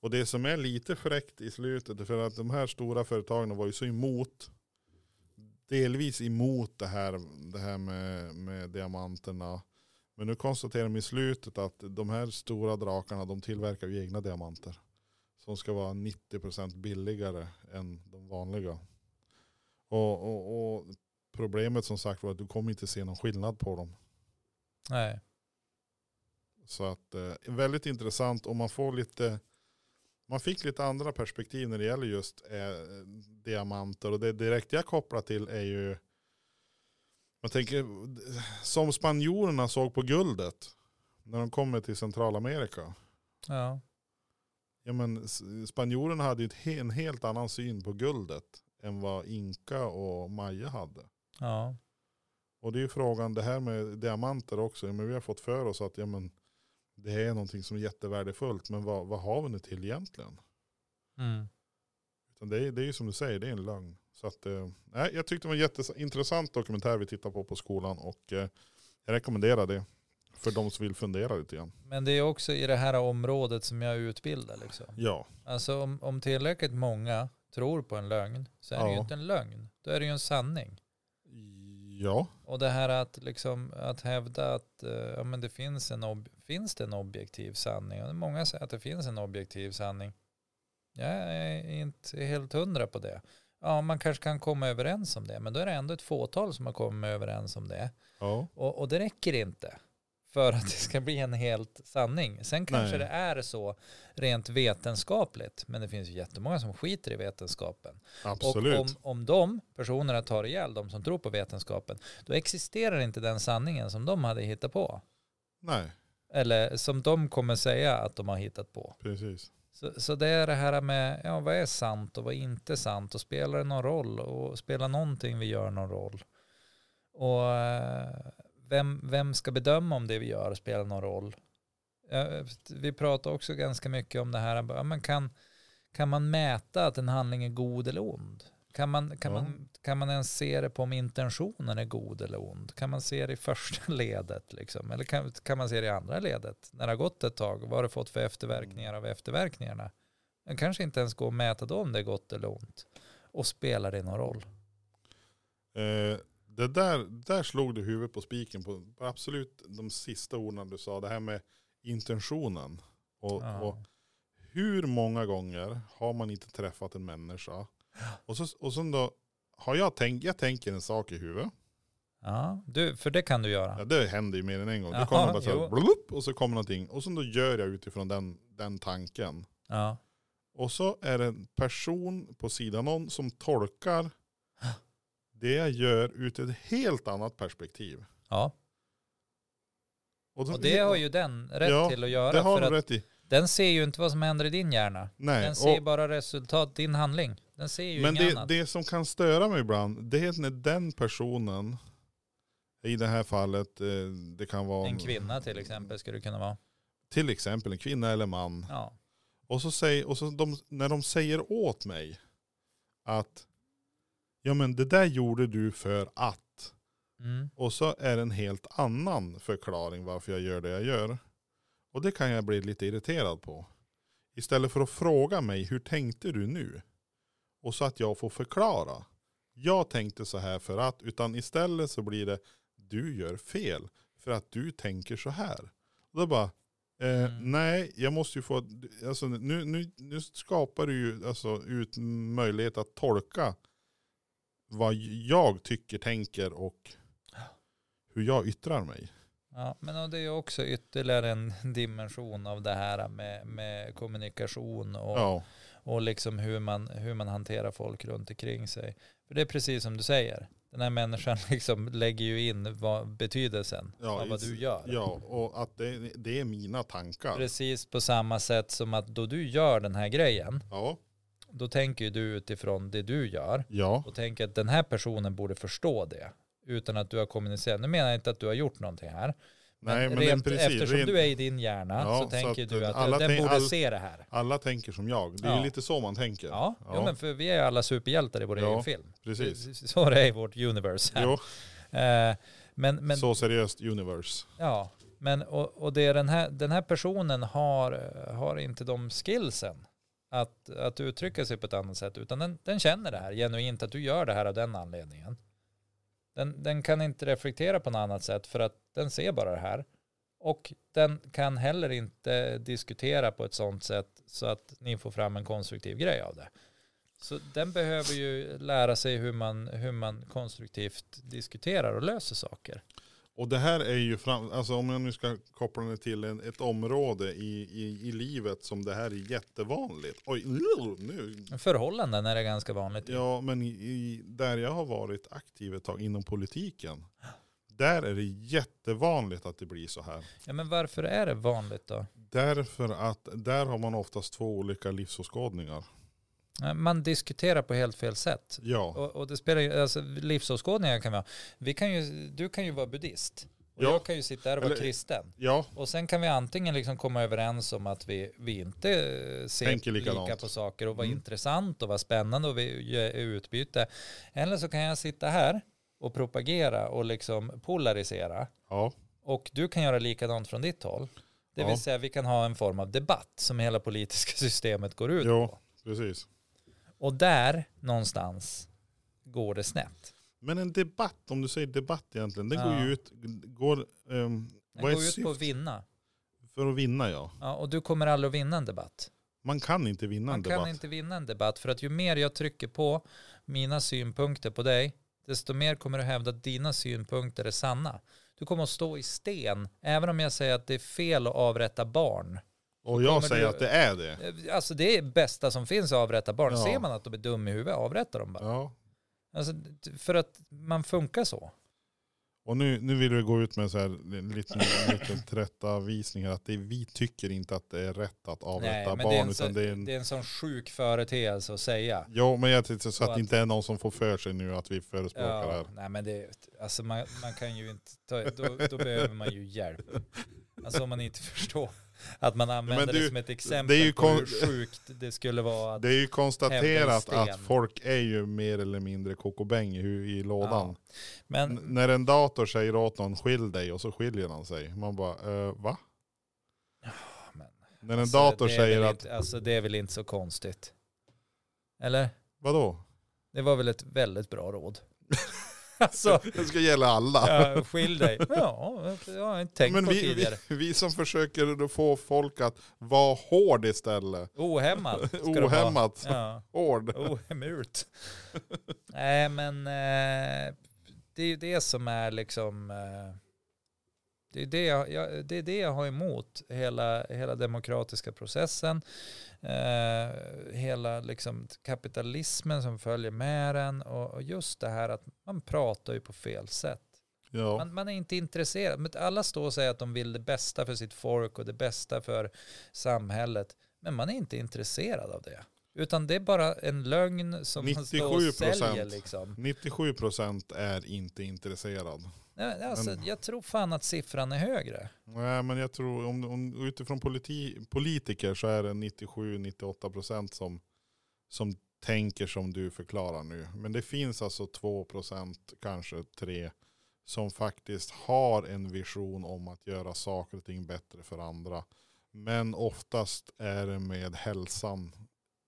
Speaker 1: Och det som är lite fräckt i slutet, är för att de här stora företagen var ju så emot, delvis emot det här, det här med, med diamanterna. Men nu konstaterar de i slutet att de här stora drakarna, de tillverkar ju egna diamanter. Som ska vara 90% billigare än de vanliga. Och, och, och problemet som sagt var att du kommer inte se någon skillnad på dem.
Speaker 2: Nej.
Speaker 1: Så att eh, väldigt intressant och man får lite, man fick lite andra perspektiv när det gäller just eh, diamanter och det direkt jag kopplar till är ju, man tänker, som spanjorerna såg på guldet när de kommer till Centralamerika.
Speaker 2: Ja.
Speaker 1: Ja men s- spanjorerna hade ju ett, he- en helt annan syn på guldet än vad inka och maya hade.
Speaker 2: Ja.
Speaker 1: Och det är ju frågan, det här med diamanter också. Ja, Men vi har fått för oss att ja, men, det är någonting som är jättevärdefullt. Men vad, vad har vi det till egentligen?
Speaker 2: Mm.
Speaker 1: Utan det, är, det är ju som du säger, det är en lögn. Så att, eh, nej, jag tyckte det var en jätteintressant dokumentär vi tittar på på skolan. Och eh, jag rekommenderar det för de som vill fundera lite grann.
Speaker 2: Men det är också i det här området som jag utbildar liksom.
Speaker 1: Ja,
Speaker 2: Alltså om, om tillräckligt många tror på en lögn så är det ju
Speaker 1: Ja.
Speaker 2: inte en lögn. Då är det ju en sanning.
Speaker 1: ja.
Speaker 2: Och det här att, liksom, att hävda att eh, ja, men det finns, en ob- finns det en objektiv sanning. Och många säger att det finns en objektiv sanning. Jag är inte helt hundra på det. Ja, man kanske kan komma överens om det, men då är det ändå ett fåtal som har kommit överens om det.
Speaker 1: ja.
Speaker 2: Och, och det räcker inte för att det ska bli en helt sanning. Sen kanske
Speaker 1: Nej.
Speaker 2: det är så rent vetenskapligt, men det finns ju jättemånga som skiter i vetenskapen.
Speaker 1: Absolut.
Speaker 2: Och om, om de personerna tar ihjäl de som tror på vetenskapen, då existerar inte den sanningen som de hade hittat på.
Speaker 1: Nej,
Speaker 2: Eller som de kommer säga att de har hittat på.
Speaker 1: precis.
Speaker 2: Så, så det är det här med, ja vad är sant och vad är inte sant och spelar det någon roll och spelar någonting vi gör någon roll? Och eh, vem, vem ska bedöma om det vi gör spelar någon roll? Eh, Vi pratar också ganska mycket om det här, ja, men kan, kan man mäta att en handling är god eller ond? Kan man, kan,
Speaker 1: Ja.
Speaker 2: man, kan man ens se det på om intentionen är god eller ond? Kan man se det i första ledet? Liksom? Eller kan, kan man se det i andra ledet? När det har gått ett tag, vad har det fått för
Speaker 1: Mm.
Speaker 2: efterverkningar av efterverkningarna? Det kanske inte ens går att mäta då om det är gott eller ont. Och spelar det någon roll?
Speaker 1: Eh, det där, där slog du huvudet på spiken på, på absolut de sista orden du sa. Det här med intentionen. Och,
Speaker 2: Ja.
Speaker 1: och hur många gånger har man inte träffat en människa? Och så, och sen då har jag tänkt, jag tänker en sak i huvudet.
Speaker 2: Ja, du, för det kan du göra.
Speaker 1: Ja, det händer ju mer än en gång.
Speaker 2: Jaha,
Speaker 1: Då kommer det bara så
Speaker 2: jo.
Speaker 1: här, blup, och så kommer någonting. Och sen då gör jag utifrån den, den tanken.
Speaker 2: Ja,
Speaker 1: Och så är det en person på sidan om som tolkar det jag gör ut ett helt annat perspektiv.
Speaker 2: ja.
Speaker 1: då-
Speaker 2: och det har ju den rätt
Speaker 1: Ja,
Speaker 2: till att göra.
Speaker 1: Det har
Speaker 2: för
Speaker 1: du rätt
Speaker 2: att
Speaker 1: i.
Speaker 2: Den ser ju inte vad som händer i din hjärna.
Speaker 1: Nej.
Speaker 2: Den ser ju
Speaker 1: och,
Speaker 2: bara resultat, din handling. Den ser ju
Speaker 1: men
Speaker 2: inget
Speaker 1: det,
Speaker 2: annat.
Speaker 1: det som kan störa mig ibland, det är när den personen I det här fallet, eh, det kan vara
Speaker 2: En kvinna till exempel skulle det kunna vara.
Speaker 1: till exempel en kvinna eller man.
Speaker 2: Ja.
Speaker 1: Och så, säger, och så de, när de säger åt mig att ja men det där gjorde du för att.
Speaker 2: Mm.
Speaker 1: Och så är det en helt annan förklaring varför jag gör det jag gör. Och det kan jag bli lite irriterad på. Istället för att fråga mig, hur tänkte du nu? Och så att jag får förklara. Jag tänkte så här för att, utan istället så blir det, du gör fel för att du tänker så här. Och då bara, eh,
Speaker 2: Mm.
Speaker 1: nej, jag måste ju få, alltså, nu, nu, nu skapar du ju alltså, ut möjlighet att tolka vad jag tycker, tänker och hur jag yttrar mig.
Speaker 2: Ja, men och det är ju också ytterligare en dimension av det här med, med kommunikation och,
Speaker 1: Ja,
Speaker 2: och liksom hur, man, hur man hanterar folk runt omkring sig. För det är precis som du säger, den här människan liksom lägger ju in vad, betydelsen
Speaker 1: ja,
Speaker 2: av vad
Speaker 1: i-
Speaker 2: du gör.
Speaker 1: Ja, och att det, det är mina tankar.
Speaker 2: Precis på samma sätt som att då du gör den här grejen,
Speaker 1: Ja,
Speaker 2: då tänker ju du utifrån det du gör
Speaker 1: ja,
Speaker 2: och tänker att den här personen borde förstå det utan att du har kommunicerat. Nu menar jag inte att du har gjort någonting här.
Speaker 1: nej men
Speaker 2: rent,
Speaker 1: det är precis.
Speaker 2: eftersom
Speaker 1: rent-
Speaker 2: du är i din hjärna
Speaker 1: Ja,
Speaker 2: så
Speaker 1: så
Speaker 2: tänker
Speaker 1: att
Speaker 2: du att
Speaker 1: alla
Speaker 2: den
Speaker 1: tänk-
Speaker 2: borde
Speaker 1: all-
Speaker 2: se det här.
Speaker 1: Alla tänker som jag. Det är
Speaker 2: Ja.
Speaker 1: ju lite så man tänker.
Speaker 2: Ja, ja. men för vi är ju alla superhjältar i vår
Speaker 1: Ja,
Speaker 2: egen film.
Speaker 1: precis.
Speaker 2: Så det är i vårt universe. Här.
Speaker 1: Jo,
Speaker 2: Eh, men, men,
Speaker 1: så seriöst universe.
Speaker 2: ja, men och, och det är den här, den här personen har, har inte de skillsen att, att uttrycka sig på ett annat sätt, utan den, den känner det här genuint, att du gör det här av den anledningen. Den, den kan inte reflektera på något annat sätt för att den ser bara det här. Och den kan heller inte diskutera på ett sånt sätt så att ni får fram en konstruktiv grej av det. Så den behöver ju lära sig hur man, hur man konstruktivt diskuterar och löser saker.
Speaker 1: Och det här är ju, fram, alltså om jag nu ska koppla det till en, ett område i, i, i livet som det här är jättevanligt. Oj, nu.
Speaker 2: Förhållanden är det ganska vanligt. i.
Speaker 1: Ja, men i, i, där jag har varit aktiv ett tag inom politiken, där är det jättevanligt att det blir så här.
Speaker 2: Ja, men varför är det vanligt då?
Speaker 1: Därför att där har man oftast två olika livsåskådningar.
Speaker 2: Nej, Man diskuterar på helt fel sätt.
Speaker 1: Ja,
Speaker 2: Och, och det spelar ju, alltså livsåskådningar kan vi ha. Vi kan ju, du kan ju vara buddhist. Och
Speaker 1: Ja.
Speaker 2: jag kan ju sitta här och vara
Speaker 1: Eller-
Speaker 2: kristen.
Speaker 1: ja,
Speaker 2: Och sen kan vi antingen liksom komma överens om att vi, vi inte eh, ser
Speaker 1: Tänker
Speaker 2: lika
Speaker 1: likadant.
Speaker 2: på saker och vad
Speaker 1: Mm.
Speaker 2: intressant och vad spännande och vi gör utbyte. Eller så kan jag sitta här och propagera och liksom polarisera.
Speaker 1: ja,
Speaker 2: Och du kan göra likadant från ditt håll. Det vill
Speaker 1: Ja.
Speaker 2: säga vi kan ha en form av debatt som hela politiska systemet går ut på.
Speaker 1: ja, precis.
Speaker 2: Och där någonstans går det snett.
Speaker 1: Men en debatt, om du säger debatt egentligen, den går
Speaker 2: Ja.
Speaker 1: ju ut, går, ehm,
Speaker 2: Den
Speaker 1: vad är
Speaker 2: går ut på att
Speaker 1: syftet
Speaker 2: vinna.
Speaker 1: för att vinna ja?
Speaker 2: Ja, och du kommer aldrig att vinna en debatt.
Speaker 1: Man kan inte vinna
Speaker 2: Man
Speaker 1: en
Speaker 2: kan
Speaker 1: debatt.
Speaker 2: inte vinna en debatt för att ju mer jag trycker på mina synpunkter på dig, desto mer kommer du hävda att dina synpunkter är sanna. Du kommer att stå i sten, även om jag säger att det är fel att avrätta barn.
Speaker 1: Och jag
Speaker 2: kommer
Speaker 1: säger
Speaker 2: du-
Speaker 1: att det är det.
Speaker 2: Eh, Alltså det är bästa som finns att avrätta barn.
Speaker 1: Ja.
Speaker 2: Ser man att de är dumma i huvudet, avrätta dem bara.
Speaker 1: Ja.
Speaker 2: Alltså, t- för att man funkar så.
Speaker 1: Och nu, nu vill vi gå ut med en så här en liten, en liten tillrättavisning här, att det, vi tycker inte att det är rätt att avrätta
Speaker 2: men det är
Speaker 1: barn.
Speaker 2: en så-
Speaker 1: utan det är en,
Speaker 2: Det är en sån sjuk företeelse att säga.
Speaker 1: Jo, men jag tänkte så
Speaker 2: Och
Speaker 1: att
Speaker 2: att-
Speaker 1: det inte är någon som får för sig nu att vi förespråkar det
Speaker 2: Ja,
Speaker 1: här.
Speaker 2: nej men det, alltså man, man kan ju inte, ta, då, då behöver man ju hjälp. Alltså om man inte förstår att man använder
Speaker 1: det är
Speaker 2: det
Speaker 1: ju-
Speaker 2: som ett exempel
Speaker 1: det är ju
Speaker 2: på hur
Speaker 1: kon-
Speaker 2: sjukt det skulle vara. Att,
Speaker 1: Det är ju konstaterat
Speaker 2: Hävda en sten.
Speaker 1: att folk är ju mer eller mindre kokobäng i, hu- i lådan. N-
Speaker 2: men
Speaker 1: när en dator säger åt någon skilj dig och så skiljer han sig. Man bara, eh, va?
Speaker 2: men,
Speaker 1: När en
Speaker 2: alltså,
Speaker 1: dator
Speaker 2: det är väl
Speaker 1: säger att,
Speaker 2: Inte, alltså det är väl inte så konstigt. Eller?
Speaker 1: vadå?
Speaker 2: Det var väl ett väldigt bra råd. alltså,
Speaker 1: Det ska gälla alla.
Speaker 2: ja, skilj dig. Ja, det har jag inte tänkt
Speaker 1: Men
Speaker 2: på
Speaker 1: vi,
Speaker 2: tidigare.
Speaker 1: vi, vi som försöker då få folk att vara hård istället.
Speaker 2: Ohämmat. ska det vara.
Speaker 1: Ohämmat.
Speaker 2: Ja.
Speaker 1: Hård.
Speaker 2: Ohemult. Nej, men eh, det är ju det som är liksom... Eh, det, är det, jag, jag, det är det jag har emot hela, hela demokratiska processen. Eh, hela liksom kapitalismen som följer med den. Och, och just det här att man pratar ju på fel sätt.
Speaker 1: Ja.
Speaker 2: Man, man är inte intresserad. Men alla står och säger att de vill det bästa för sitt folk och det bästa för samhället. Men man är inte intresserad av det. Utan det är bara en lögn som man står och
Speaker 1: 97%.
Speaker 2: säljer liksom.
Speaker 1: 97 procent är inte intresserad.
Speaker 2: Nej, alltså,
Speaker 1: Men-
Speaker 2: jag tror fan att siffran är högre.
Speaker 1: Nej, men jag tror om, om, utifrån politi, politiker så är det 97-98 procent som, som tänker som du förklarar nu. Men det finns alltså 2 procent, kanske 3, som faktiskt har en vision om att göra saker och ting bättre för andra. Men oftast är det med hälsan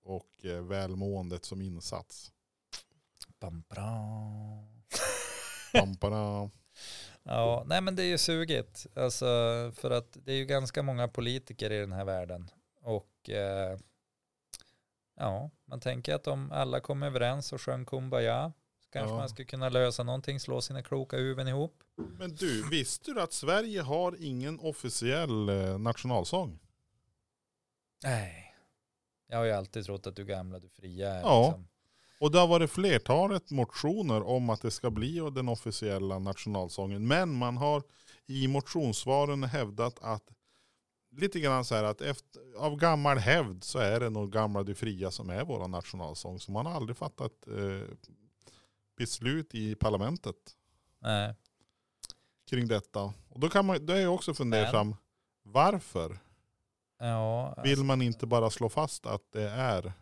Speaker 1: och eh, välmåendet som insats.
Speaker 2: Bam, bra.
Speaker 1: Pamparna.
Speaker 2: Ja, nej men det är ju sugigt. Alltså, för att det är ju ganska många politiker i den här världen. Och eh, ja, man tänker att om alla kom överens och sjöng Kumbaya så kanske
Speaker 1: Ja.
Speaker 2: man skulle kunna lösa någonting, slå sina kloka huvuden ihop.
Speaker 1: Men du, visste du att Sverige har ingen officiell eh, nationalsång?
Speaker 2: Nej. Jag har ju alltid trott att du gamla, du fria är
Speaker 1: Ja.
Speaker 2: liksom.
Speaker 1: Och det har varit flertalet motioner om att det ska bli den officiella nationalsången. Men man har i motionssvaren hävdat att lite grann så här att efter, av gammal hävd så är det nog Gamla du fria som är vår nationalsång. Så man har aldrig fattat eh, beslut i parlamentet
Speaker 2: Nej.
Speaker 1: kring detta. Och då kan man, då är jag också fundersam. Varför
Speaker 2: Ja,
Speaker 1: vill man inte bara slå fast att det är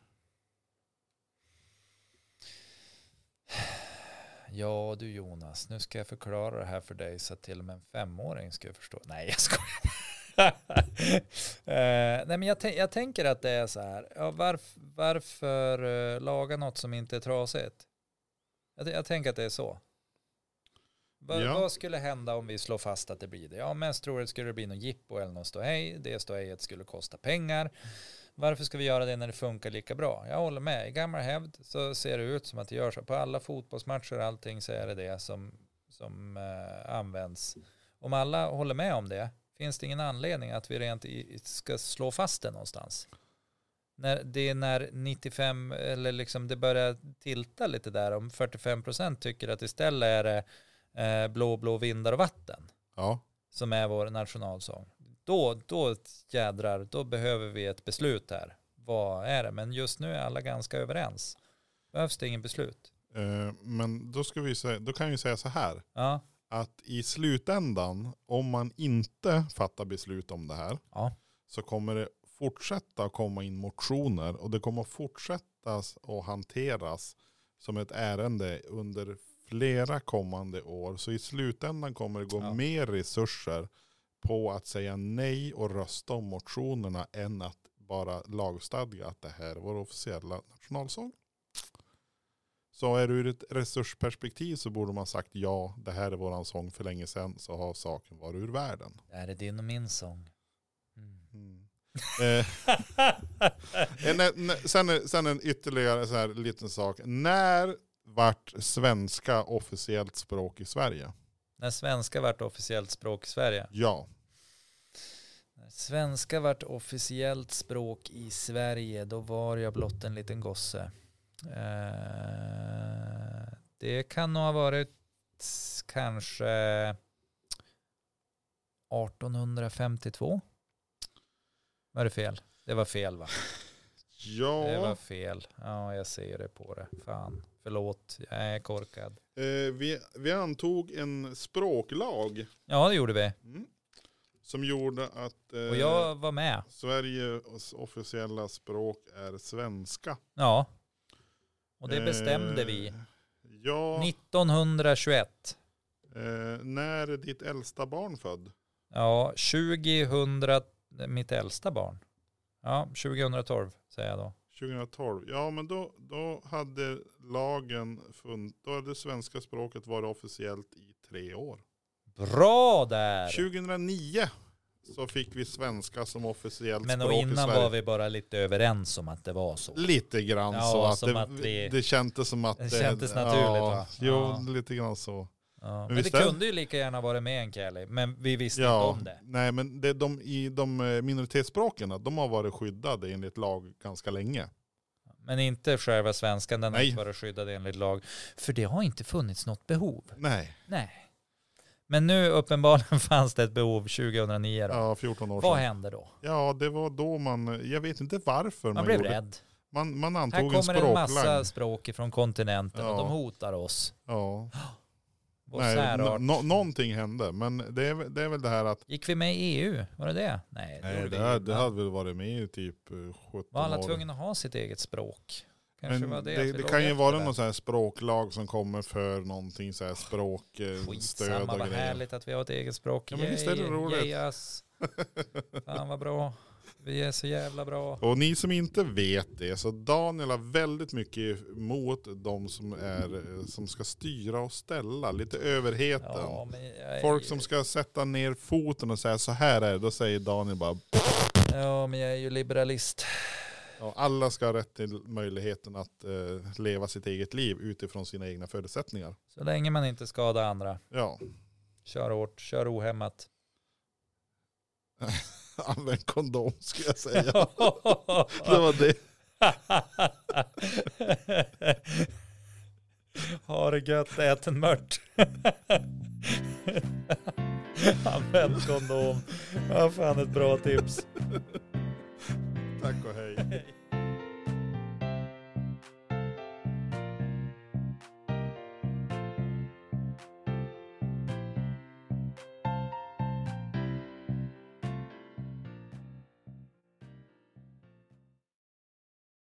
Speaker 2: Ja du Jonas, nu ska jag förklara det här för dig så att till och med en femåring ska förstå. Nej jag skojar. Eh, nej men jag, tän- jag tänker att det är så här, ja, varf- varför eh, laga något som inte är trasigt? Jag, t- jag tänker att det är så. Va-
Speaker 1: Ja.
Speaker 2: Vad skulle hända om vi slår fast att det blir det? Ja mest troligt skulle det bli något jippo eller något ståhej, det ståhejet skulle kosta pengar. Varför ska vi göra det när det funkar lika bra? Jag håller med. I gammal hävd så ser det ut som att det gör så. På alla fotbollsmatcher och allting så är det det som, som eh, används. Om alla håller med om det, finns det ingen anledning att vi rent i, ska slå fast det någonstans? När, det är när 95, eller liksom det börjar tilta lite där, om 45 procent tycker att istället är det eh, blå, blå vindar och vatten
Speaker 1: ja,
Speaker 2: som är vår nationalsång. Då, då jädrar, då behöver vi ett beslut här. Vad är det? Men just nu är alla ganska överens. Behövs det ingen beslut?
Speaker 1: eh, men då, ska vi säga, då kan jag ju säga så här.
Speaker 2: Ja,
Speaker 1: att i slutändan, om man inte fattar beslut om det här,
Speaker 2: Ja.
Speaker 1: så kommer det fortsätta komma in motioner och det kommer fortsätta att hanteras som ett ärende under flera kommande år. Så i slutändan kommer det gå
Speaker 2: Ja.
Speaker 1: mer resurser på att säga nej och rösta om motionerna än att bara lagstadga att det här är vår officiella nationalsång. Så är det ur ett resursperspektiv så borde man sagt ja, det här är våran sång för länge sedan så har saken varit ur världen.
Speaker 2: det här är din och min sång. Mm.
Speaker 1: Eh, en, en, sen, är- sen en ytterligare så här liten sak. När vart svenska officiellt språk i Sverige?
Speaker 2: När svenska vart officiellt språk i Sverige.
Speaker 1: Ja,
Speaker 2: När svenska vart officiellt språk i Sverige, då var jag blott en liten gosse. Eh, det kan nog ha varit kanske 1852. Var det fel? Det var fel va? Det var
Speaker 1: ja.
Speaker 2: fel. Ja, jag ser det på det. Fan, förlåt. Jag är korkad.
Speaker 1: Eh, vi, vi antog en språklag
Speaker 2: Ja, det gjorde vi.
Speaker 1: mm, som gjorde att eh,
Speaker 2: Och jag var med.
Speaker 1: Sveriges officiella språk är svenska.
Speaker 2: Ja. Och det bestämde
Speaker 1: Eh,
Speaker 2: vi.
Speaker 1: Ja,
Speaker 2: 1921.
Speaker 1: eh, när är ditt äldsta barn född?
Speaker 2: Ja, 2000, mitt äldsta barn. Ja, 2012 säger jag då.
Speaker 1: 2012. Ja, men då, då hade lagen funnits. Då hade svenska språket varit officiellt i tre år.
Speaker 2: Bra där!
Speaker 1: 2009 så fick vi svenska som officiellt
Speaker 2: Men och
Speaker 1: språk i
Speaker 2: innan
Speaker 1: Sverige. Mm.
Speaker 2: var vi bara lite överens om att det var så.
Speaker 1: Lite grann
Speaker 2: Ja,
Speaker 1: så. Att
Speaker 2: som
Speaker 1: det,
Speaker 2: att vi-
Speaker 1: det kändes som att
Speaker 2: Det kändes naturligt,
Speaker 1: Ja,
Speaker 2: va?
Speaker 1: Jo,
Speaker 2: Ja.
Speaker 1: lite grann så.
Speaker 2: Ja. Men
Speaker 1: visst
Speaker 2: det
Speaker 1: är det?
Speaker 2: kunde ju lika gärna varit med en Kelly, men vi visste inte om det.
Speaker 1: Nej, men det, de, i de eh, minoritetsspråken, de har varit skyddade enligt lag ganska länge.
Speaker 2: Men inte själva svenskan, den har
Speaker 1: Nej.
Speaker 2: inte varit skyddad enligt lag. För det har inte funnits något behov.
Speaker 1: Nej,
Speaker 2: Nej. Men nu uppenbarligen fanns det ett behov 2009 då.
Speaker 1: ja, 14 år
Speaker 2: Vad
Speaker 1: sedan.
Speaker 2: hände då?
Speaker 1: Ja, det var då man, jag vet inte varför
Speaker 2: Man blev
Speaker 1: gjorde
Speaker 2: rädd.
Speaker 1: Man, man
Speaker 2: Här
Speaker 1: antog en
Speaker 2: kommer en massa
Speaker 1: språklang.
Speaker 2: språk från kontinenten och
Speaker 1: Ja.
Speaker 2: de hotar oss.
Speaker 1: Ja.
Speaker 2: Vår
Speaker 1: Nej,
Speaker 2: särart.
Speaker 1: no, no, någonting hände, men det är, väl- det är väl det här att
Speaker 2: Gick vi med i EU? Var det det? Nej, det
Speaker 1: nej,
Speaker 2: gjorde
Speaker 1: det,
Speaker 2: vi
Speaker 1: här,
Speaker 2: inte.
Speaker 1: det hade väl varit med i typ eh, 17
Speaker 2: Var alla
Speaker 1: år.
Speaker 2: tvungna att ha sitt eget språk? Kanske
Speaker 1: Men
Speaker 2: var det att vi
Speaker 1: det, det
Speaker 2: låg
Speaker 1: kan ju
Speaker 2: efter
Speaker 1: vara
Speaker 2: där.
Speaker 1: någon sån här språklag som kommer för någonting så här språkstöd
Speaker 2: Skitsamma,
Speaker 1: och
Speaker 2: vad
Speaker 1: grejer.
Speaker 2: härligt att vi har ett eget språk.
Speaker 1: Ja, men visst är det
Speaker 2: Yay,
Speaker 1: roligt.
Speaker 2: yay us. Fan vad bra. Vi är så jävla bra.
Speaker 1: Och ni som inte vet det, så Daniel har väldigt mycket emot de som, är, eh, som ska styra och ställa, lite överheten.
Speaker 2: Ja, men jag är,
Speaker 1: Folk som ska sätta ner foten och säga så här är det, då säger Daniel bara
Speaker 2: ja, men jag är ju liberalist.
Speaker 1: ja, alla ska ha rätt till möjligheten att eh, leva sitt eget liv utifrån sina egna förutsättningar.
Speaker 2: Så länge man inte skadar andra.
Speaker 1: Ja,
Speaker 2: Kör hårt, kör ohämmat.
Speaker 1: använd kondom ska jag säga. Det var det.
Speaker 2: ha det gött, ät en mört. Använd kondom. Vad fan ett bra tips.
Speaker 1: Tack och hej.